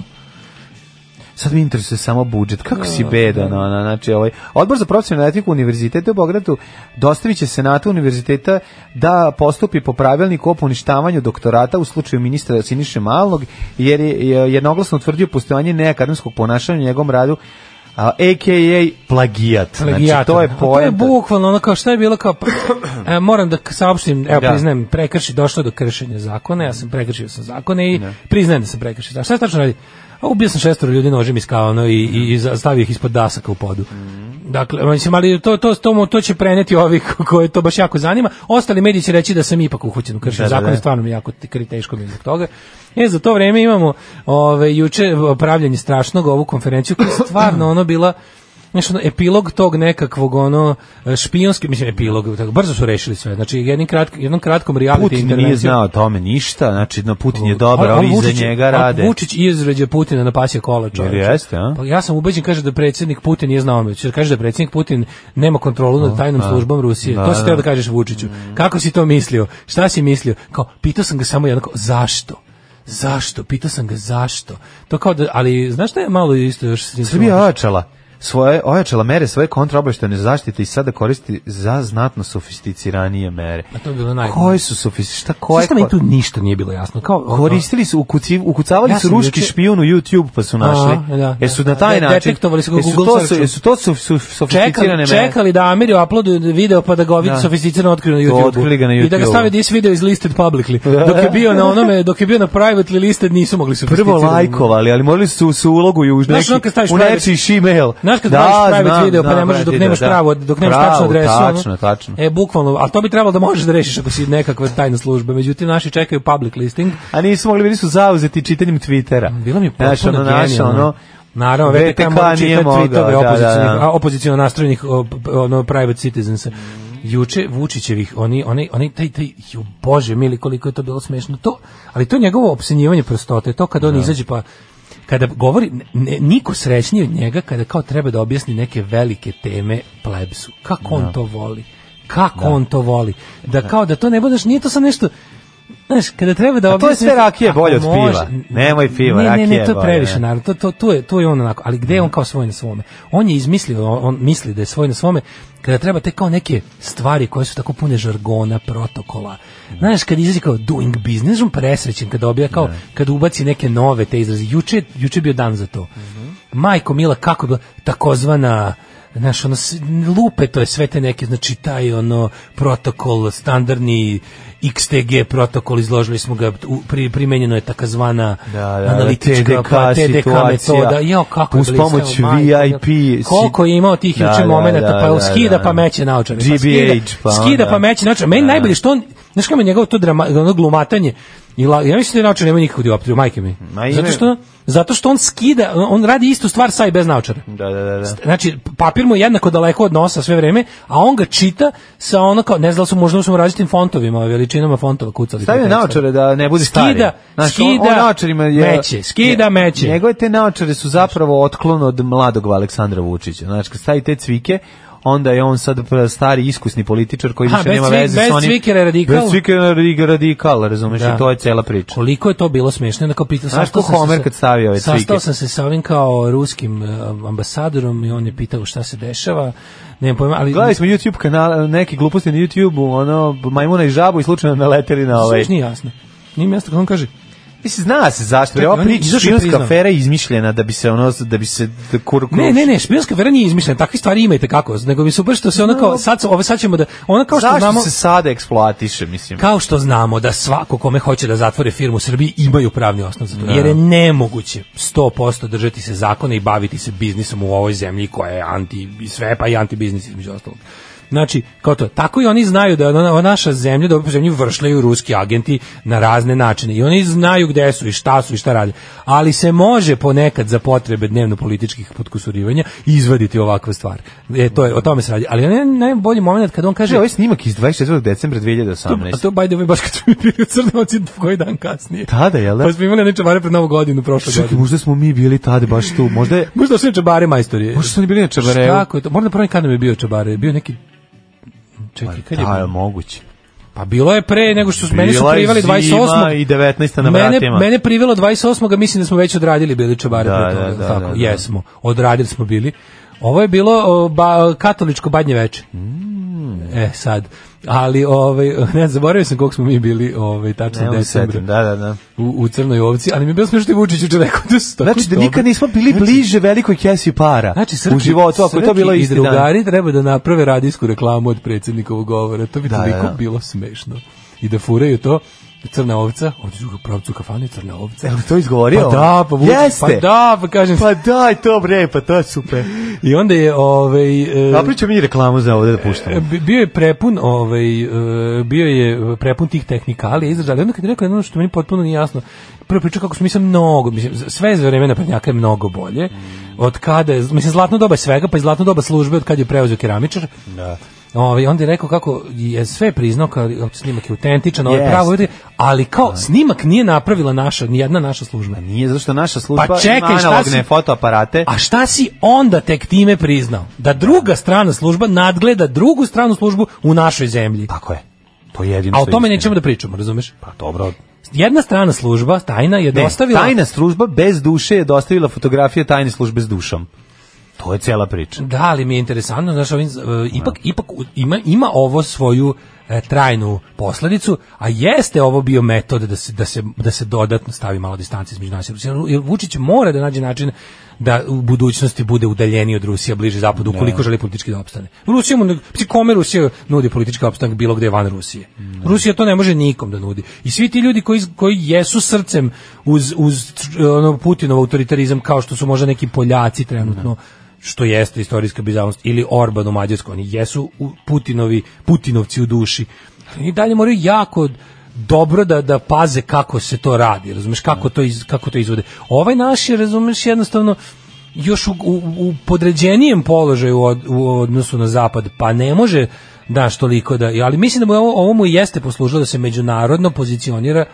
Sad mi interesuje samo budžet, kako si Da, bedan, ona, znači, ovaj, Odbor za profesionalnu etiku univerziteta u Beogradu dostavit će Senatu univerziteta da postupi po pravilniku o poništavanju doktorata u slučaju ministra Siniše Malnog, jer je je jednoglasno utvrdio postojanje neakademskog ponašanja u njegovom radu, a, a.k.a. plagijat. Znači, plagijator. to je A poenta. To je bukvalno ono kao šta je bilo kao pa, e, moram da k- saopštim, evo Da. priznajem, prekrši došlo do kršenja zakona, ja sam prekršio sam zakone i priznajem da sam prekršio. zakon. Šta se tačno radi? A ubio sam šestoro ljudi nožem iz kao ono i, i, i za- stavio ih ispod dasaka u podu. Mhm. Dakle, mislim, ali to, to, to, mu- to će preneti ovi ko- koje to baš jako zanima. Ostali mediji će reći da sam ipak uhućen u kršenju Da, da, zakona, da. stvarno mi je jako te- teško mi je zbog toga. E, za to vreme imamo ove, juče pravljanje strašnog ovu konferenciju koja je stvarno ono bila Znaš, ono, epilog tog nekakvog ono špijonski, mislim epilog, tako, brzo su rešili sve. Znači jednim kratk, jednom kratkom reality Putin nije intervencijom- znao o tome ništa, znači no, Putin je A- dobar, a ovi Vučić- iza njega a rade. Vučić izređa Putina na pasje kola, čovječe. Jer jeste, a? Pa ja sam ubeđen kaže da predsjednik Putin nije znao, jer kaže da predsjednik Putin nema kontrolu nad tajnom službom Rusije. Da, to si da. treba da kažeš Vučiću. Kako si to mislio? Šta si mislio? Kao pitao sam ga samo jednako zašto? Zašto? Pitao sam ga zašto. To kao da, ali znaš šta je malo isto još s tim Srbija je problem? ojačala svoje ojačala mere svoje kontraobaveštajne zaštite i sada koristi za znatno sofisticiranije mere. A to je bilo najbolje. Koje su sofisti, šta koje? Znaš šta mi tu ništa nije bilo jasno. Kao, ono- Koristili su, ukuci, ukucavali Ja su sam ruški juče- špijun u YouTube pa su našli. A, da, jesu da, na taj da, način. detektovali su ga u jesu Google to, su, searchu. jesu to su, su sofisticirane čekali, mere. čekali da Amiri uploaduju video pa da ga ovi Da. sofisticirano otkriju na To YouTube. otkrili ga na I da ga YouTubeu. stave this video is listed publicly. Dok je bio na onome, dok je bio na privately listed nisu mogli Prvo sofisticirano. lajkovali, ali morali su se uloguju u da Znaš, neki, ono kad staviš u private- nečiji shemale. Znaš kad Da, praviš private znam, video pa znam, ne možeš dok prate, nemaš da, da. pravo, dok nemaš Pravo, tačnu adresu. ono. Tačno, tačno. E, bukvalno, ali to bi trebalo da možeš da rešiš ako si nekakva tajna služba. Međutim, naši čekaju public listing. A nisu mogli, bili su zauzeti čitanjem Twittera. Mm, Bilo mi je Znaš, potpuno ono, naš, genijalno. ono, Naravno, VTK mora nije čitati mogao, tweetove da, da, opozicionih, da. a, opoziciono nastrojenih o, p- ono, private citizensa. Juče Vučićevih, oni, oni, oni, taj, taj, ju Da. bože mili, koliko je to bilo smešno. To, ali to njegovo opsenjivanje prostote, to kad on izađe pa kada govori, ne, niko srećniji od njega kada kao treba da objasni neke velike teme plebsu. Kako Da. on to voli? Kako on to voli? Da kao da to ne budeš, nije to sam nešto, Znaš, kada treba da A Pa to je objasni... sve rakije Ako bolje od može- piva. Nemoj piva, ne, ne, rakija ne, je to je bolje, previše, ne. Znači, naravno. To, to, to, je, to je on onako. Ali gde je on kao svoj na svome? On je izmislio, on, on misli da je svoj na svome kada treba te kao neke stvari koje su tako pune žargona, protokola. Znaš, kad izrazi kao doing business, on presrećen kada obija kao, kada ubaci neke nove te izraze. Juče, juče je bio dan za to. Majko Mila, kako je bila takozvana znaš, ono, s- lupe to je sve te neke, znači taj ono protokol, standardni XTG protokol, izložili smo ga, u- pri, primenjeno je takozvana Da, da, da, analitička TDK pa, TDK situacija. metoda. Jo, kako da je Uz blisko, pomoć evo, majko, VIP, Koliko je imao tih Da, juče da, momenata, da, pa da, skida da. pa meće naočare. pa GBH, skida, pa skida onda. Da. pa meće naočare. Meni najbolje što on, znaš kako je njegovo to drama, ono glumatanje, i la, ja mislim da je naočar nema nikakvu dioptriju, majke mi. Ma, imaju. zato, što, zato što on skida, on radi istu stvar sa i bez naočara. Da, da, da. da. Znači, papir mu je jednako daleko od nosa sve vreme, a on ga čita sa ono kao, ne znam da li su možda su mu različitim fontovima, veličinama fontova kucali. Stavi te tekstove. naočare da ne bude Skida, stari. Znaš, on- skida on naočarima je, meće, skida nje- meće. Njegove te naočare su zapravo otklon od mladog Aleksandra Vučića. Znači, kad stavi te cvike, onda je on sad pra- stari iskusni političar koji Ha, više bez nema cvi- veze bez s onim. cvikera je radikal. Bez cvikera je radi- radikal, razumeš, Da. i to je cela priča. Koliko je to bilo smešno, onda kao pitao Znaš sastao ko sam se Homer sa- kad stavi ove Sastao cvike? sam se sa ovim kao ruskim eh, ambasadorom i on je pitao šta se dešava. Nemam pojma, ali Gledali smo YouTube kanal, neke gluposti na YouTubeu, ono Majmuna i žabu i slučajno naleteli na ovaj. Sve nije jasno. Nije mi jasno kako on kaže. Mislim zna se zašto, jer Čekaj, ova on je priča izašao i špijunska priznao. afera je izmišljena da bi se ono da bi se da kur, Ne, ne, ne, špijunska vera nije izmišljena, takve stvari imate kako, nego mi se baš što se ona kao sad ove sad ćemo da ona kao što Zašto znamo se sada eksploatiše, mislim? Kao što znamo da svako kome hoće da zatvore firmu u Srbiji imaju pravni osnov za to. Jer je nemoguće 100% držati se zakona i baviti se biznisom u ovoj zemlji koja je anti i sve pa i antibiznis između ostalog. Znači, kao to, tako i oni znaju da ona, ona naša zemlja, da ovu zemlju vršljaju ruski agenti na razne načine i oni znaju gde su i šta su i šta rade. Ali se može ponekad za potrebe dnevno političkih potkusurivanja izvaditi ovakve stvari. E, to je, o tome se radi. Ali onaj najbolji moment kad on kaže... Kaže, ovaj snimak iz 24. decembra A 2018. to by the way, baš kad su mi bili crnovci koji dan kasnije. Tada, jel da? Pa smo imali neče bare pred novu godinu, prošle Čekaj, godine. možda smo mi bili tada baš tu, možda je... Možda su neče bare majstori. Možda su oni bili na Čabareu. Šta ako je to? Možda prvi kad nam je bio čabare, bio neki... Čekaj, kad je Da, je bio? moguće. Pa bilo je pre nego što su meni su Bila je priveli zima 28. i 19. na mene, vratima. Mene privelo 28. a mislim da smo već odradili bili čabare. Da, pre toga, da, jel da, tako? da, da. Jesmo, odradili smo bili. Ovo je bilo o, ba, katoličko badnje veče. Mm. E, sad. Ali, ovaj, ne, zaboravio sam koliko smo mi bili ovaj, tačno Ne mogu se decembra. setim, da, da, da. u, u crnoj ovci, ali mi je bilo smiješno što je Vučić juče rekao da su tako Znači da dobri. nikad nismo bili bliže velikoj kesi para Znači, u životu, ako je to bilo iz isti dan. drugari treba da naprave radijsku reklamu od predsjednikovog govora. To bi Da, toliko da. bilo smešno. I da furaju to, crna ovca, ovdje su ga pravcu kafane, crna ovca. Jel to izgovorio? Pa da, pa Vučić, pa Jeste. da, pa kažem. Pa daj to bre, pa to je super. I onda je, ovaj, e, Napravit ćemo mi reklamu za ovde da puštamo. bi- bio je prepun, ovaj, e, bio je prepun tih tehnikalija izražaja. ali Onda kad je rekao jedno što meni potpuno nije jasno, prvo priča kako su mislim mnogo, mislim, z- sve za vremena prednjaka je mnogo bolje. Od kada, je- mislim, zlatno doba je svega, pa i zlatno doba službe od kada je preuzeo keramičar. Da. Ovaj, onda je rekao kako je sve priznao kao snimak je autentičan, ovaj Jeste. pravo, vidi, ali kao snimak nije napravila naša, ni jedna naša služba. Nije zato što naša služba Pa čekaj, ima šta si- analogne fotoaparate. A šta si onda tek time priznao? Da druga strana služba nadgleda drugu stranu službu u našoj zemlji. Tako je. To je jedino A o što je tome istina. nećemo da pričamo, razumeš? Pa dobro. Jedna strana služba, tajna, je Ne, dostavila... tajna služba bez duše je dostavila fotografije tajne službe s dušom. To je cela priča. Da, ali mi je interesantno, znaš, ovim, e, ipak, ipak u- ima, ima ovo svoju e, trajnu posledicu, a jeste ovo bio metod da se, da se, da se dodatno stavi malo distancije između nas i Rusije. Jer Vučić mora da nađe način da u budućnosti bude udaljeniji od Rusije, bliže zapadu, ukoliko želi politički da opstane. Rusija mu, ne- mislim, kome Rusija nudi politički opstanak bilo gde van Rusije? Rusija to ne može nikom da nudi. I svi ti ljudi koji, koji jesu srcem uz, uz ono, Putinov autoritarizam, kao što su možda neki Poljaci trenutno, što jeste istorijska bizarnost ili Orban u Mađarskoj, oni jesu u- Putinovi, Putinovci u duši. I dalje moraju jako dobro da da paze kako se to radi, razumeš kako to iz, kako to izvode. Ovaj naš je, razumeš, jednostavno još u, u, u podređenijem položaju od, u odnosu na zapad, pa ne može daš toliko da, ali mislim da mu je ovo, ovo mu i jeste poslužilo da se međunarodno pozicionira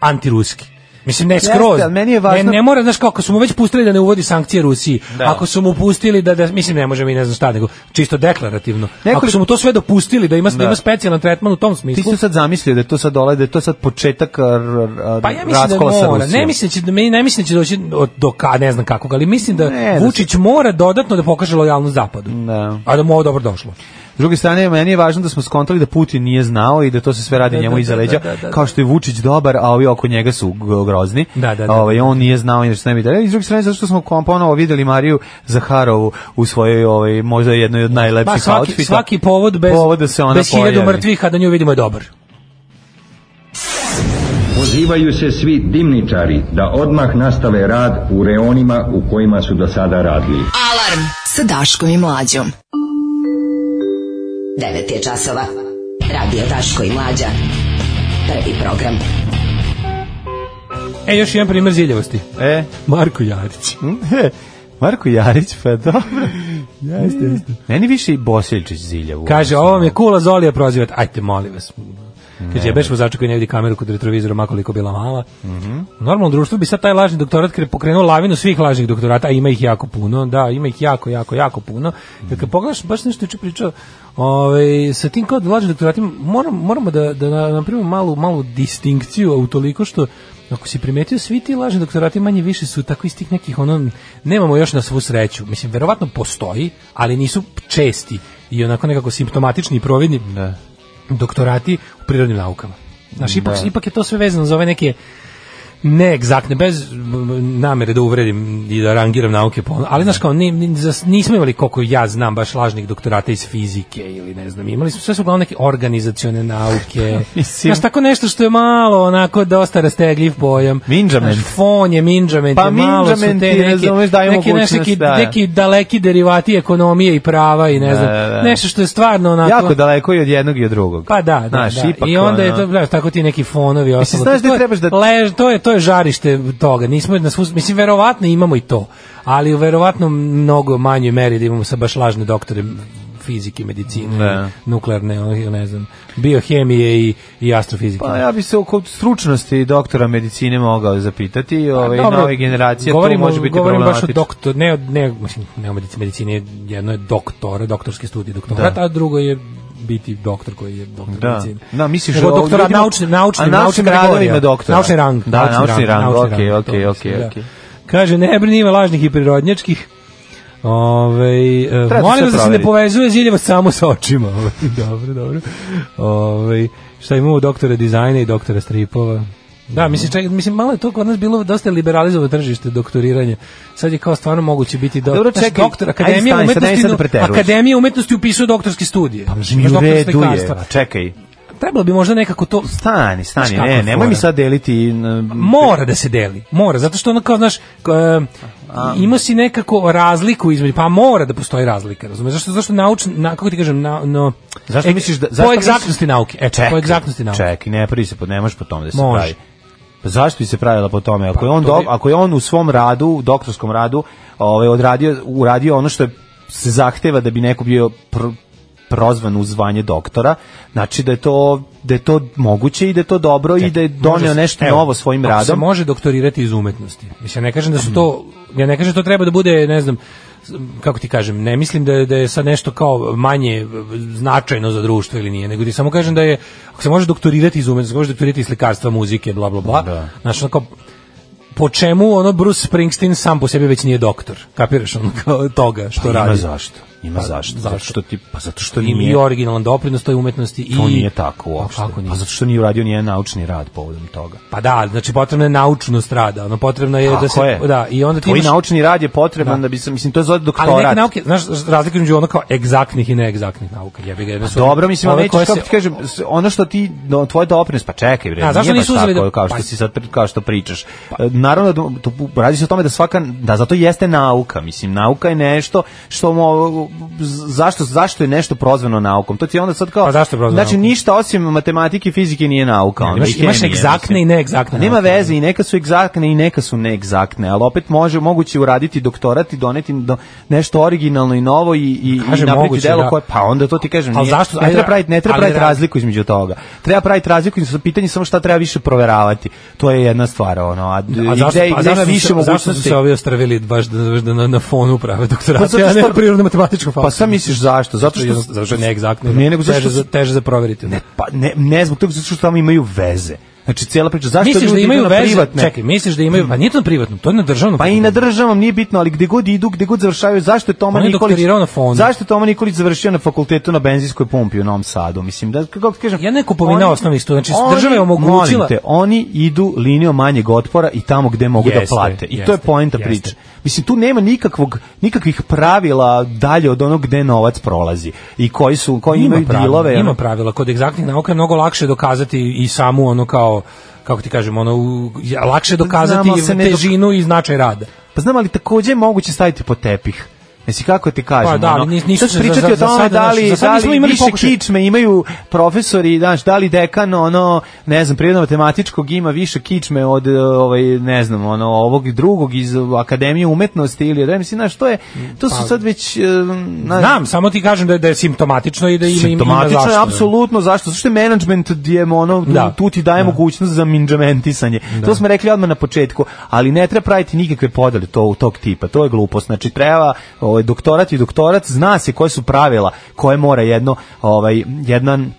antiruski. Mislim, ne Jeste, skroz. ali meni je važno- Ne, ne mora, znaš, kao, ako su mu već pustili da ne uvodi sankcije Rusiji, Da. ako su mu pustili da, da mislim, ne možemo i ne znam šta, nego čisto deklarativno. Ako Nekoliko- su mu to sve dopustili da ima, da. Da. ima specijalan tretman u tom Ti smislu, si sad zamislio da je to sad dole, da je to sad početak r, r, Pa ja mislim da raskola sa mora. Rusijom. Ne mislim da će ne, ne mislim da će doći od do ka, ne znam kakvog, ali mislim da Ne, da Vučić mora dodatno da pokaže lojalnost zapadu. Da. A da mu ovo dobro došlo. S druge strane, meni je važno da smo skontali da Putin nije znao i da to se sve radi Da, njemu da, iza da, leđa, da, da, da. kao što je Vučić dobar, a ovi oko njega su g- grozni. Da, da, da. Ovaj, on nije znao i nešto ne bi dalje. I s druge strane, zato što smo kom- ponovo videli Mariju Zaharovu u svojoj, ovaj, možda jednoj od Ba, najlepših svaki, outfita. svaki povod bez, Povod da se ona bez hiljadu pojavi. mrtvih, a da nju vidimo je dobar. Pozivaju se svi dimničari da odmah nastave rad u reonima u kojima su do sada radili. Alarm sa Daškom i 9 Mlađom. je časova. Radio Daško i Mlađa. Prvi program. E, još jedan primer ziljavosti. E, hm? Marko Jarić. Marko Jarić, pa dobro. jeste, jeste. Meni više i Bosiljčić ziljavu. Kaže, ovo vam je kula Zolija prozivat. Ajte, molim vas. Kad je beš vozača koji ne vidi kameru kod retrovizora, makoliko bila mala. U normalnom društvu bi sad taj lažni doktorat kre- pokrenuo lavinu svih lažnih doktorata, a ima ih jako puno, da, ima ih jako, jako, jako puno. Jer kad pogledaš, baš nešto juče pričao, ovaj, sa tim kao lažnim doktoratima, moram, moramo da, da na- napravimo malu, malu distinkciju, a utoliko što Ako si primetio, svi ti lažni doktorati manje više su tako iz tih nekih, ono, nemamo još na svu sreću. Mislim, verovatno postoji, ali nisu česti i onako nekako simptomatični i providni doktorati u prirodnim naukama. Znaš, ipak, Da. ipak je to sve vezano za ove neke neegzaktne, bez m, namere da uvredim i da rangiram nauke po ono, ali znaš kao, ni, ni- zas- nismo imali koliko ja znam baš lažnih doktorata iz fizike ili ne znam, imali smo sve su uglavnom neke organizacione nauke, Mislim- znaš tako nešto što je malo onako dosta rastegljiv pojam. Mindžament. Znaš, fon je mindžament, Pa je malo su te mindžament je, neke, razumeš, daje neke, znaš, mogućnost, neki, da. neki daleki derivati ekonomije i prava i ne znam, Da, da, da. nešto što je stvarno onako... Jako daleko i od jednog i od drugog. Pa da, da, Znaš, da. ipak, I onda je ono- to, znaš, tako ti neki fonovi ostalo. znaš To da je- trebaš da- lež- to je to je žarište toga. Nismo na svu, mislim verovatno imamo i to, ali u verovatno mnogo manjoj meri da imamo sa baš lažne doktore fizike, medicine, Da. nuklearne, ono, ne znam, biohemije i, i astrofizike. Pa ja bi se oko stručnosti doktora medicine mogao zapitati, ovaj Pa Dobro, nove generacije to govorimo- može biti govorim baš o problematično. doktor, ne, od- ne, mislim, ne o medici- medicini, jedno je doktor, doktorski studij, doktorat, Da. a drugo je biti doktor koji je doktor Da. medicine. Da, misliš Nego o doktora, ljudima- naučni, naučni, a našim naučna radovima kategorija. doktora. Naučni rang. Da, naučni rang, okej, to okej, mislim, okej, da. okej. Kaže, ne brini, ima lažnih i prirodnjačkih. Ove, Treba molim sve vas da se ne proveriti. povezuje Ziljevo samo sa očima. Ovaj, dobro, dobro. Ovaj šta imamo doktora dizajna i doktora stripova? Da, mislim, čak, mislim, malo je to kod nas bilo dosta liberalizovano tržište doktoriranja. Sad je kao stvarno moguće biti do... Dobro, Znaš, čekaj, doktor, ajde akademija stani, sad nemoj umetnosti, sad da preteruješ. akademija umetnosti upisuje doktorske studije. Pa Mislim, i u redu je. a Čekaj, Trebalo bi možda nekako to... stani, Znaš stani, kako ne, je nemoj fora? mi sad deliti... n- Mora da se deli. Mora, zato što ono kao, znaš, k- e, ima si nekako razliku između, pa mora da postoji razlika, razumeš? Zašto, zašto nauč, na, kako ti kažem, na, no, Zašto e, misliš da... po zašto egzaktnosti misliš- nauke, e, po egzaktnosti nauke. Čekaj, ne pravi se, po- ne možeš po tome da se Može. pravi. Pa zašto bi se pravila po tome? Ako, Pa, je on, to do, bi- ako je on u svom radu, u doktorskom radu, ovaj, odradio, uradio ono što je, se zahteva da bi neko bio pr, prozvan u zvanje doktora, znači da je to da je to moguće i da je to dobro i da je Može doneo se- nešto evo, novo svojim ako Se radom. može doktorirati iz umetnosti. Mislim, ja ne kažem da su to, ja ne kažem da to treba da bude, ne znam, s- kako ti kažem, ne mislim da je, da je sad nešto kao manje e, značajno za društvo ili nije, nego ti samo kažem da je, ako se može doktorirati iz umetnosti, ako se može doktorirati iz slikarstva, muzike, bla, bla, bla, Da. znaš, ono kao, po čemu ono Bruce Springsteen sam po sebi već nije doktor, kapiraš ono kao toga što Pa radi. Ima zašto. Ima Pa, zašto. zašto? Zato što ti, pa zato što Ima nije, i originalan doprinos toj umetnosti i... to nije tako uopšte. Pa, kako nije? Pa zato što nije uradio nijedan naučni rad povodom toga. Pa da, znači potrebna je naučnost rada, ono potrebno je da Tako se je. da i onda ti Tvoj imaš- naučni rad je potreban Da. da, bi se, mislim, to je zove doktorat. ali neke nauke, znaš, razlika između ono kao egzaktnih i neegzaktnih nauka. Ja bih ga Pa Dobro, mislim, ali nećeš, kako ti kaže kažem, s- ono što ti, no, tvoj doprinos, pa čekaj, bre, Da, nije zašto baš nisu uzeli tako da- kao što pa- si sad, pri- kao što pričaš. E, Naravno, da- to, radi se o tome da svaka, da zato jeste nauka, mislim, nauka je nešto što mo, z- zašto zašto je nešto prozvano naukom. To ti je onda sad kao Pa zašto je prozvano Znači naukom? ništa osim matematike i fizike nije nauka. onda, imaš, i imaš hemije, egzaktne i mislim. neegzaktne. Pa Nema nauke. veze i neka su egzaktne i neka su neegzaktne, ali opet može moguće uraditi doktorat i doneti do, nešto originalno i novo i, i, Kažem, i napraviti moguće, delo da. koje pa onda to ti kažem. Ali nije- zašto- Ne ajde, treba praviti, ne treba ali da- praviti radi. razliku između toga. Treba praviti razliku i pitanje je samo šta treba više proveravati. To je jedna stvar ono. A, d- A i Da, zašto, gde- a gde zašto, ima više više se, zašto su mogućnosti? se ovi ostravili baš da, baš da na, na fonu prave doktorate, Pa zato a ne što- na prirodno matematičkom Pa sam misliš zašto? Zato što zato što je neegzaktno. da. Ne, nego zašto teže, za, su- teže za proveriti. da. Ne, pa ne, ne zbog toga zato što tamo imaju veze. Znači cijela priča zašto misliš da ljudi idu imaju na veze? privatne? Čekaj, misliš da imaju, pa nije to na privatnom, to je na državnom. Pa i na državnom nije bitno, ali gde god idu, gde god završavaju, zašto je Toma On je Nikolić doktorirao na fondu. Zašto je Toma Nikolić završio na fakultetu na benzinskoj pumpi u Novom Sadu? Mislim da kako ti kažem, Jedna je kupovina oni- osnovnih studija, znači oni- država je omogućila- molim te, oni idu linijom manjeg otpora i tamo gde mogu da Jeste, plate. I to je jeste, poenta jeste. priče. Mislim tu nema nikakvog nikakvih pravila dalje od onog gde novac prolazi i koji su koji imaju dilove. Ima ono. pravila, kod egzaktnih nauka je mnogo lakše dokazati i samu ono kao kako ti kažem, ono, u- lakše dokazati Znamo, ali se ne dok- težinu i značaj rada. Pa znam, ali takođe je moguće staviti po tepih. Mislim, kako ti kažem, Pa da, ali ono, nis- nisu sad se pričati za- za- o za tome sada, da znaš, li, za sada da nismo li imali više pokušaj. kičme imaju profesori, znaš, da li dekan, ono, ne znam, prirodno matematičkog ima više kičme od, e, ovaj, ne znam, ono, ovog drugog iz Akademije umetnosti ili, da, mislim, znaš, to je, to Pa- su sad već, e, znaš, Znam, samo ti kažem da je, da je simptomatično i da ima, ima, ima Simptomatično zašto. je apsolutno zašto? Zato što je management je ono, tu, Da. tu ti daje mogućnost za minđamentisanje. To smo rekli odmah na početku, ali ne treba praviti nikakve podele to, u tog tipa. To je glupost. Znači treba ovaj, doktorat i doktorat zna se koje su pravila koje mora jedno, ovaj, jedan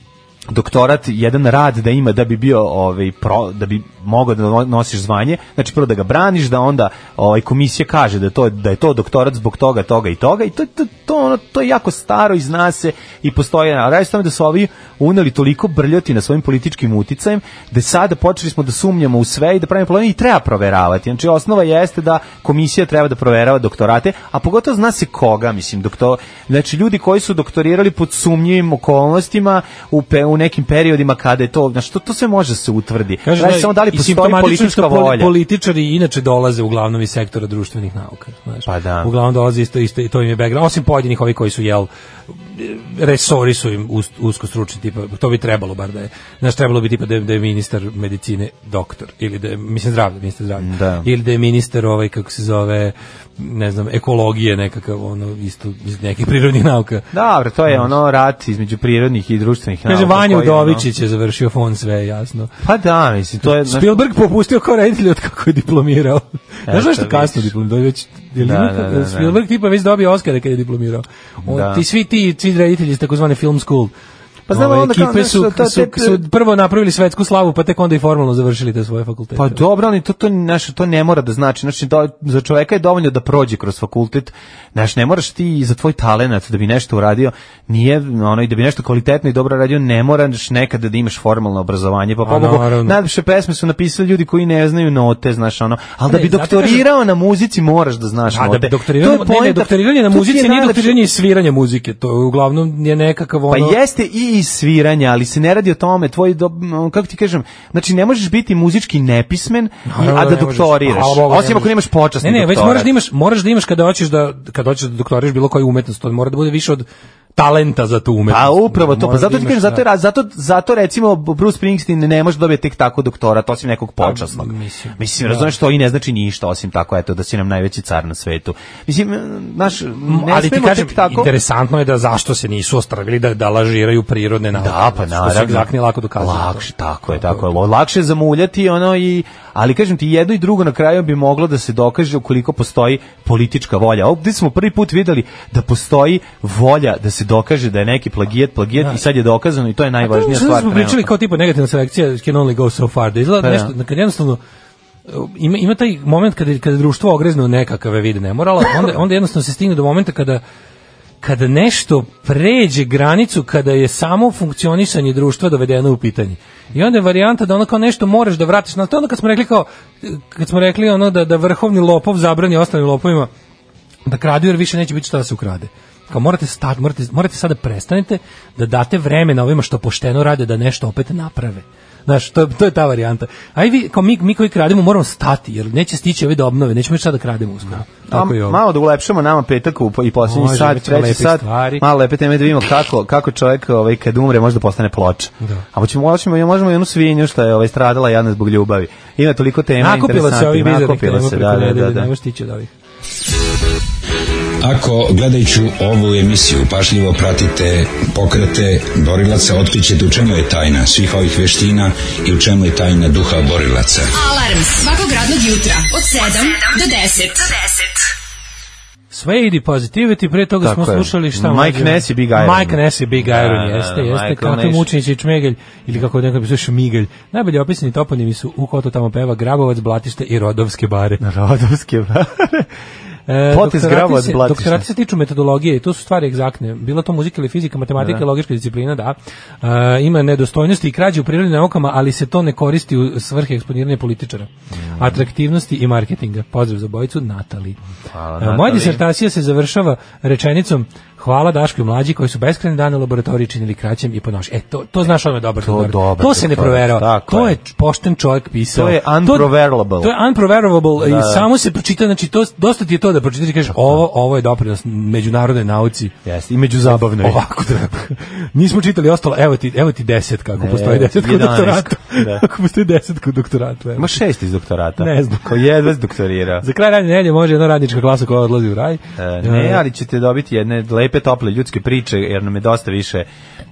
doktorat, jedan rad da ima da bi bio ovaj pro, da bi mogao da no- nosiš zvanje, znači prvo da ga braniš, da onda ovaj komisija kaže da to da je to doktorat zbog toga, toga i toga i to to to, ono, to je jako staro i zna se i postoji, a radi se o tome da su ovi uneli toliko brljoti na svojim političkim uticajem da sada počeli smo da sumnjamo u sve i da pravimo probleme i treba proveravati. Znači osnova jeste da komisija treba da proverava doktorate, a pogotovo zna se koga, mislim, doktor, znači ljudi koji su doktorirali pod sumnjivim okolnostima u, pe, u nekim periodima kada je to, znači to, to sve može da se utvrdi. Kaže Kaže, znači, samo da li i postoji simptomatično je politička što poli- volja. Političari inače dolaze uglavnom iz sektora društvenih nauka, znaš. Pa da. Uglavnom dolaze isto isto i to im je background, osim pojedinih ovi koji su jel resori su im us- usko stručni tipa, to bi trebalo bar da je. Znaš, trebalo bi tipa da je, da je ministar medicine doktor ili da je, mislim zdravlje, ministar zdravlja. Da. Ili da je ministar ovaj kako se zove ne znam, ekologije nekakav ono isto iz nekih prirodnih nauka. Dobro, to je ono rat između prirodnih i društvenih nauka. Kaže Vanja koji je ono- Udovičić je završio fon sve, jasno. Pa da, mislim, to je... znaš, Spielberg popustio kao reditelj od kako je diplomirao. Znaš zašto vidiš. kasno diplomirao? Već, je li Da, ima- da, da, da. Spielberg tipa već dobio Oscara kad je diplomirao. On, Da. Ti svi ti svi reditelji iz takozvane film school. Pa znam, Ove, onda kao, ekipe znaš, su, to- su, te- su prvo napravili svetsku slavu, pa tek onda i formalno završili te svoje fakultete. Pa dobro, ali to to naš to ne mora da znači. Znači do, za čoveka je dovoljno da prođe kroz fakultet. Znaš, ne moraš ti i za tvoj talenat da bi nešto uradio, nije ono i da bi nešto kvalitetno i dobro radio, ne moraš nekada da imaš formalno obrazovanje. Pa A, pobogu, naravno. najviše pesme su napisali ljudi koji ne znaju note, znaš ono. Ali da Ne, bi zato kažem- doktorirao na muzici moraš da znaš A note. da bi doktoriranje, To je ne, ne, poenta. doktoriranje na To ti je muzici nije najlepše. doktoriranje iz sviranja muzike, to je uglavnom je nekakav ono... Pa jeste i iz sviranja, ali se ne radi o tome, tvoj do, m, kako ti kažem, znači ne možeš biti muzički nepismen, i- Naravno a da da ne možeš. doktoriraš. Hvala Bogu, ne Osim ako možeš. nemaš počasni Ne, ne, već doktorat. moraš da imaš, moraš da imaš kada hoćeš da kada hoćeš da doktoriraš bilo koju umetnost, to mora da bude više od talenta za tu umetnost. Pa upravo to, pa Moraš zato da ti imaš, kažem, zato, je da. ra- zato, zato recimo Bruce Springsteen ne može dobiti tek tako doktorat, osim nekog počasnog. Pa, mislim, da. mislim razumeš, to i ne znači ništa, osim tako, eto, da si nam najveći car na svetu. Mislim, naš, ne ali ti smemo kažem, tek tako... interesantno je da zašto se nisu ostravili da, da lažiraju prirodne nauke. Da, pa Što naravno. su egzaktni lako dokazali. Lakše, tako je, tako je. Lakše je zamuljati ono i ali kažem ti jedno i drugo na kraju bi moglo da se dokaže ukoliko postoji politička volja. Ovde smo prvi put videli da postoji volja da se dokaže da je neki plagijat, plagijat i sad je dokazano i Da. to je najvažnija Sad stvar. smo pričali trenutno. kao tipa negativna selekcija can only go so far. Da izgleda Pa da. nešto, kad jednostavno e, ima, ima taj moment kada, kada je društvo ogrezne u nekakave vide nemorala, onda, onda jednostavno se stigne do momenta kada kada nešto pređe granicu kada je samo funkcionisanje društva dovedeno u pitanje. I onda je varijanta da ono kao nešto moraš da vratiš na to, je onda kad smo rekli kao kad smo rekli ono da da vrhovni lopov zabrani ostalim lopovima da kradu jer više neće biti šta da se ukrade. kao morate stati, morate, morate sada prestanete da date vremena ovima što pošteno rade da nešto opet naprave. Znaš, to, je- to je ta varijanta. Aj vi, kao mi, mi koji krademo moramo stati, jer neće stići ove da obnove, nećemo još sada da krademo uskoro. Tako i ovo. malo da ulepšamo nama petak u, i posljednji Može, sat, bit će lepih treći sat, stvari. malo lepe teme da vidimo kako, kako čovjek ovaj, kad umre može da postane ploča. Da. A možemo, možemo, možemo i onu svinju što je ovaj, stradala jadna zbog ljubavi. Ima toliko tema Nakupila se ovih interesantnih. bizarnih nakupila tema se, preko da, da, da, nedelje, da. ne možeš stići od ovih. Ako gledajući ovu emisiju pašljivo pratite pokrete borilaca, otkrićete u čemu je tajna svih ovih veština i u čemu je tajna duha borilaca. Alarm svakog radnog jutra od 7 do 10. Sve idi positivity, pre toga Tako smo je. slušali šta Mike mlađe? Ness i Big Iron. Mike Ness i Big Iron, Da, jeste, da, jeste. Michael Kako Ness. mučenić i čmegelj, ili kako nekako bi slušao šmigelj. Najbolje opisani toponimi su u koto tamo peva Grabovac, Blatište i Rodovske Da. bare. Rodovske bare. E, Potez doktorati Grabovac, se- Blatište. Doktorati se tiču metodologije i to su stvari egzaktne. Bila to muzika ili fizika, matematika, Da. logička disciplina, da. E, ima nedostojnosti i krađe u prirodnim naukama, ali se to ne koristi u svrhe eksponiranja političara. Mm. Atraktivnosti i marketinga. Pozdrav za bojicu, Natali. Hvala, E, Moja Natali. disertacija se završava rečenicom Hvala Daško i mlađi koji su beskrajne dane u laboratoriji činili kraćem i ponoš. E, to, to znaš odmah dobar. To dobar. dobar to se ne doktorat, proverava. tako To je. je pošten čovjek pisao. To je unproverable. To, to je unproverable Da, i samo se pročita, znači to, dosta ti je to da pročitaš i kažeš ovo, ovo je doprinos međunarodnoj nauci. Jeste, i među zabavnoj. Ovako treba. Nismo čitali ostalo, evo ti, evo ti deset kako Ne, postoji evo ti deset kod 11, doktoratu. da. Kako postoji deset kod doktoratu. Evo. Ima šest iz doktorata. Ne znam. Ko jedva s doktorira. Za Da, kraj radnje nedelje može jedna radnička klasa koja odlazi u raj. E, ne, ali ćete dobiti jedne lepe, tople ljudske priče, jer nam je dosta više,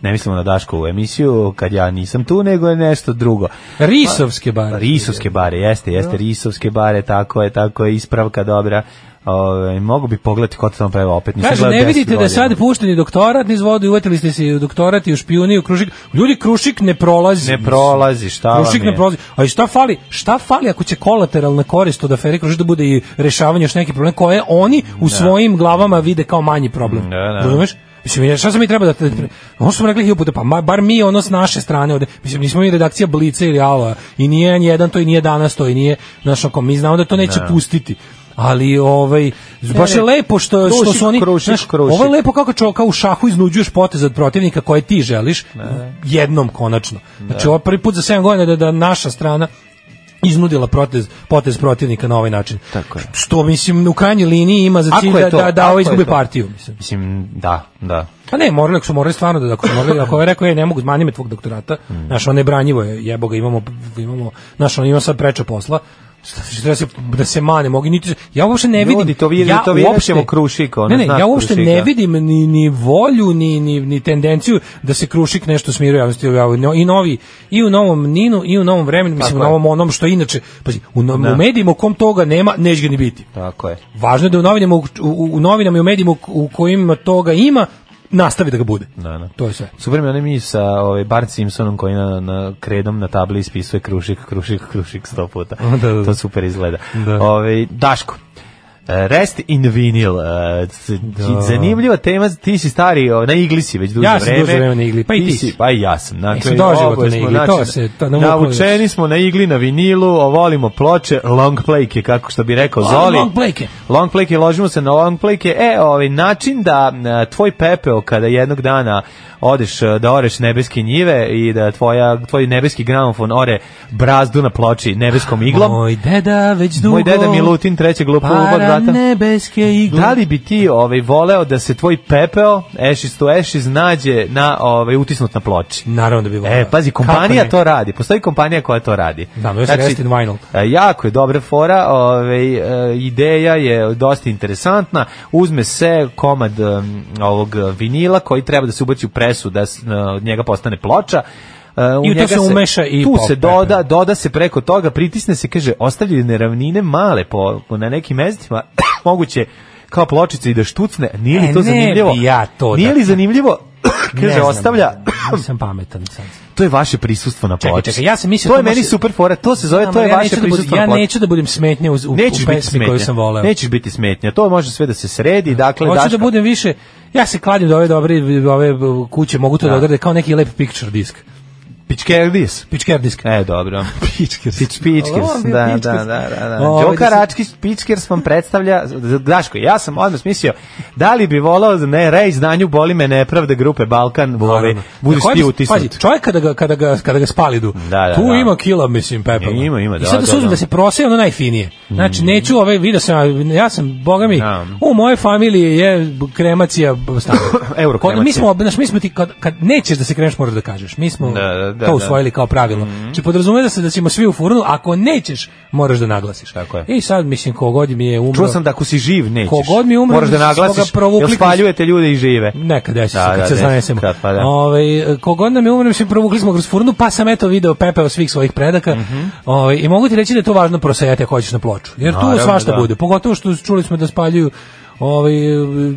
ne mislimo na Daškovu emisiju, kad ja nisam tu, nego je nešto drugo. Risovske Pa, bare. Risovske bare, jeste, Da. jeste, risovske bare, tako je, tako je, ispravka dobra. Ove, mogu bi pogledati ko to tamo pravi opet. Nisam Kaže, gledao ne 10 vidite da godina. je sad pušteni doktorat niz vodu i uvetili ste se i u doktorat i u špijuni i u krušik. Ljudi, krušik ne prolazi. Ne prolazi, šta vam Krušik je? ne prolazi. A i šta fali? Šta fali ako će kolateralna korist od afere Krušik da bude i rešavanje još neki problem koje oni u svojim glavama vide kao manji problem. Da, da. Razumeš? Mislim, ja- šta sam mi treba da... te- Ono što smo rekli hiljadu puta, pa ma- bar mi ono s naše strane ovde, mislim, nismo mi redakcija Blica ili Aloa, i nije jedan to, i nije danas to, i nije, znaš, ako mi znamo da to neće pustiti. Ali ovaj baš je ne. lepo što što Krušik, su oni krušik, znaš, krušik. ovo je lepo kako čo, kao u šahu iznuđuješ potez od protivnika koje ti želiš jednom konačno. Da. Znači ovo je prvi put za 7 godina da, da naša strana iznudila protez, potez protivnika na ovaj način. Tako je. Što mislim u krajnjoj liniji ima za Ako cilj je da, to, da, da ako ovo je izgubi to. partiju. Mislim. Mislim, da, da. Pa ne, morali ako su morali stvarno da ako su morali ako je rekao ej ne mogu manji me tvog doktorata. Mm. Naš on je branjivo je, jebo ga imamo imamo naš on ima sad preča posla. Šta se treba se da se mane, mogu niti ja uopšte ne Ljudi, vidim. to vi- ja to vi uopšte- nećemo krušik, ono, Ne, ne, znaš ja uopšte ne krušika. vidim ni ni volju ni ni ni tendenciju da se krušik nešto smiruje javnosti i novi i u novom Ninu i u novom vremenu, mislim u Tako je. novom onom što inače, pazi, u, no, Da. u medijima u kom toga nema, neće ga ni biti. Tako je. Važno je da u novinama, u, u, u novinama i u medijima u, u kojima toga ima, nastavi da ga bude. Da, da. To je sve. Super mi je onaj mi sa ovaj, Bart Simpsonom koji na, na kredom na tabli ispisuje krušik, krušik, krušik sto puta. Da, da, da. To super izgleda. Da. Ovaj, Daško, e, Rest in vinil. e, c- Zanimljiva tema, ti si stari o, na igli si već duže Da. Ja sam vreme. duže vreme na igli, pa i ti si. si. Pa i ja sam. Dakle, Mislim, doživotno oboje na smo, igli, to znači, se- to ne mogu Naučeni smo na igli, na vinilu, o, volimo ploče, long playke, kako što bi rekao Zoli. Long playke. Long playke, ložimo se na long playke. E, ovaj način da e, tvoj pepeo kada jednog dana odeš e, da oreš nebeske njive i da tvoja tvoj nebeski gramofon ore brazdu na ploči nebeskom iglom. Moj deda već dugo... Moj deda Milutin trećeg lupa uba Para brata. nebeske igle. Da li bi ti ovaj voleo da se tvoj pepeo Ashes to Ashes nađe na ovaj utisnut na ploči? Naravno da bi volao. E, pazi, Kako kompanija ne? to radi. Postoji kompanija koja to radi. Da, no, znači, Restin Vinyl. E, Jako je dobra fora, ovaj, e, ideja je dosta interesantna. Uzme se komad em, ovog e, vinila koji treba da se ubaci u presu da s- e, od njega postane ploča. E, u I u to njega se umeša i tu pop se pepeo. doda, doda se preko toga, pritisne se, kaže, ostavljene ravnine male po, po- na nekim mestima, moguće kao pločice i da štucne, nije li E, to ne zanimljivo? bi ja to nije da- li zanimljivo? Ne kaže, znam, ostavlja Nisam pametan sad. to je vaše prisustvo na Čekaj, ploči. čekaj, ja sam mislio to je to može- meni super fora, to se zove, Znam, to je ali ja vaše neću da budem- prisustvo Ja na ploči. neću da budem smetnja u, u, u Nećeš biti pesmi koju smetnja. sam voleo. Nećeš biti smetnja. To može sve da se sredi, dakle Hoću Daško- da budem više, ja se kladim da ove dobre ove kuće mogu to da, odrade kao neki lep picture disk. Pičkerdis. Pičkerdisk. E, dobro. Pičkers. Pič, pičkers, Ovo je da, da, pičkers. da, da, da. Ovo, Đoka da se- Račkić pičkers vam predstavlja, Daško, ja sam odmah smislio, da li bi volao, ne, rej, znanju boli me nepravda grupe Balkan, voli, Naravno. Na budeš kojem- ti utisnut. da, Pazi, čovjek kada ga, kada ga, kada ga spalidu, Da, da, tu da. ima kila, mislim, pepela. Ima, ima, da, I sad da, da, se uzme da. Mm. da se proseje ono najfinije. Znači, neću ove, vidio sam, ja- ja sam, boga mi, Da. u mojoj familiji je kremacija stana. Euro Kod- Mi kremacija. smo, znaš, mi smo ti, kad, kad nećeš da se kremaš, moraš da kažeš. Mi smo Da, da, da, to da. Mm. usvojili kao pravilo. Znači, podrazumeva se da ćemo svi u furnu, ako nećeš, moraš da naglasiš. Tako je. I sad, mislim, kogod mi je umro... Čuo sam da ako si živ, nećeš. Kogod mi umre, Moraš da smo ga naglasiš, provukli jel kroz- spaljujete ljude i žive. Nekad desi Da, se, kad da, se desi, zanesemo. kad, pa da. Ovaj, kogod nam je umrem, se provukli smo kroz furnu, pa sam eto video pepeo svih svojih predaka. Mhm. Ovaj, I mogu ti reći da je to važno prosejati ako hoćeš na ploču. Jer tu Naravno, svašta da. bude. Pogotovo što čuli smo da spaljuju ovaj,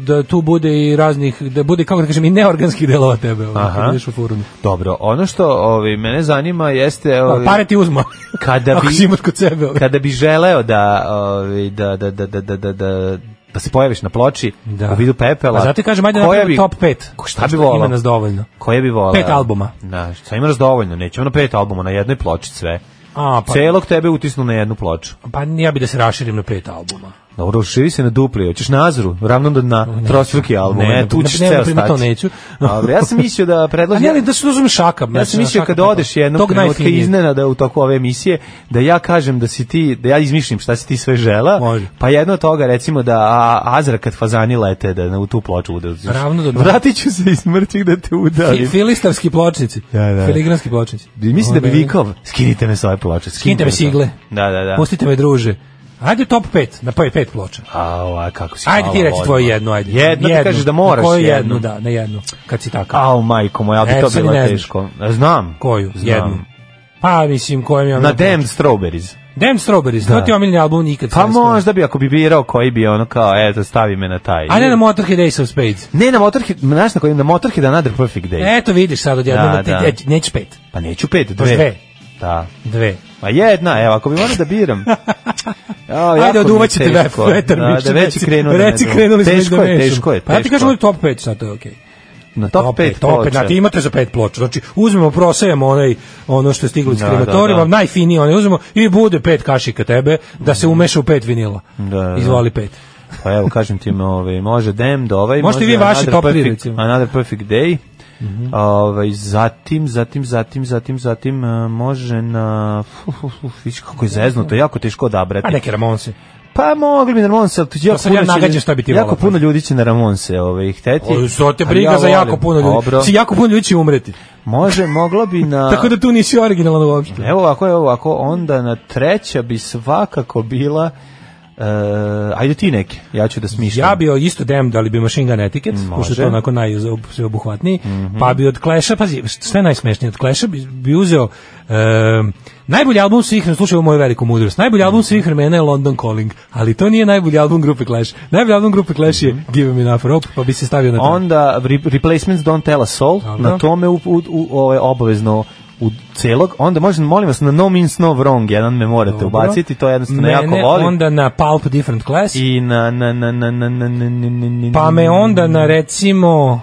da tu bude i raznih, da bude, kako da kažem, i neorganskih delova tebe. Ovaj, Aha. kad ideš u furnu. Dobro, ono što ovaj, mene zanima jeste... Ovaj, Pa, Pare ti uzma. Kada Ako bi- si imaš kod sebe. ovaj. kada bi želeo da, ovaj, da, da, da, da, da, da, da, da se pojaviš na ploči Da. u vidu pepela. A zato ti kažem, ajde koja napravimo bi- top pet. Ko- Šta bi Što volao? ima nas dovoljno. Koje bi volao? Pet albuma. Da, šta imaš dovoljno, nećemo na pet albuma, na jednoj ploči sve. A, pa, Celog tebe utisnu na jednu ploču. pa ja bi da se raširim na pet albuma. Dobro, širi se na dupli, hoćeš Nazru, ravno do dna, trostruki album. Ne, tu ćeš ne, ne, ceo ne, to stati. neću. Dobro, ja sam mislio da Ali predložim... ali da se uzmem šaka. Ja sam mislio kada odeš jednog trenutka iznenada u toku ove emisije, da ja kažem da si ti, da ja izmišljam šta si ti sve žela, Može. pa jedno od toga recimo da a, Azra kad fazani lete, da na, u tu ploču udariš. Ravno do dna. Vratit ću se iz mrtvih da te udarim. Filistarski pločnici. Da, da. Filigranski pločnici. Mislim da bi Ovaj, vikao, skinite me s ove ploče. Skinite me sa- sigle. Da, da, da. Pustite me druže. Ajde top 5, na pet, pet ploča. A, ova, kako si Ajde hvala ti reći Bogu. tvoju jednu, ajde. Jednu, ti kažeš da moraš Na koju jednu. jednu, da, na jednu, kad si takav. Au, majko moja, ali E, bi to sad bilo ne znaš. teško. Znam. koju? Znam. Jednu. Pa, mislim, kojom ja... Na Damned Strawberries. Damn Strawberries, to ti je omiljeni album nikad. Pa sam ne možda bi ako bi birao koji bi ono kao, eto, stavi me na taj. skoro. Ajde na Motorhead Ace of Spades. Ne, na Motorhead, znaš na kojim, na Motorhead Another Perfect Day. Eto vidiš sad odjednom, da, Da, da. neću pet, Pa neću pet, dve. E. Baš dve. Da. dve. Pa jedna, evo, ako bi morao da biram. Ja, Ajde, oduvaćete me, vetar da, biće, da već reci- je krenuo. da me Reci, duva. krenuli smo teško da je, mešamo. teško je, teško. Pa ja ti kažem, ovaj top 5, sad to je okej. na top 5 top pet, znate, imate za pet ploča. Znači, uzmemo, prosejemo onaj, ono što je stiglo iz Da, krematorijuma, da, da. najfinije onaj uzmemo i bude pet kašika tebe, da se umeša u pet vinila. Da, da, da. Izvoli pet. Pa evo, kažem ti, ove, može Damned, ovaj. Možete može vi vaši Another top tri, Perfect- recimo. Mhm. Another Perfect Day. ovaj, zatim, zatim, zatim, zatim, zatim, e, može na... Uf, uf, uf, viš kako je zeznuto, jako teško odabrati. A neke Ramonse. Pa mogli bi na Ramonse, ali tu jako sad ja puno će nagađam ljudi- šta bi ti Jako volao. puno ljudi će na Ramonse ovaj, hteti. O, Što te Ali briga ja za jako volim. puno ljudi. Dobro. Si jako puno ljudi će umreti. Može, moglo bi na... Tako da tu nisi originalan uopšte. Evo ovako, evo ovako, onda na treća bi svakako bila... e, ajde ti neke, ja ću da smišljam. Ja bi o- isto dem da li bi Machine Gun Etiquette, pošto je to onako najveobuhvatniji, Mhm. pa bi od Clash-a, pazi, šta je najsmešnije, od Clash-a bi, bi uzeo em, najbolji album svih vremena, slušaj ovo moju veliku mudrost, najbolji album svih vremena je London Calling, ali to nije najbolji album grupe Clash. Najbolji album grupe Clash je Give Me Enough Rope, pa bi se stavio na to. Mhm. Da. Onda re- Replacements Don't Tell a Soul, Dobro. na tome u, u, u, ovaj, obavezno u celog. Onda možda, molim vas, na No Means No Wrong jedan me morate Dobro. ubaciti, to jednostavno Mene jako volim. onda na Pulp Different Class, I na, na, na, na, na, na, na, na, na, na- pa me onda na recimo...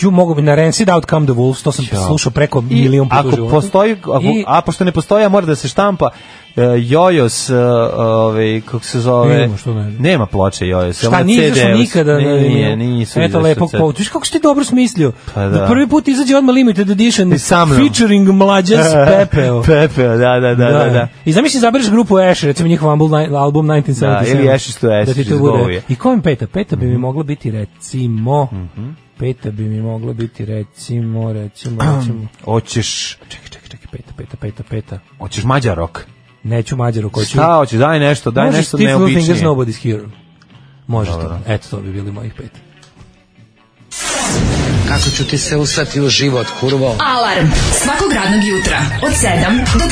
Ju mogu bi na Rancid Out Come the Wolves, to sam slušao preko I milion puta u ako životu. postoji, ako, I- a pošto ne postoji, a mora da se štampa e, Jojos, e, ovaj kako se zove. Nema, što ne. Nema ploče Jojos. samo Šta na nije CD-u. izašlo nikada? na- Nije, nisu Eto izašli lepog sad. pouča. Viš kako si ti dobro smislio. Pa da. da. prvi put izađe odmah limited edition I sa mnom. featuring mlađa s Pepeo. Pepeo, da, da, da, da. da. I zamisli zabereš grupu Ash, recimo njihov album, album 1977. Da, ili Ashes to ti Ashes, to iz Mhm. bude. Bovije. I kojim peta? Peta bi mi mogla biti recimo... Mhm. Peta bi mi mogla biti recimo, recimo, recimo... Hoćeš, Čekaj, čekaj, čekaj, peta, peta, peta, peta. hoćeš Mađarok. Neću Mađaru koću. Šta hoćeš, daj nešto, daj Može nešto Steve Little neobičnije. Fingers, Nobody's Hero. Može to. Eto, to bi bili mojih pet. Kako ću ti se usrati u život, kurvo? Alarm svakog radnog jutra od 7 do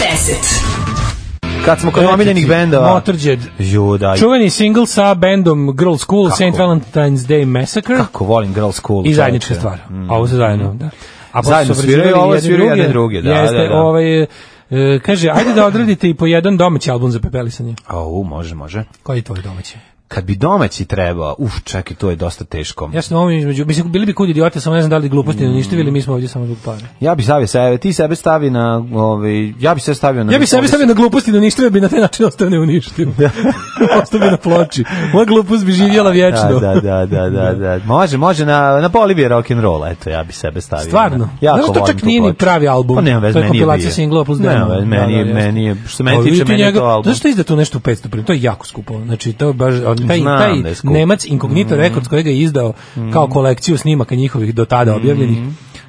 10. Kad smo kod omiljenih bendova. Znači, Motorhead. Ju, da. Čuveni single sa bandom Girl School, St. Valentine's Day Massacre Kako volim Girls School. i zajednička čoveče. Mm. stvar. A ovo se zajedno, da. A posle Zajedno su sviraju, obrađivali ovo jedni sviraju jedni druge, da, Jeste, da, da. ovaj, e, kaže, ajde da odradite i po jedan domaći album za pepelisanje. Au, može, može. Koji je tvoj domaći? Kad bi domaći trebao, uf, čekaj, to je dosta teško. Ja se ne mogu između, mislim, bili bi kud idioti, samo ne znam da li gluposti Mm. ne uništili, mi smo ovdje samo zbog pare. Ja bi stavio sebe, ti sebe stavi na, ovaj, ja bi sebe stavio na... Ja bi sebi Mercedes. stavio na gluposti da uništio, bi na taj način ostao ne uništio. ostao bi na ploči. Moja glupost bi živjela vječno. Da, da, da, da, da, da. Može, može na na poli bi rock and roll, eto ja bi sebe stavio. Stvarno? Ja Znaš što čak nije ni pravi album? Pa nema veze, To je meni je kompilacija bio. singlova plus Nema demo. veze, meni je- Da, da, jasno. meni je što se meni Ali tiče vidite meni je to njega- album. Znaš što izda tu nešto u 500 print? To je jako skupo. Znači to je baš on, taj Znam taj da je Mhm. skupo. Nemac Incognito Records kojega je izdao kao kolekciju snimaka njihovih do tada Mhm. objavljenih.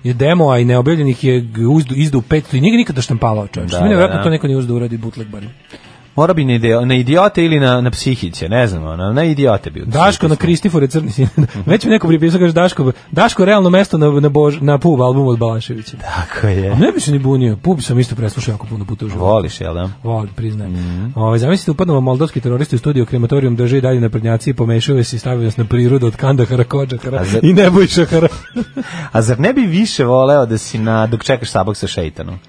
Je demo, a i neobjavljenih je g- uzdu, izdao 500 i njega nikada štampavao čovječ. Da, Da, nevjerojatno da, da. to neko nije uzdu uradi bootleg barem. Mora bi na, ide, na idiote ili na na psihiće, ne znam, na, na idiote bi. utvrdio. Daško na Kristifore crni sin. Već mi neko pripisao, kaže Daško, Daško realno mesto na, na, Bož, na pub albumu od Balaševića. Pa Tako je. Ne bi se ni bunio, pub sam isto preslušao jako puno puta u životu. Voliš, jel da? Volim, priznajem. Mhm. Mm -hmm. zamislite, upadnu vam moldovski teroristi u studiju, krematorijum drže i dalje na prednjaci i pomešaju se i stavio nas na prirodu od Kandahara, Kođahara A za- i Nebojšahara. A zar ne bi više voleo da si na, dok čekaš sabak sa šeitanom?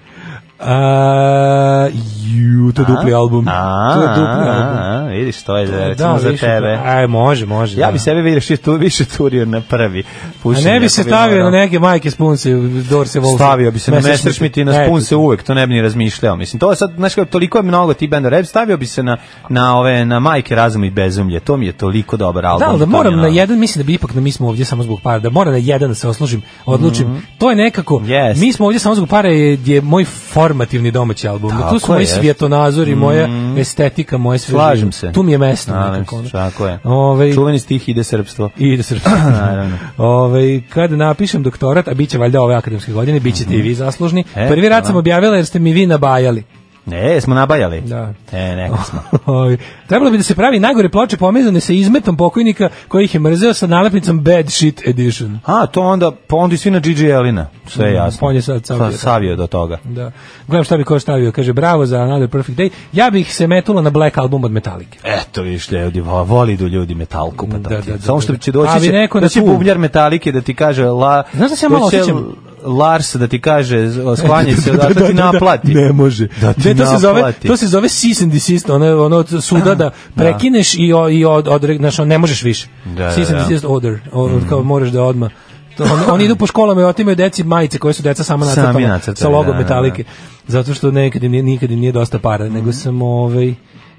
A, ju, to je dupli album. A, to je dupli a, album. a, vidiš, to je da, recimo za više tebe. to- Aj, može, može. Ja da. bi sebe vidiš je tu više turio na prvi. A Pušim, ne bi se stavio na neke majke spunce, Dorse Wolfe. stavio bi se na Messerschmitt. Messerschmitt i na Eto Spunse E, ti. uvek, to ne bi ni razmišljao. Mislim, to je sad, znaš kao, toliko je mnogo ti benda rap, stavio bi se na, na ove, na majke razum i bezumlje, to mi je toliko dobar album. Da, ali da to mi je moram ono- na jedan, mislim da bi ipak na mi smo ovdje samo zbog para, da moram na jedan da se osložim, odlučim. To je nekako, Mhm. Jest. mi smo ovdje samo zbog para je, je moj formativni domaći album. Da Tako tu su moji jest. svjetonazor i moja estetika, moje sve Slažem živo. se. Tu mi je mesto Naravno, nekako. ono. Tako je. Ovaj, Čuveni stih ide srpstvo. I da se Naravno. Ovaj kad napišem doktorat, a biće valjda ove akademske godine, bićete i vi zaslužni. E, Prvi rad hvala. sam objavila jer ste mi vi nabajali. Ne, smo nabajali. Da. E, neka smo. Oj, Trebalo bi da se pravi nagore ploče pomezane sa izmetom pokojnika koji ih je mrzeo sa nalepnicom Bad Shit Edition. A, to onda, pa onda i svi na Gigi Elina. Sve je Mm, jasno. on je sad savio. Sa- savio do toga. Da. Gledam šta bi ko stavio. Kaže, bravo za Another Perfect Day. Ja bih se metula na Black album od Metallica. Eto viš ljudi, vo- voli do ljudi metalku pa Da, da, da, da, Samo što da. će doći Ali će, neko na doći će tu. bubnjar metalike da ti kaže la, Znaš da se ja malo doći će osjećam? Lars da ti kaže sklanjaj se odatle da ti naplati. Ne može. Da ti Ne, to se zove, naplati. Ah, to se zove cease and desist, ono, ono od suda da prekineš i, o- i od, od, znaš, ono, ne možeš više. Da, da, cease and da. Mm. desist order, o, kao moraš da odma. To, on- oni idu po školama i otimaju deci majice koje su deca sama Sami nacrtala nacrtali, sa logom da, Mhm. da, metalike. Zato što nekad im, nije- nikad im nije dosta para, nego sam ovaj...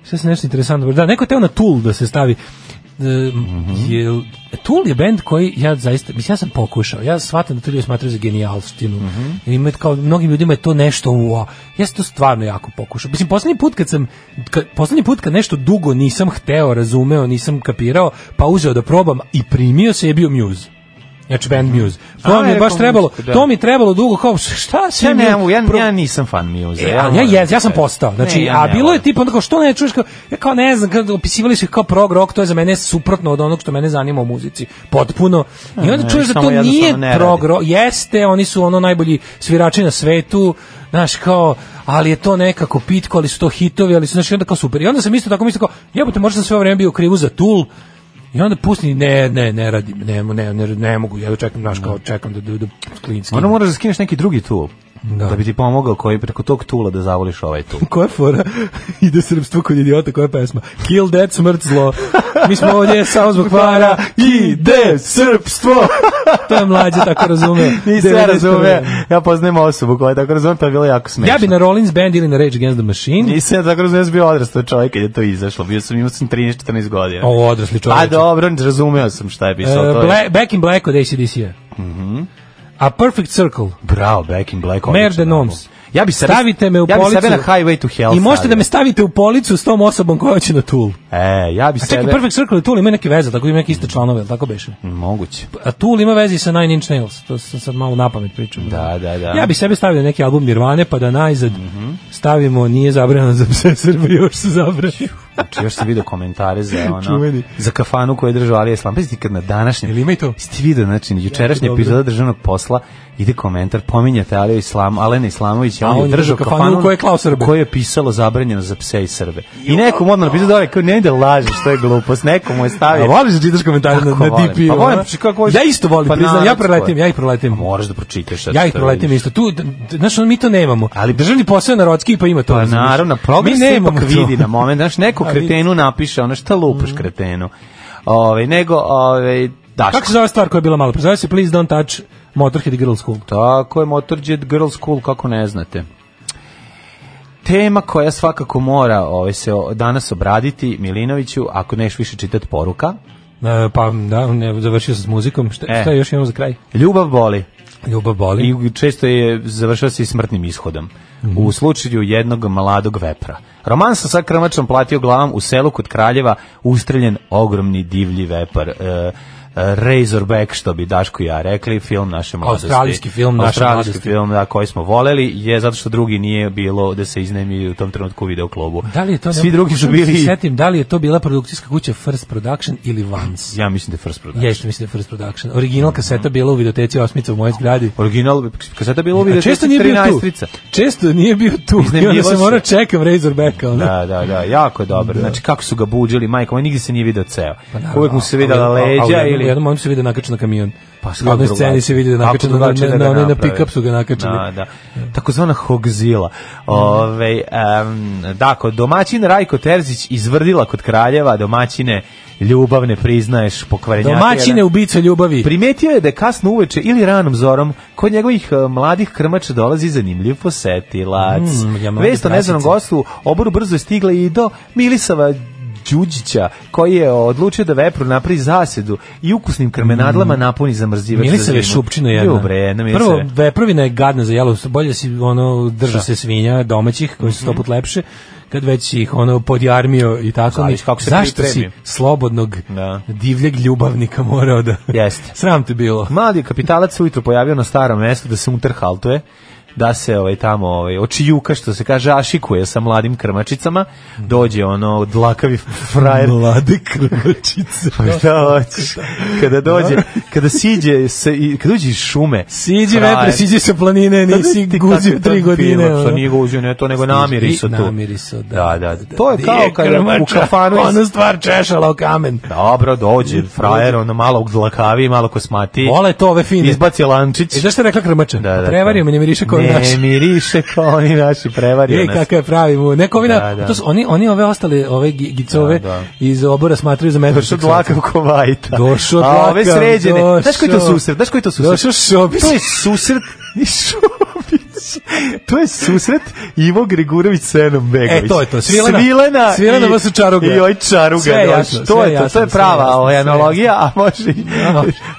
Šta se nešto interesantno... Da, neko je teo na Tool da se stavi. E, Mhm. je, Tool je band koji ja zaista, mislim ja sam pokušao, ja shvatam da to ljudi smatraju za genijalštinu. Mhm. Ima kao, mnogim ljudima je to nešto ua. Ja sam to stvarno jako pokušao. Mislim, posljednji put kad sam, kad, posljednji put kad nešto dugo nisam hteo, razumeo, nisam kapirao, pa uzeo da probam i primio se je bio Muse. Znači band Muse. Mhm. A, To mi je je baš kao trebalo, Muse, da. to mi je trebalo dugo kao šta se Ja ne, mogu, ja, ja nisam fan Muse. E, ali ja, ja, ja sam postao. Znači, Ne, ja a ne bilo je volim. tipa onda kao što ne čuješ kao ja kao ne znam, kad opisivali su ih kao prog rock, to je za mene suprotno od onog što mene zanima u muzici. Potpuno. I onda ne, čuješ da samo to nije jednostavno ne radi. prog rock, jeste, oni su ono najbolji svirači na svetu. Znaš, kao, ali je to nekako pitko, ali su to hitovi, ali su, znaš, i onda kao super. I onda sam isto tako mislio kao, jebote, možda sam sve vreme bio u krivu za Tool, I onda pusti, ne, ne, ne radim, ne, ne, ne, ne mogu, ja čekam, znaš, kao, čekam da, da, da klinski. Onda moraš da skineš neki drugi tool. Da. Da. bi ti pomogao koji preko tog tula da zavoliš ovaj tool. koja fora ide srpstvo kod idiota, koja pesma? Kill that smrt zlo. Mi smo ovdje samo zbog para. Ide srpstvo! To je mlađe tako razume. Nisam 91. ja razume. Ja poznajem osobu koja je tako razume, pa je bilo jako smešno. Ja bi na Rollins Band ili na Rage Against the Machine. Nisam ja tako razumio, ja sam bio odrastao čovjek kad je to izašlo. Bio sam, imao sam 13-14 godina. Ovo odrasli Pa čovječe. dobro, razumeo sam šta je pisao. E, to je- Mhm. Bla- Back in Black od ACDC-a. A Perfect Circle. Bravo, Back in Black. odličan Merde album. Noms. Ja bi sebe, Stavite me u ja policu. Ja bi sebe na Highway to Hell I možete da stavio. me stavite u policu s tom osobom koja će na Tool. E, ja bi A čekaj, sebe... Perfect Circle i Tool imaju neke veze, tako imaju neke iste članove, jel tako beše? Moguće. a Tool ima veze i sa Nine Inch Nails, to sam sad malo napamet pričao. Da, da, da. Ja bi sebi stavio neki album Nirvane, pa da najzad stavimo Nije zabranjeno za pse Srbi, još se zabranjeno. Znači, još sam vidio komentare za ono... Čuveni. za kafanu koju je držao Alija Islam. Pazi ti kad na današnjem... Jel ima i to? Jeste vidio, znači, jučerašnji dobro. epizoda državnog posla ide komentar, pominjate Alija Islam, Alena Islamović, A a on, Da, on je je držao držao kafanu u kojoj je klao Srbe. u kojoj je pisalo zabranjeno za pse i Srbe. I nekom odmah napisao da ovaj, kao ne ide laže, što je glupost, nekom mu je stavio. A voliš da čitaš komentare na, Kako na volim? DP? Pa volim, ono? znači, kako hoćeš? ja isto volim, Pa priznam, ja naravno, preletim, tvoje. ja ih preletim. Moraš da pročitaš. sad Ja ih što preletim vidiš. isto. Tu, d- d- znaš, ono, mi to nemamo. Ali- državni posao je narodski, pa ima to. Pa razumiješ? naravno, progres Mi se nemamo ipak to. vidi na moment. Znaš, neko neko kretenu napiše, ono šta lupaš Mhm. kretenu. Ove, nego, ove, Daško. Kako se zove stvar koja je bila malo? Zove se Please Don't Touch Motorhead Girl School. Tako je, Motorjet Girls School, kako ne znate. Tema koja svakako mora ovaj, se o- danas obraditi, Milinoviću, ako neš više čitati poruka. E, pa da, ne, završio sam s muzikom. Šta, E. šta još imamo za kraj? Ljubav boli. Ljubav boli. I često je završava se i smrtnim ishodom. Mhm. U slučaju jednog mladog vepra. Roman sa sakramačom platio glavom u selu kod Kraljeva ustreljen ogromni divlji vepar. E, e, Razorback, što bi Daško i ja rekli, film naše mladosti. Australijski film naše Australijski mladosti. film da, koji smo voleli je zato što drugi nije bilo da se iznemi u tom trenutku u videoklubu. Da li je to Svi drugi su Pokušavam da se bili... Setim, da li je to bila produkcijska kuća First Production ili Vans? Ja mislim da je First Production. Jeste, mislim da je First Production. Original kaseta bila u videoteci Osmica u mojoj zgradi. Original, kaseta bilo u A često nije bio tu. 13 Često nije bio tu. I onda Iznajmljivo se se. mora čekam Razorbacka. ono. Da, da, da, jako je dobro. Znači kako su ga buđili, majko, on nigdje se nije video ceo. Pa Naravno, Uvek mu se a- videla a- a- a u leđa jednom- U ili jednom momentu se vidi nakačen na kamion. pa u jednoj sceni se vidi da je nakačen na, na, na, na, na pick-up su ga nakačili. Da, da. Takozvana hogzila. Ovaj em, da, kod domaćin Rajko Terzić izvrdila kod kraljeva domaćine ljubav ne priznaješ pokvarenjaka. Domaćine ubica ljubavi. Primetio je da je kasno uveče ili ranom zorom kod njegovih e, mladih krmača dolazi zanimljiv posetilac. Mm, ja Mm, mladi Vest o neznanom krasice. gostu oboru brzo je stigla i do Milisava Đuđića koji je odlučio da vepru napravi zasedu i ukusnim krmenadlama napuni zamrzivač Mm. Milisave za zimu. šupčina jedna. Jo, bre, jedna Prvo, Milisave. veprovina je gadna za jelo, bolje si ono Da. drža se svinja domaćih koji Mhm. su stoput lepše kad već si ih ono podjarmio i tako mi. Zavisi kako se Zašto si pripremi. slobodnog Da. divljeg ljubavnika morao da... Jeste. Sram te bilo. Mladi kapitalac se ujutro pojavio na starom mestu da se unterhaltuje, da se ovaj tamo ovaj očijuka što se kaže ašikuje sa mladim krmačicama, dođe ono dlakavi frajer Mlade krvačice. Pa šta hoćeš? Kada dođe, kada siđe, se, i- kada dođe iz šume. Siđi frajer, vepre, siđi sa planine, Kako nisi ti guzio kakav tri tam godine. film, Što ono. nije guzio, ne to, nego namiriso tu. Namiriso, da. Da, da. To je kao Nije kada u krmača, kafanu iz- Ona stvar češala o kamen. Dobro, dođe, frajer, ono malo dlakavi, malo kosmati. Vole to ove fine. Izbaci lančić. I zašto je rekla krmača? Da, da, E, Prevario to. me, ne miriše kao ne, naš. Ne miriše kao oni naši, prevario Ej, nas. kakav je pravi mu. Neko ovi na- Da, da. to su, oni, oni ove ostale, ove gi- gicove Da, da. iz obora smatraju za metu. Došao dlakav ko vajta. Došao A ove dlakav, sređene. Znaš koji je to došao. susret? Znaš koji je to susret? Došao Šobić. To je susret... I Šobić. To je susret Ivo Grigurević sa Enom Begović. E, to je to. Svilena- Svilena, Svilena vas u čaruga. I oj čaruga. Sve je došao. jasno, to sve je je to. jasno, To je sve je prava jasno, ovaj, sve je analogija, a može i...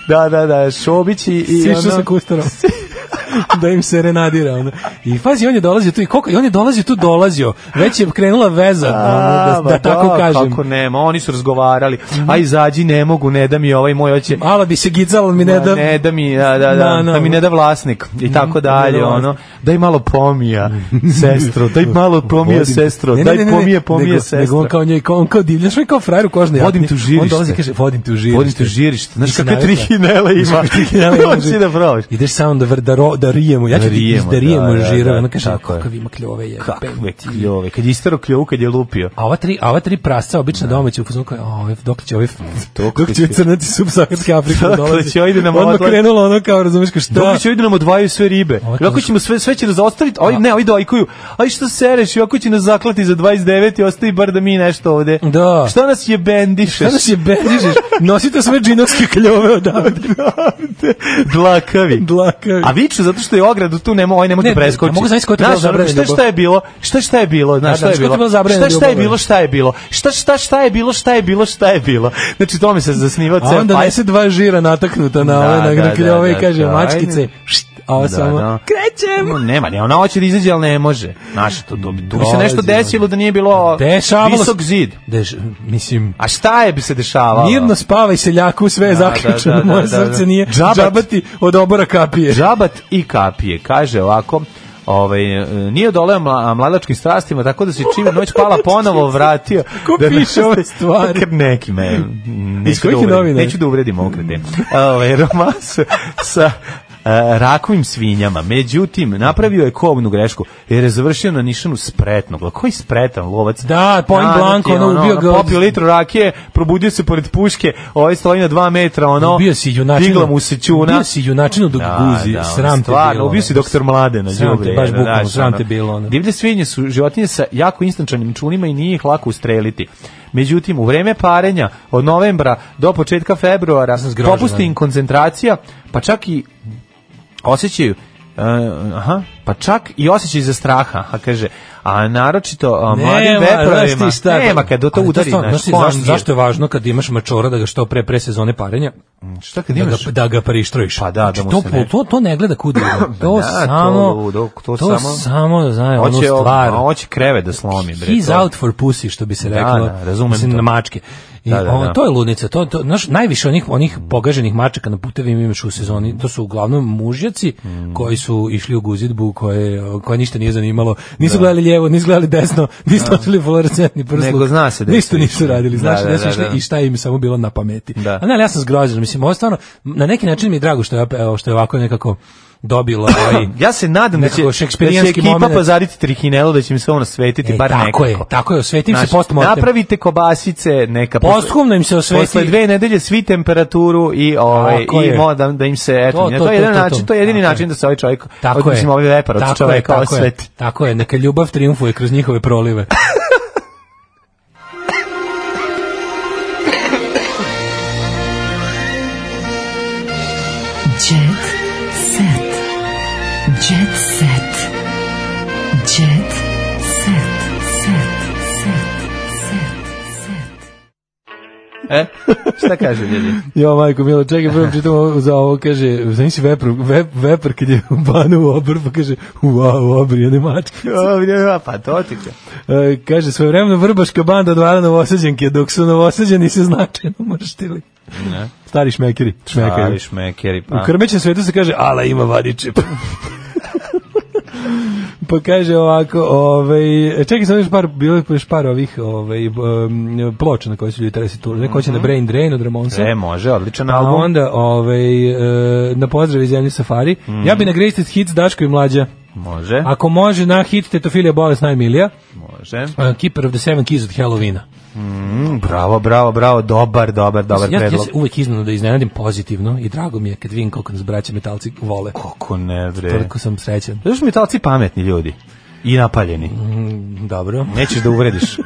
Da, da, da. Šobić i... i Sišao ono- sa kustarom. da im se renadira. Ono. I pazi, on je dolazio tu i koliko, i on je dolazio tu, dolazio. Već je krenula veza, A, ono, da, ma da, tako kažem. Kako nema, oni su razgovarali. A izađi, ne mogu, ne da mi ovaj moj hoće. Mala bi se gicala, ali mi ne da... ne da mi da, da, da, Da, da. da mi ne da vlasnik i tako dalje da vlasnik. ono daj malo pomija sestro daj malo pomija Vodim te. sestro Ne, ne, ne, daj ne, pomije pomije nego, Nego on sestro kao njoj, kao, on kao divlja, što je kao frajer u kožnoj jakni. Vodim te u On žirište. dolazi i kaže, vodim te u žirište. vodim te u žirište znaš Nisi kakve navikla. tri hinele ima hoći da probaš Ideš samo da, vr- da, ro, da rijemo. Ja ću Da ti rijemo, da rijemo da, da, žirove. da, Ona kaže, tako je. kakav ima kljove je. kakve kljove kad je istero kljovu kad je lupio A ova tri, a ova tri prasca obično domaće u fazonu kao, ove, dok će ove, Da. Dokle dok će će- crnati subsaharska Afrika Dokle da dolazi. će, ajde nam Odmah odlazi. krenulo ono kao, razumeš, kao šta? Dok će ovdje nam odvajaju sve ribe. Da. Ovo je Kako tužno. ćemo sve sve će nas ostaviti? Aj ne, ajde ajkuju. Aj što sereš? Ako će nas zaklati za 29 i ostavi bar da mi nešto ovde. Da. Šta nas je bendišeš? Sada se bendižeš, nosite sve džinovske kljove odavde. Dlakavi. Dlakavi. A viču zato što je ogradu tu nema, ovaj ne može Ne, da preskoči. ne mogu zamisliti ko je to bilo Znaš, ono, zabranjeno da Šta šta je bilo? Šta šta je bilo? Da, Znaš šta da, je znaš ko je to bilo bilo? zabranjeno Šta šta je ljubavno? bilo? Šta je bilo? Šta šta šta je bilo? Šta je bilo? Šta je bilo? Znači tome se zasniva A ceo onda fajt. nese dva žira nataknuta na Da, ove, na, da, na da, kljove i da, kaže, da, mačkice, ajde. št, a ova Da, samo, da. krećem. No, nema, ne, ona hoće da izađe, ali ne može. Znaš, to, to, tu bi se nešto Dolazi, desilo da nije bilo Dešavalo se. visok zid. Deš, mislim, A šta je bi se dešavalo? mirno spavaj seljaku, sve je Da, da, zaključeno, da, da, moje da, da. srce nije Džabat. džabati od obora kapije. Žabat i kapije, kaže ovako, ovaj, e, nije odoleo mla, mladačkim strastima, tako da se čim je noć pala ponovo vratio. da Ko piše ove stvari? Kad neki me, neću da, kojih je uvredim, novina? neću da uvredim ovog kretena. Ovaj, romans sa e, rakvim svinjama. Međutim, napravio je kovnu grešku jer je završio na nišanu spretnog. Koji spretan lovac? Da, Point Nadat Blank, je, ono, ubio ga- Popio litru rakije, probudio se pored puške, ovaj stoji na dva metra, ono, Ubio si junačinu. digla mu se čuna. da- Ubio si junačinu dok da guzi, ono, sram te Da, stvarno, bilo, Ubio si ono. doktor Mladena. Sram te, đubre, baš jedan, bukvalno, znaš, sram ono. te bilo, ono. da, Divlje svinje su životinje sa jako instančanim čunima i nije ih lako ustreliti. Međutim, u vreme parenja od novembra do početka februara sam zgrožen, popusti im ono. koncentracija, pa čak i osjećaju e, aha, pa čak i osjećaj za straha, a kaže, a naročito a, mladim Nema, vepravima, znaš ti šta, da- nema kad do to ali udari, stvarno, znaš, znaš ti fond zašto, je. zašto je važno kad imaš mačora da ga što pre pre sezone parenja? Šta kad Da ga, imaš? da ga prištrojiš. Pa da, Znači, da mu to, se ne- to, to ne gleda kuda. to da, to samo... ludo, to, to samo- samo... da znaje, ono Hoće, stvar. a hoće kreve da slomi, bre. He's to. out for pussy, što bi se reklo. da, razumem Mislim, to. na mačke. I Da, da, on- da. to je ludnica. To, to, znaš, najviše onih, onih pogaženih mačaka na putevima imaš u sezoni. To su uglavnom mužjaci Mm. koji su išli u guzidbu koje, koja ništa nije zanimalo. Da. Nisu gledali lijevo, nisu gledali desno, nisu očili fluorescentni prsluk. Nego zna se da gde Ništa su nisu išli. radili. Znaš, Da, da, da, da, da. i šta im je samo bilo na pameti. Da. A ne, ali ja sam zgrožen. Mislim, ovo stvarno, na neki način mi je drago što je, opet- evo, što je ovako nekako dobila ovaj, Ja se nadam da će, Nekako da će šekspirijanski ekipa momenat. pozaditi trihinelu, da će im se ono svetiti, E, bar tako nekako. je, tako je, osvetim se Znaš, postmortem. Napravite kobasice, neka... posle- Posthumno im se osveti- Posle dve nedelje svi temperaturu i, ovaj, Tako i je. mo- da, da im se... Eto, to, To, to, to, je jedan to, to, način, to. to je jedini Tako način je. da se ovaj čovjek... Tako mislim, je. znači ovaj vepar od tako je, čoveka ovaj tako je, osveti. Tako je, neka ljubav triumfuje kroz njihove prolive. Jet set. Jet set. Jet set. Set. Set. Set. E? Šta kaže ljudi? jo, majko, milo, čekaj, prvo čitam ovo- za ovo, kaže, znaš si vepr, vep, vepr kad je banu u obr, pa kaže, wow, obr, jedne mačke. O, pa to ti će. E, kaže, svojevremeno vrbaška banda odvara novosađanke, dok su novosađani se značajno mrštili. Ne. Stari šmekeri, šmekeri. Ali šmekeri, U pa. krmećem svetu se kaže, ala ima vadičep. pa kaže ovako, ovaj, čekaj sam još par, bilo je još par ovih ovaj, um, ploča na koje su ljudi tresi tur. Neko će na Brain Drain od Ramonsa. Mhm. E, može, odličan A album. onda ovaj, e, na pozdrav iz Zemlje Safari. Mhm. Ja bi na Greatest Hits Daško i Mlađa. Može, Ako može na hit Tetofilija Bolest najmilija. može. Uh, Keeper of the Seven Keys od Halloweena. Mm, bravo, bravo, bravo, dobar, dobar, dobar Ja, ja predlog. se uvek iznenada iznenadim pozitivno i drago mi je kad vidim koliko nas braća metalci vole. Kako ne, bre. Toliko sam srećan. Zato što metalci pametni ljudi i napaljeni. Dobro. Nećeš da uvrediš.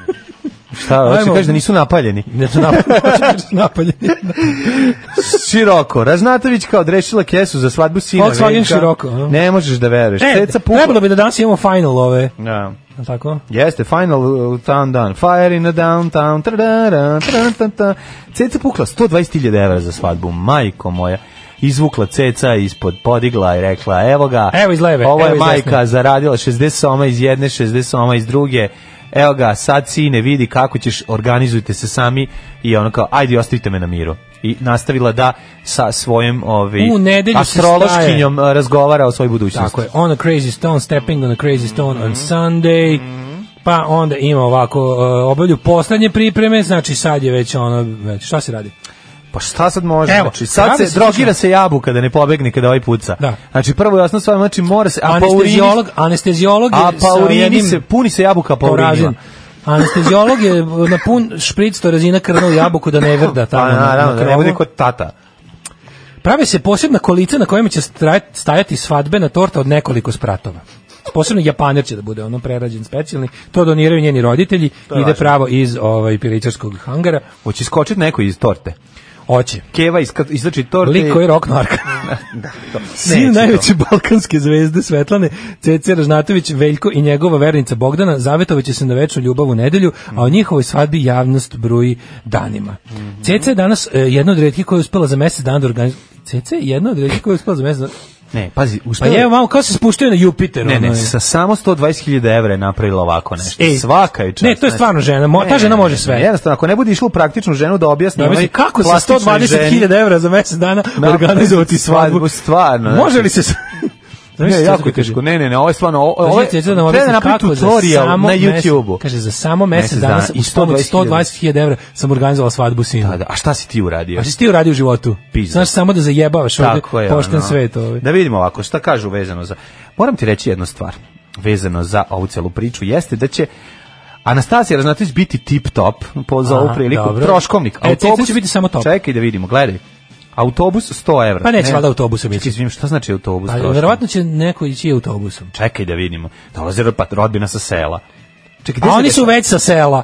Šta, hoće Ajmo. kaže da nisu napaljeni. Ne to da napalje. Široko. Raznatović kao odrešila kesu za svadbu sina. Volkswagen Veljka. široko, a? Ne možeš da veruješ. E, Ceca pupa. trebalo bi da danas imamo final ove, je Da. li tako? Jeste, final uh, town done. Fire in the downtown. Tadara, tadara, tadara. Ceca pukla 120.000 evra za svadbu. Majko moja. Izvukla ceca ispod podigla i rekla evo ga. Evo iz leve, Ovo je evo iz majka desne. zaradila 60 soma iz jedne, 60 soma iz druge. Evo ga, sad sine vidi kako ćeš, organizujte se sami i ono kao, ajde ostavite me na miru. I nastavila da sa svojim ovi, U nedelju se astrološkinjom eh, razgovara o svojoj budućnosti. Tako je, on a crazy stone, stepping on a crazy stone Mhm. on Sunday, pa onda ima ovako, uh, obavlju poslednje pripreme, znači sad je već ono, već, šta se radi? Pa šta sad može? Evo, znači, sad radi se se drogira slično. se jabuka da ne pobegne kada ovaj puca. Da. Znači prvo jasno stvar, znači mora se a paurini, Anesteziolog, anesteziolog je a sa paurini jednim se puni se jabuka paurinima. porazin. Anesteziolog je na pun špric torazina krnu jabuku da ne vrda tamo. Pa na- na naravno, da ne krovu. bude kod tata. Prave se posebna kolica na kojima će straj- stajati svadbena torta od nekoliko spratova. Posebno japaner će da bude ono prerađen specijalni. To doniraju njeni roditelji, ide važno. pravo iz ovaj piričarskog hangara. Hoće skočiti neko iz torte. Oće. Keva iz izlači torte. Lik koji je rok narka. Neće Sin to. najveće balkanske zvezde Svetlane, Cece Ražnatović, Veljko i njegova vernica Bogdana zavetovaće se na večnu ljubav u nedelju, a o njihovoj svadbi javnost bruji danima. Mhm. Cece je danas e, jedna od redkih koja je uspela za mesec dana da organizuje... Cece je jedna od redkih koja je uspela za mesec dana... Ne, pazi, u Pa je malo kao se spuštaju na Jupiter. Ne, ono ne, je. sa samo 120.000 evra je napravila ovako nešto. Ej. Svaka je čast. Ne, to je znači. stvarno žena. Mo- ta žena Ne, može ne, sve. ne, Jednostavno, ako ne bude išlo u praktičnu ženu da objasni Da, onoj mislim, kako sa plastičnoj ženi- 120.000 evra za mesec dana Napraviti organizovati svadbu, svadbu? stvarno, Može znači. li se... s- Znaš Ne, šta jako se je kaže? teško. Ne, ne, ne, ovo je stvarno... o- Ovo, Ovo je, je da treba nam da objasni napravi kako za tutorial samo na mesec- YouTube-u. Kaže, za samo mesec, Mesec dana, dana i uz pomoć 120.000. 120.000 evra sam organizovao svadbu sinu. Da, da, a šta si ti uradio? A što si ti uradio u životu? Pizda. Znaš samo da zajebavaš ovde Tako je, pošten ono. svet ovaj. Da vidimo ovako, šta kažu vezano za... Moram ti reći jednu stvar vezano za ovu celu priču, jeste da će Anastasija Raznatović biti tip-top po, za Aha, ovu priliku, dobro. troškovnik. E, Ceca će biti samo top. Čekaj da vidimo, gledaj. Autobus 100 evra. Pa neće valjda autobusom ići. Čekaj, izvinim, šta znači autobus A troškovnik? Pa verovatno će neko ići autobusom. Čekaj da vidimo. Dolaze pa rodbina sa sela. Čekaj, gde A se oni su dešava? već sa sela.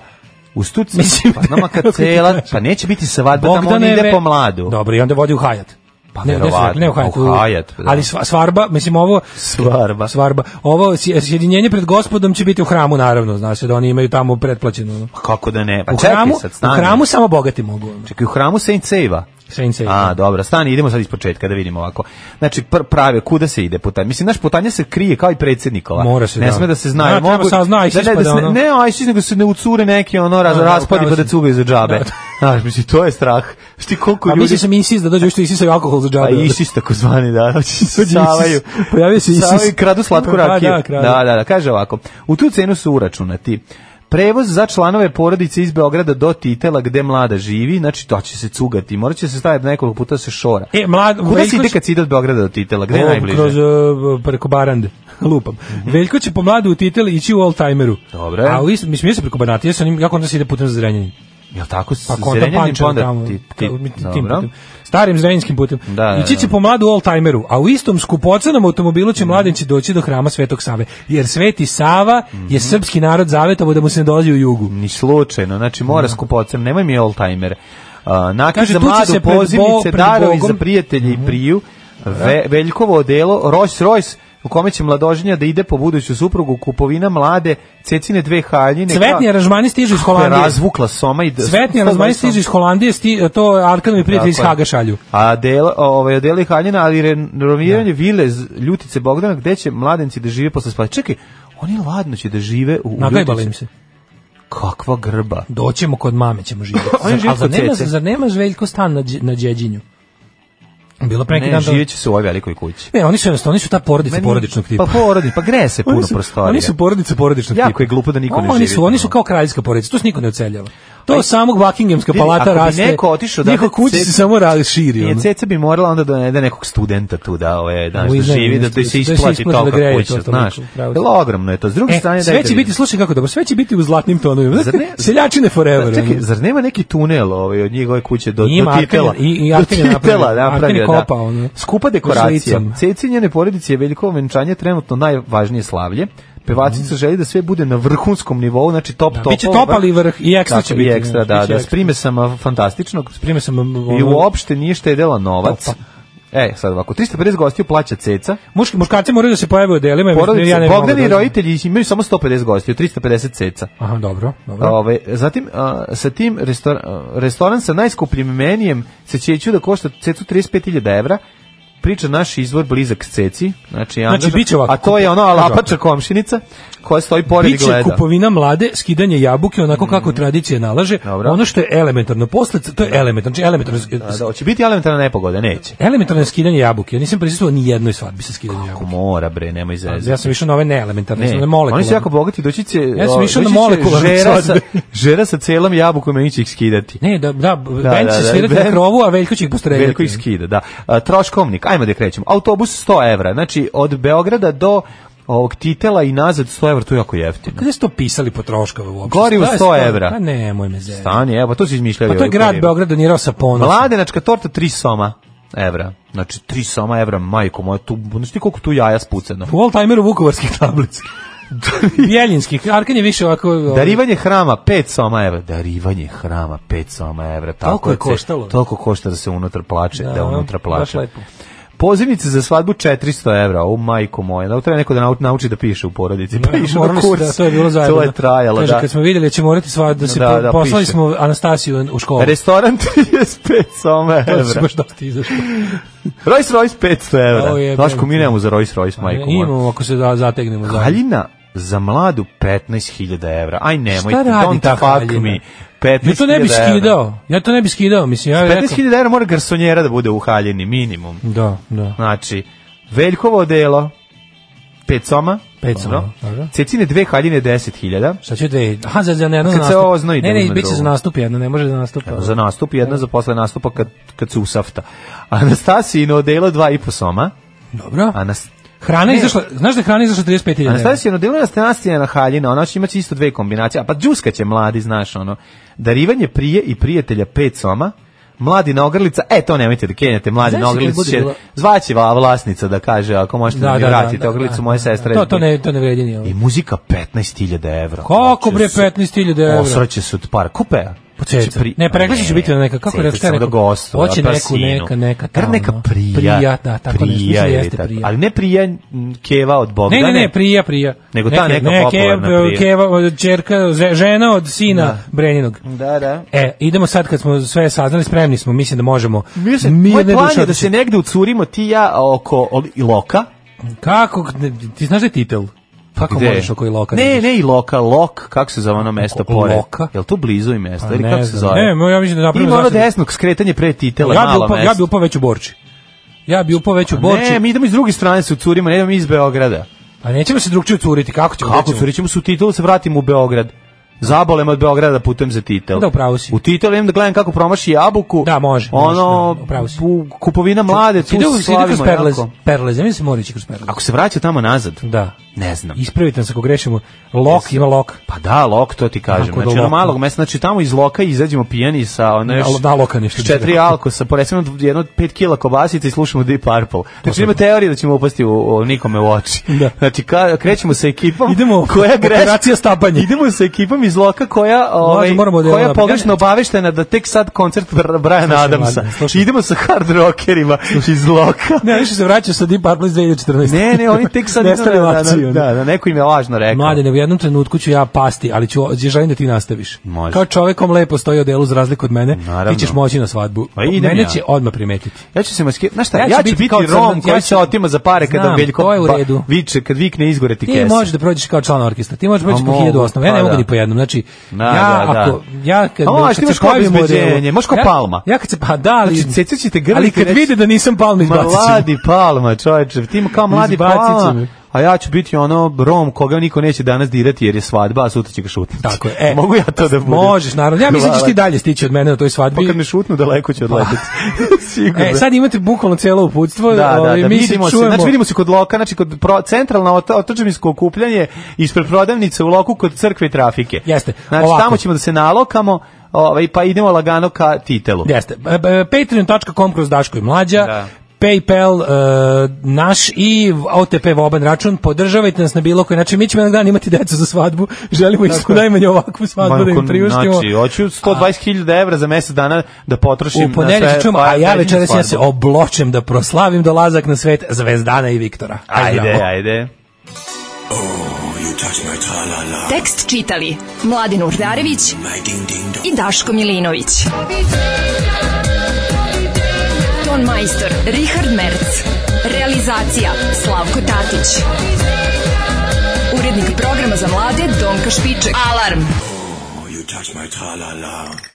U stuci, Mislim, pa nama kad cela, pa neće biti svadba, tamo on Bogdane Da, ide ve- po mladu. Dobro, i onda vodi u Hajat. Pa ne, ne, verovatno, ne u Hajat. u Hajat, da. Ali sva- svarba, mislim ovo... Svarba. Svarba. Ovo sje- sjedinjenje pred gospodom će biti u hramu, naravno. Znaš se da oni imaju tamo pretplaćeno. ono. Pa Kako da ne? Pa u, čekaj hramu, sad, u stani. hramu samo bogati mogu. ono. Čekaj, u hramu Saint Seiva. Saint Seiva. A, dobro, stani, idemo sad iz početka da vidimo ovako. Znači, pr prave, kuda se ide putanje? Mislim, naš putanje se krije kao i predsjednikova. Mora se, Ne da. sme da se znaju. Da, treba Mogu- sa- zna, da, da, da ispada se ne, ono. ne a nego se ne ucure neki ono raz, Da, da, raspadi upravo pa da si. cugaju za džabe. Da, da. Znaš, mislim, to je strah. Šti koliko A ljudi... mislim sam Isis da dođe što Isisaju alkohol za džabe. Pa Isis takozvani, da. da. Isis. Savaju. Pojavio se Isis. Savaju i kradu slatku Da, rakiju. da, kradu. da, da, da. Kaže ovako, u tu cenu su uračunati Prevoz za članove porodice iz Beograda do Titela gde mlada živi, znači to će se cugati, morat će se staviti nekoliko puta da se šora. E, mlad, Kuda se ide Veljković- kad se ide od Beograda do Titela, gde je Ovo, najbliže? Kroz, e, preko Barande, lupam. Veljko će po mladu u titel ići u all-timeru. Dobro. A u istom, mislim, ja sam preko Banatija, ja sam onim, jako onda se ide putem za Zrenjanin. Jel tako? Pa Pa konta Pančevo tamo, ti, ti, kao, mi- tim dobro. putem. Starim zrenjskim putem. Da, da, Ići će da. po mladu all-timeru, a u istom skupocenom automobilu će mladenci doći do hrama Svetog Save. Jer Sveti Sava je srpski narod zavetovo da mu se ne dolazi u jugu. Ni slučajno, znači mora skupocen, nemoj mi oldtimer. Uh, nakon Da. Kaže, za tu će mladu se pred bo- pozivnice, pred darovi za Bogom- Mhm. Da. prijatelje i priju, ve, veljkovo odelo, Rolls Royce, u kome će mladoženja da ide po buduću suprugu, kupovina mlade, cecine dve haljine. Cvetni kao- aranžmani stižu iz koja je Holandije. Razvukla soma i... d- Cvetni aranžmani 120 stižu iz Holandije, sti, to Arkanovi prijatelji iz Tako je. Haga šalju. Da. A dela, ovaj, odelo i haljina, ali renoviranje vile z Ljutice Bogdana, gde će mladenci da žive posle spavanja. Čekaj, oni ladno će da žive u, u Nagajbala Ljutici. im se. Kakva grba. Doćemo kod mame ćemo živjeti. Oni Zar, žive ali zar kod nema, cece. zar nema Željko stan na, Đe- na Đeđinju? Bilo pre neki Ne, dan. da- živjet će se u ovoj velikoj kući. Ne, oni su jednostavno, oni su ta porodica Meni- porodičnog tipa. Pa porodi, pa greje se puno oni su, prostorija. Oni su porodice porodičnog Jako tipa. je glupo da niko ne oni živi Su, tamo. oni su kao kraljska porodica, to se niko ne oceljava. To samog Buckinghamska Vidi, ako palata bi raste. neko otišao da- Njihova kuća Cec- se samo ra- širi. Nije, ono. ceca bi morala onda da nede nekog studenta tu da, ove, da, U da iznajmi živi, da, nešto, da se da se isplati isplati da to greje kako kuća, to toliko, znaš. pravo si. Jel, ogromno je to. S druge E, strane, sve dajte će vidim. biti, slušaj kako dobro, sve će biti u zlatnim tonovima. Zar ne- Da, Seljačine forever. Čekaj, ono. zar nema neki tunel ovaj, od njegove kuće do, Ima, do Arkan je- tipela? i- i do Arkan je tipela napravio, napravio, Arkan je da. kopao, ono. Skupa Sa dekoracija. šlicom. Ceci i njene porodice je veliko venčanje trenutno najvažnije slavlje. Pevačica želi da sve bude na vrhunskom nivou, znači top top. biće top, ali vrh i ekstra će biti, I ekstra, znaš, da, biće da. ekstra. Sprime sam a, fantastičnog, Primio sam ono, Pa, I uopšte nije štedela novac. Opa. E, sad ovako, 350 gostiju plaća ceca, muški muškarci moraju da se pojave u delima, jer porodice, ja ne mogu Bogdan i da- roditelji imaju samo 150 gostiju, 350 ceca. Aha, dobro, dobro. Ove, zatim, a, sa tim restor, a, restoran sa najskupljim menijem se ćeću da košta cecu 35.000 evra, priča naš izvor blizak s ceci, znači, angažan- biće ovako, a to je ono kupo- alapača komšinica koja stoji pored i Biće gleda. Mhm. kupovina mlade, skidanje jabuke onako kako tradicija nalaže. Dobro. Ono što je elementarno posle, to je elementarno, znači elementarno. Da, da, hoće biti elementarna nepogoda, neće. Elementarno je skidanje jabuke. Ja nisam prisustvovao ni jednoj svadbi sa skidanjem Ako jabuke. mora, bre, nemoj zezati. Ja sam išao na ove neelementarne, Ne, ne, na oni molekularne. su jako bogati, doći će... da Ja sam o, išao na doći će molekularne žera sa, svadbe. žera sa celom jabukom i oni će ih skidati. Ne, da, da, da da, band će da, svirati band- na krovu, a Veljko će ih postreljati. Veliko ih skida, da. A, troškovnik, ajmo da krećemo. Autobus 100 evra, znači od Beograda do ovog titela i nazad 100 evra, to je jako jeftino. Kada ste to pisali po troškove uopšte? Gori u Šta je 100 sto- evra. Pa nemoj me zezati. Stani, evo, to se izmišljaju. Pa to je ovi grad kuriri. Beograd donirao sa ponosom. Mladenačka torta 3 soma evra. Znači 3 soma evra, majko moja, tu, znaš ti koliko tu jaja spucano. U all-timeru vukovarskih tablica. Bjeljinskih. Arkan je više ovako... Da ovaj, Darivanje hrama 5 soma evra. Darivanje hrama 5 soma evra. Tako Toliko je ce- koštalo. Toliko košta da se unutra plače, da, unutra baš plače. lepo. Pozivnice za svadbu 400 evra, o majko moja, da treba neko da nauči, nauči da piše u porodici, pa Ne, išao na morali su kurs, Da, to je bilo zajedno. to je trajalo, Kaže, da. kad smo vidjeli da će morati sva da se Da, po- da, poslali piše. smo Anastasiju u školu. Restoran 35 soma To se evra, baš dosta izašlo. Rolls Royce 500 O, evra, jebem Daško, mi ti. nemamo za Rolls Royce, majko moja. Imamo ako se da zategnemo. zajedno. Haljina za mladu 15.000 evra, aj nemoj, Šta radi don't ta fuck haljina? me, Ja to ne bi 15.000 evra. skidao. Ja to ne bi skidao, mislim, ja bih rekao. 15.000 evra mora garsonjera da bude u haljini, minimum. Da, da. Znači, Veljkovo delo, pet soma, Pet soma, Dobro. dobro. Cecine dve haljine 10.000, Šta će dve? Aha, za, za ne, jedno Kad za se nastup. oznoji, da ne, ne, uzme bit će za drugo. nastup jedno, ne može za nastup. za nastup, jedna za posle nastupa kad, kad se usafta. Anastasijino odelo dva i po soma, Dobro. Anas, Hrana Ne. izašla, znaš da je hrana izašla 35.000 evra? Anastasijino odelo je Anastasijina haljina, ona će imati isto dve kombinacije, a pa džuska će mladi, znaš ono. Darivanje prije i prijatelja pet soma, Mladina ogrlica, e to nemojte da kenjate, mladina Znaš li kad ogrlica bude će, bila- zvaće va vlasnica da kaže, ako možete da, mi vratite ogrlicu, moje sestre. da, To, to ne, to ne vredi ni ovo. I muzika 15.000 evra. Znači, Kako bre Hoće se- 15.000 evra? Osraće se od para. Kupe? Po ceca. Ne, preglasi će biti na neka, kako je rekao, šta je da rekao? gostuje, Hoće pa neku, sinu. neka, neka Bar tamo, neka no. prija. Prija, da, tako nešto, mislim da ili jeste tako. prija. Ali ne prija m, keva od Da, Bogdane. Ne, ne, ne, prija, prija. Nego ta neka popularna prija. Keva, čerka, ze- žena od sina Brenjinog. Da, da. E, idemo sad kad smo sve saznali, spremni smo, mislim da možemo. Mislim, moj Mirne plan duše je da se negde ucurimo ti i ja oko ol- Iloka. otići. Kako, ti znaš da je titel? Kako Gde? možeš oko Iloka? da Ne, ideš? ne Iloka, Lok, kako se zove ono mesto Oko pored? Loka? Jel to blizu i mesto? Pa ili ne kako se znam. zove? Ne, ja mislim da napravimo Ima ono zasadu. desno skretanje pre titela, Ja bi malo upao, mesto. Pa ja bi upao već u Borči. Ja bi upao već u Borči. Ne, mi idemo iz druge strane da se ucurimo, ne idemo mi iz Beograda. A nećemo se drugčije curiti, kako ćemo? Kako su, rećemo se u titel, se vratimo u Beograd. Zabolem od Beograda da putujem za titel. Da, upravo si. U titel idem da gledam kako promaši jabuku. Da, može, može, Ono, da, upravo si. u- kupovina mlade, tu Ide u- se ide kroz slavimo Perlez, jako. Perlez, ja mislim da se mora ići kroz Perlez. Ako se vraća tamo nazad, Da. ne znam. Ispravite nas ako grešimo. Lok ima lok. Pa da, lok, to ti kažem. Kako da do Znači, ono Loka? malog mesta, znači tamo iz loka izađemo pijani sa ono još... Na- na da, Loka nešto s Četiri bi rekao. alkosa, po recimo jedno od pet kila kobasica i slušamo Deep Purple. Znači, ima teorije da ćemo upasti u, u nikome u oči. Da. Znači, ka, krećemo sa ekipom... Idemo, koja greš... operacija stapanje. Idemo sa ekipom iz loka koja, ovaj, moramo da- koja je pogrešno obaveštena da tek sad koncert Br- Brian Adamsa. Vladimir, slušaj. Idemo sa hard rockerima iz loka. Ne, više se vraćaš sa Deep Purple iz 2014. Ne, ne, oni tek sad... Nestali da, da, akciju, da, ne? da, da, neko im je lažno rekao. Mlade, u jednom trenutku ću ja pasti, ali ću, želim da ti nastaviš. Može. Kao čovekom lepo stoji od delu za razliku od mene, Naravno. ti ćeš moći na svadbu. Pa idem Mene ja. će odmah primetiti. Ja ću se maskirati. Znaš šta, ja, Ja ću ću biti biti kao Rom crnan, koji ja se ću- otima za pare kada Znam, Veljko to je u ba- redu. viče, kad vikne izgore ti Ti kesa. možeš da prođeš kao član orkestra, ti možeš proći kao A mogu, hiljadu osnova, ja pa ne mogu da. ni po jednom, znači, Da, ja da, da. ako, ja kad, A možeš, ti kad imaš se kao pojavim u odelu- obezbeđenje, možeš kao Ja- Palma. Ja kad se, pa da, ali, Znači, ceca će te grliti, ali kad reći- vide da nisam palma, izbacit ću. Mladi palma, čoveče, ti ima kao mladi Izbacit će palma. me. A ja ću biti ono Rom koga niko neće danas dirati jer je svadba, a sutra će ga šutnuti. Tako je. E, Mogu ja to da budem? Možeš, naravno. Ja mislim da ćeš Hvala. ti dalje stići od mene na toj Pa svadbi. kad me šutnu daleko će odletiti. Sigurno. E, sad imate bukvalno cijelo uputstvo. Da, da, ovaj, da, mi se vidimo se, čujemo. znači vidimo se kod loka, znači kod pro, centralna ota- otočevinsko okupljanje ispred prodavnice u loku kod crkve i trafike. Jeste, Znači ovako. tamo ćemo da se nalokamo, ovaj, pa idemo lagano ka titelu. Jeste. E, e, Patreon.com kroz Daško i Mlađa. Da. PayPal e, naš i OTP Voban račun. Podržavajte nas na bilo koji način. Mi ćemo jednog dana imati decu za svadbu. Želimo ih Tako je. najmanje ovakvu svadbu da Majko, im priuštimo. Znači, hoću 120.000 evra za mesec dana da potrošim U ponedeljak čujemo, a pa- ja pa- večeras ja se svadbu. obločem da proslavim dolazak na svet Zvezdana i Viktora. pa- Ajde, Ajmo. ajde. Tekst čitali Mladin Urdarević i Daško Milinović. Ton majstor Richard Merc. Realizacija Slavko Tatić. Urednik programa za mlade Donka Špiček. Alarm! You touch my tra-la-la.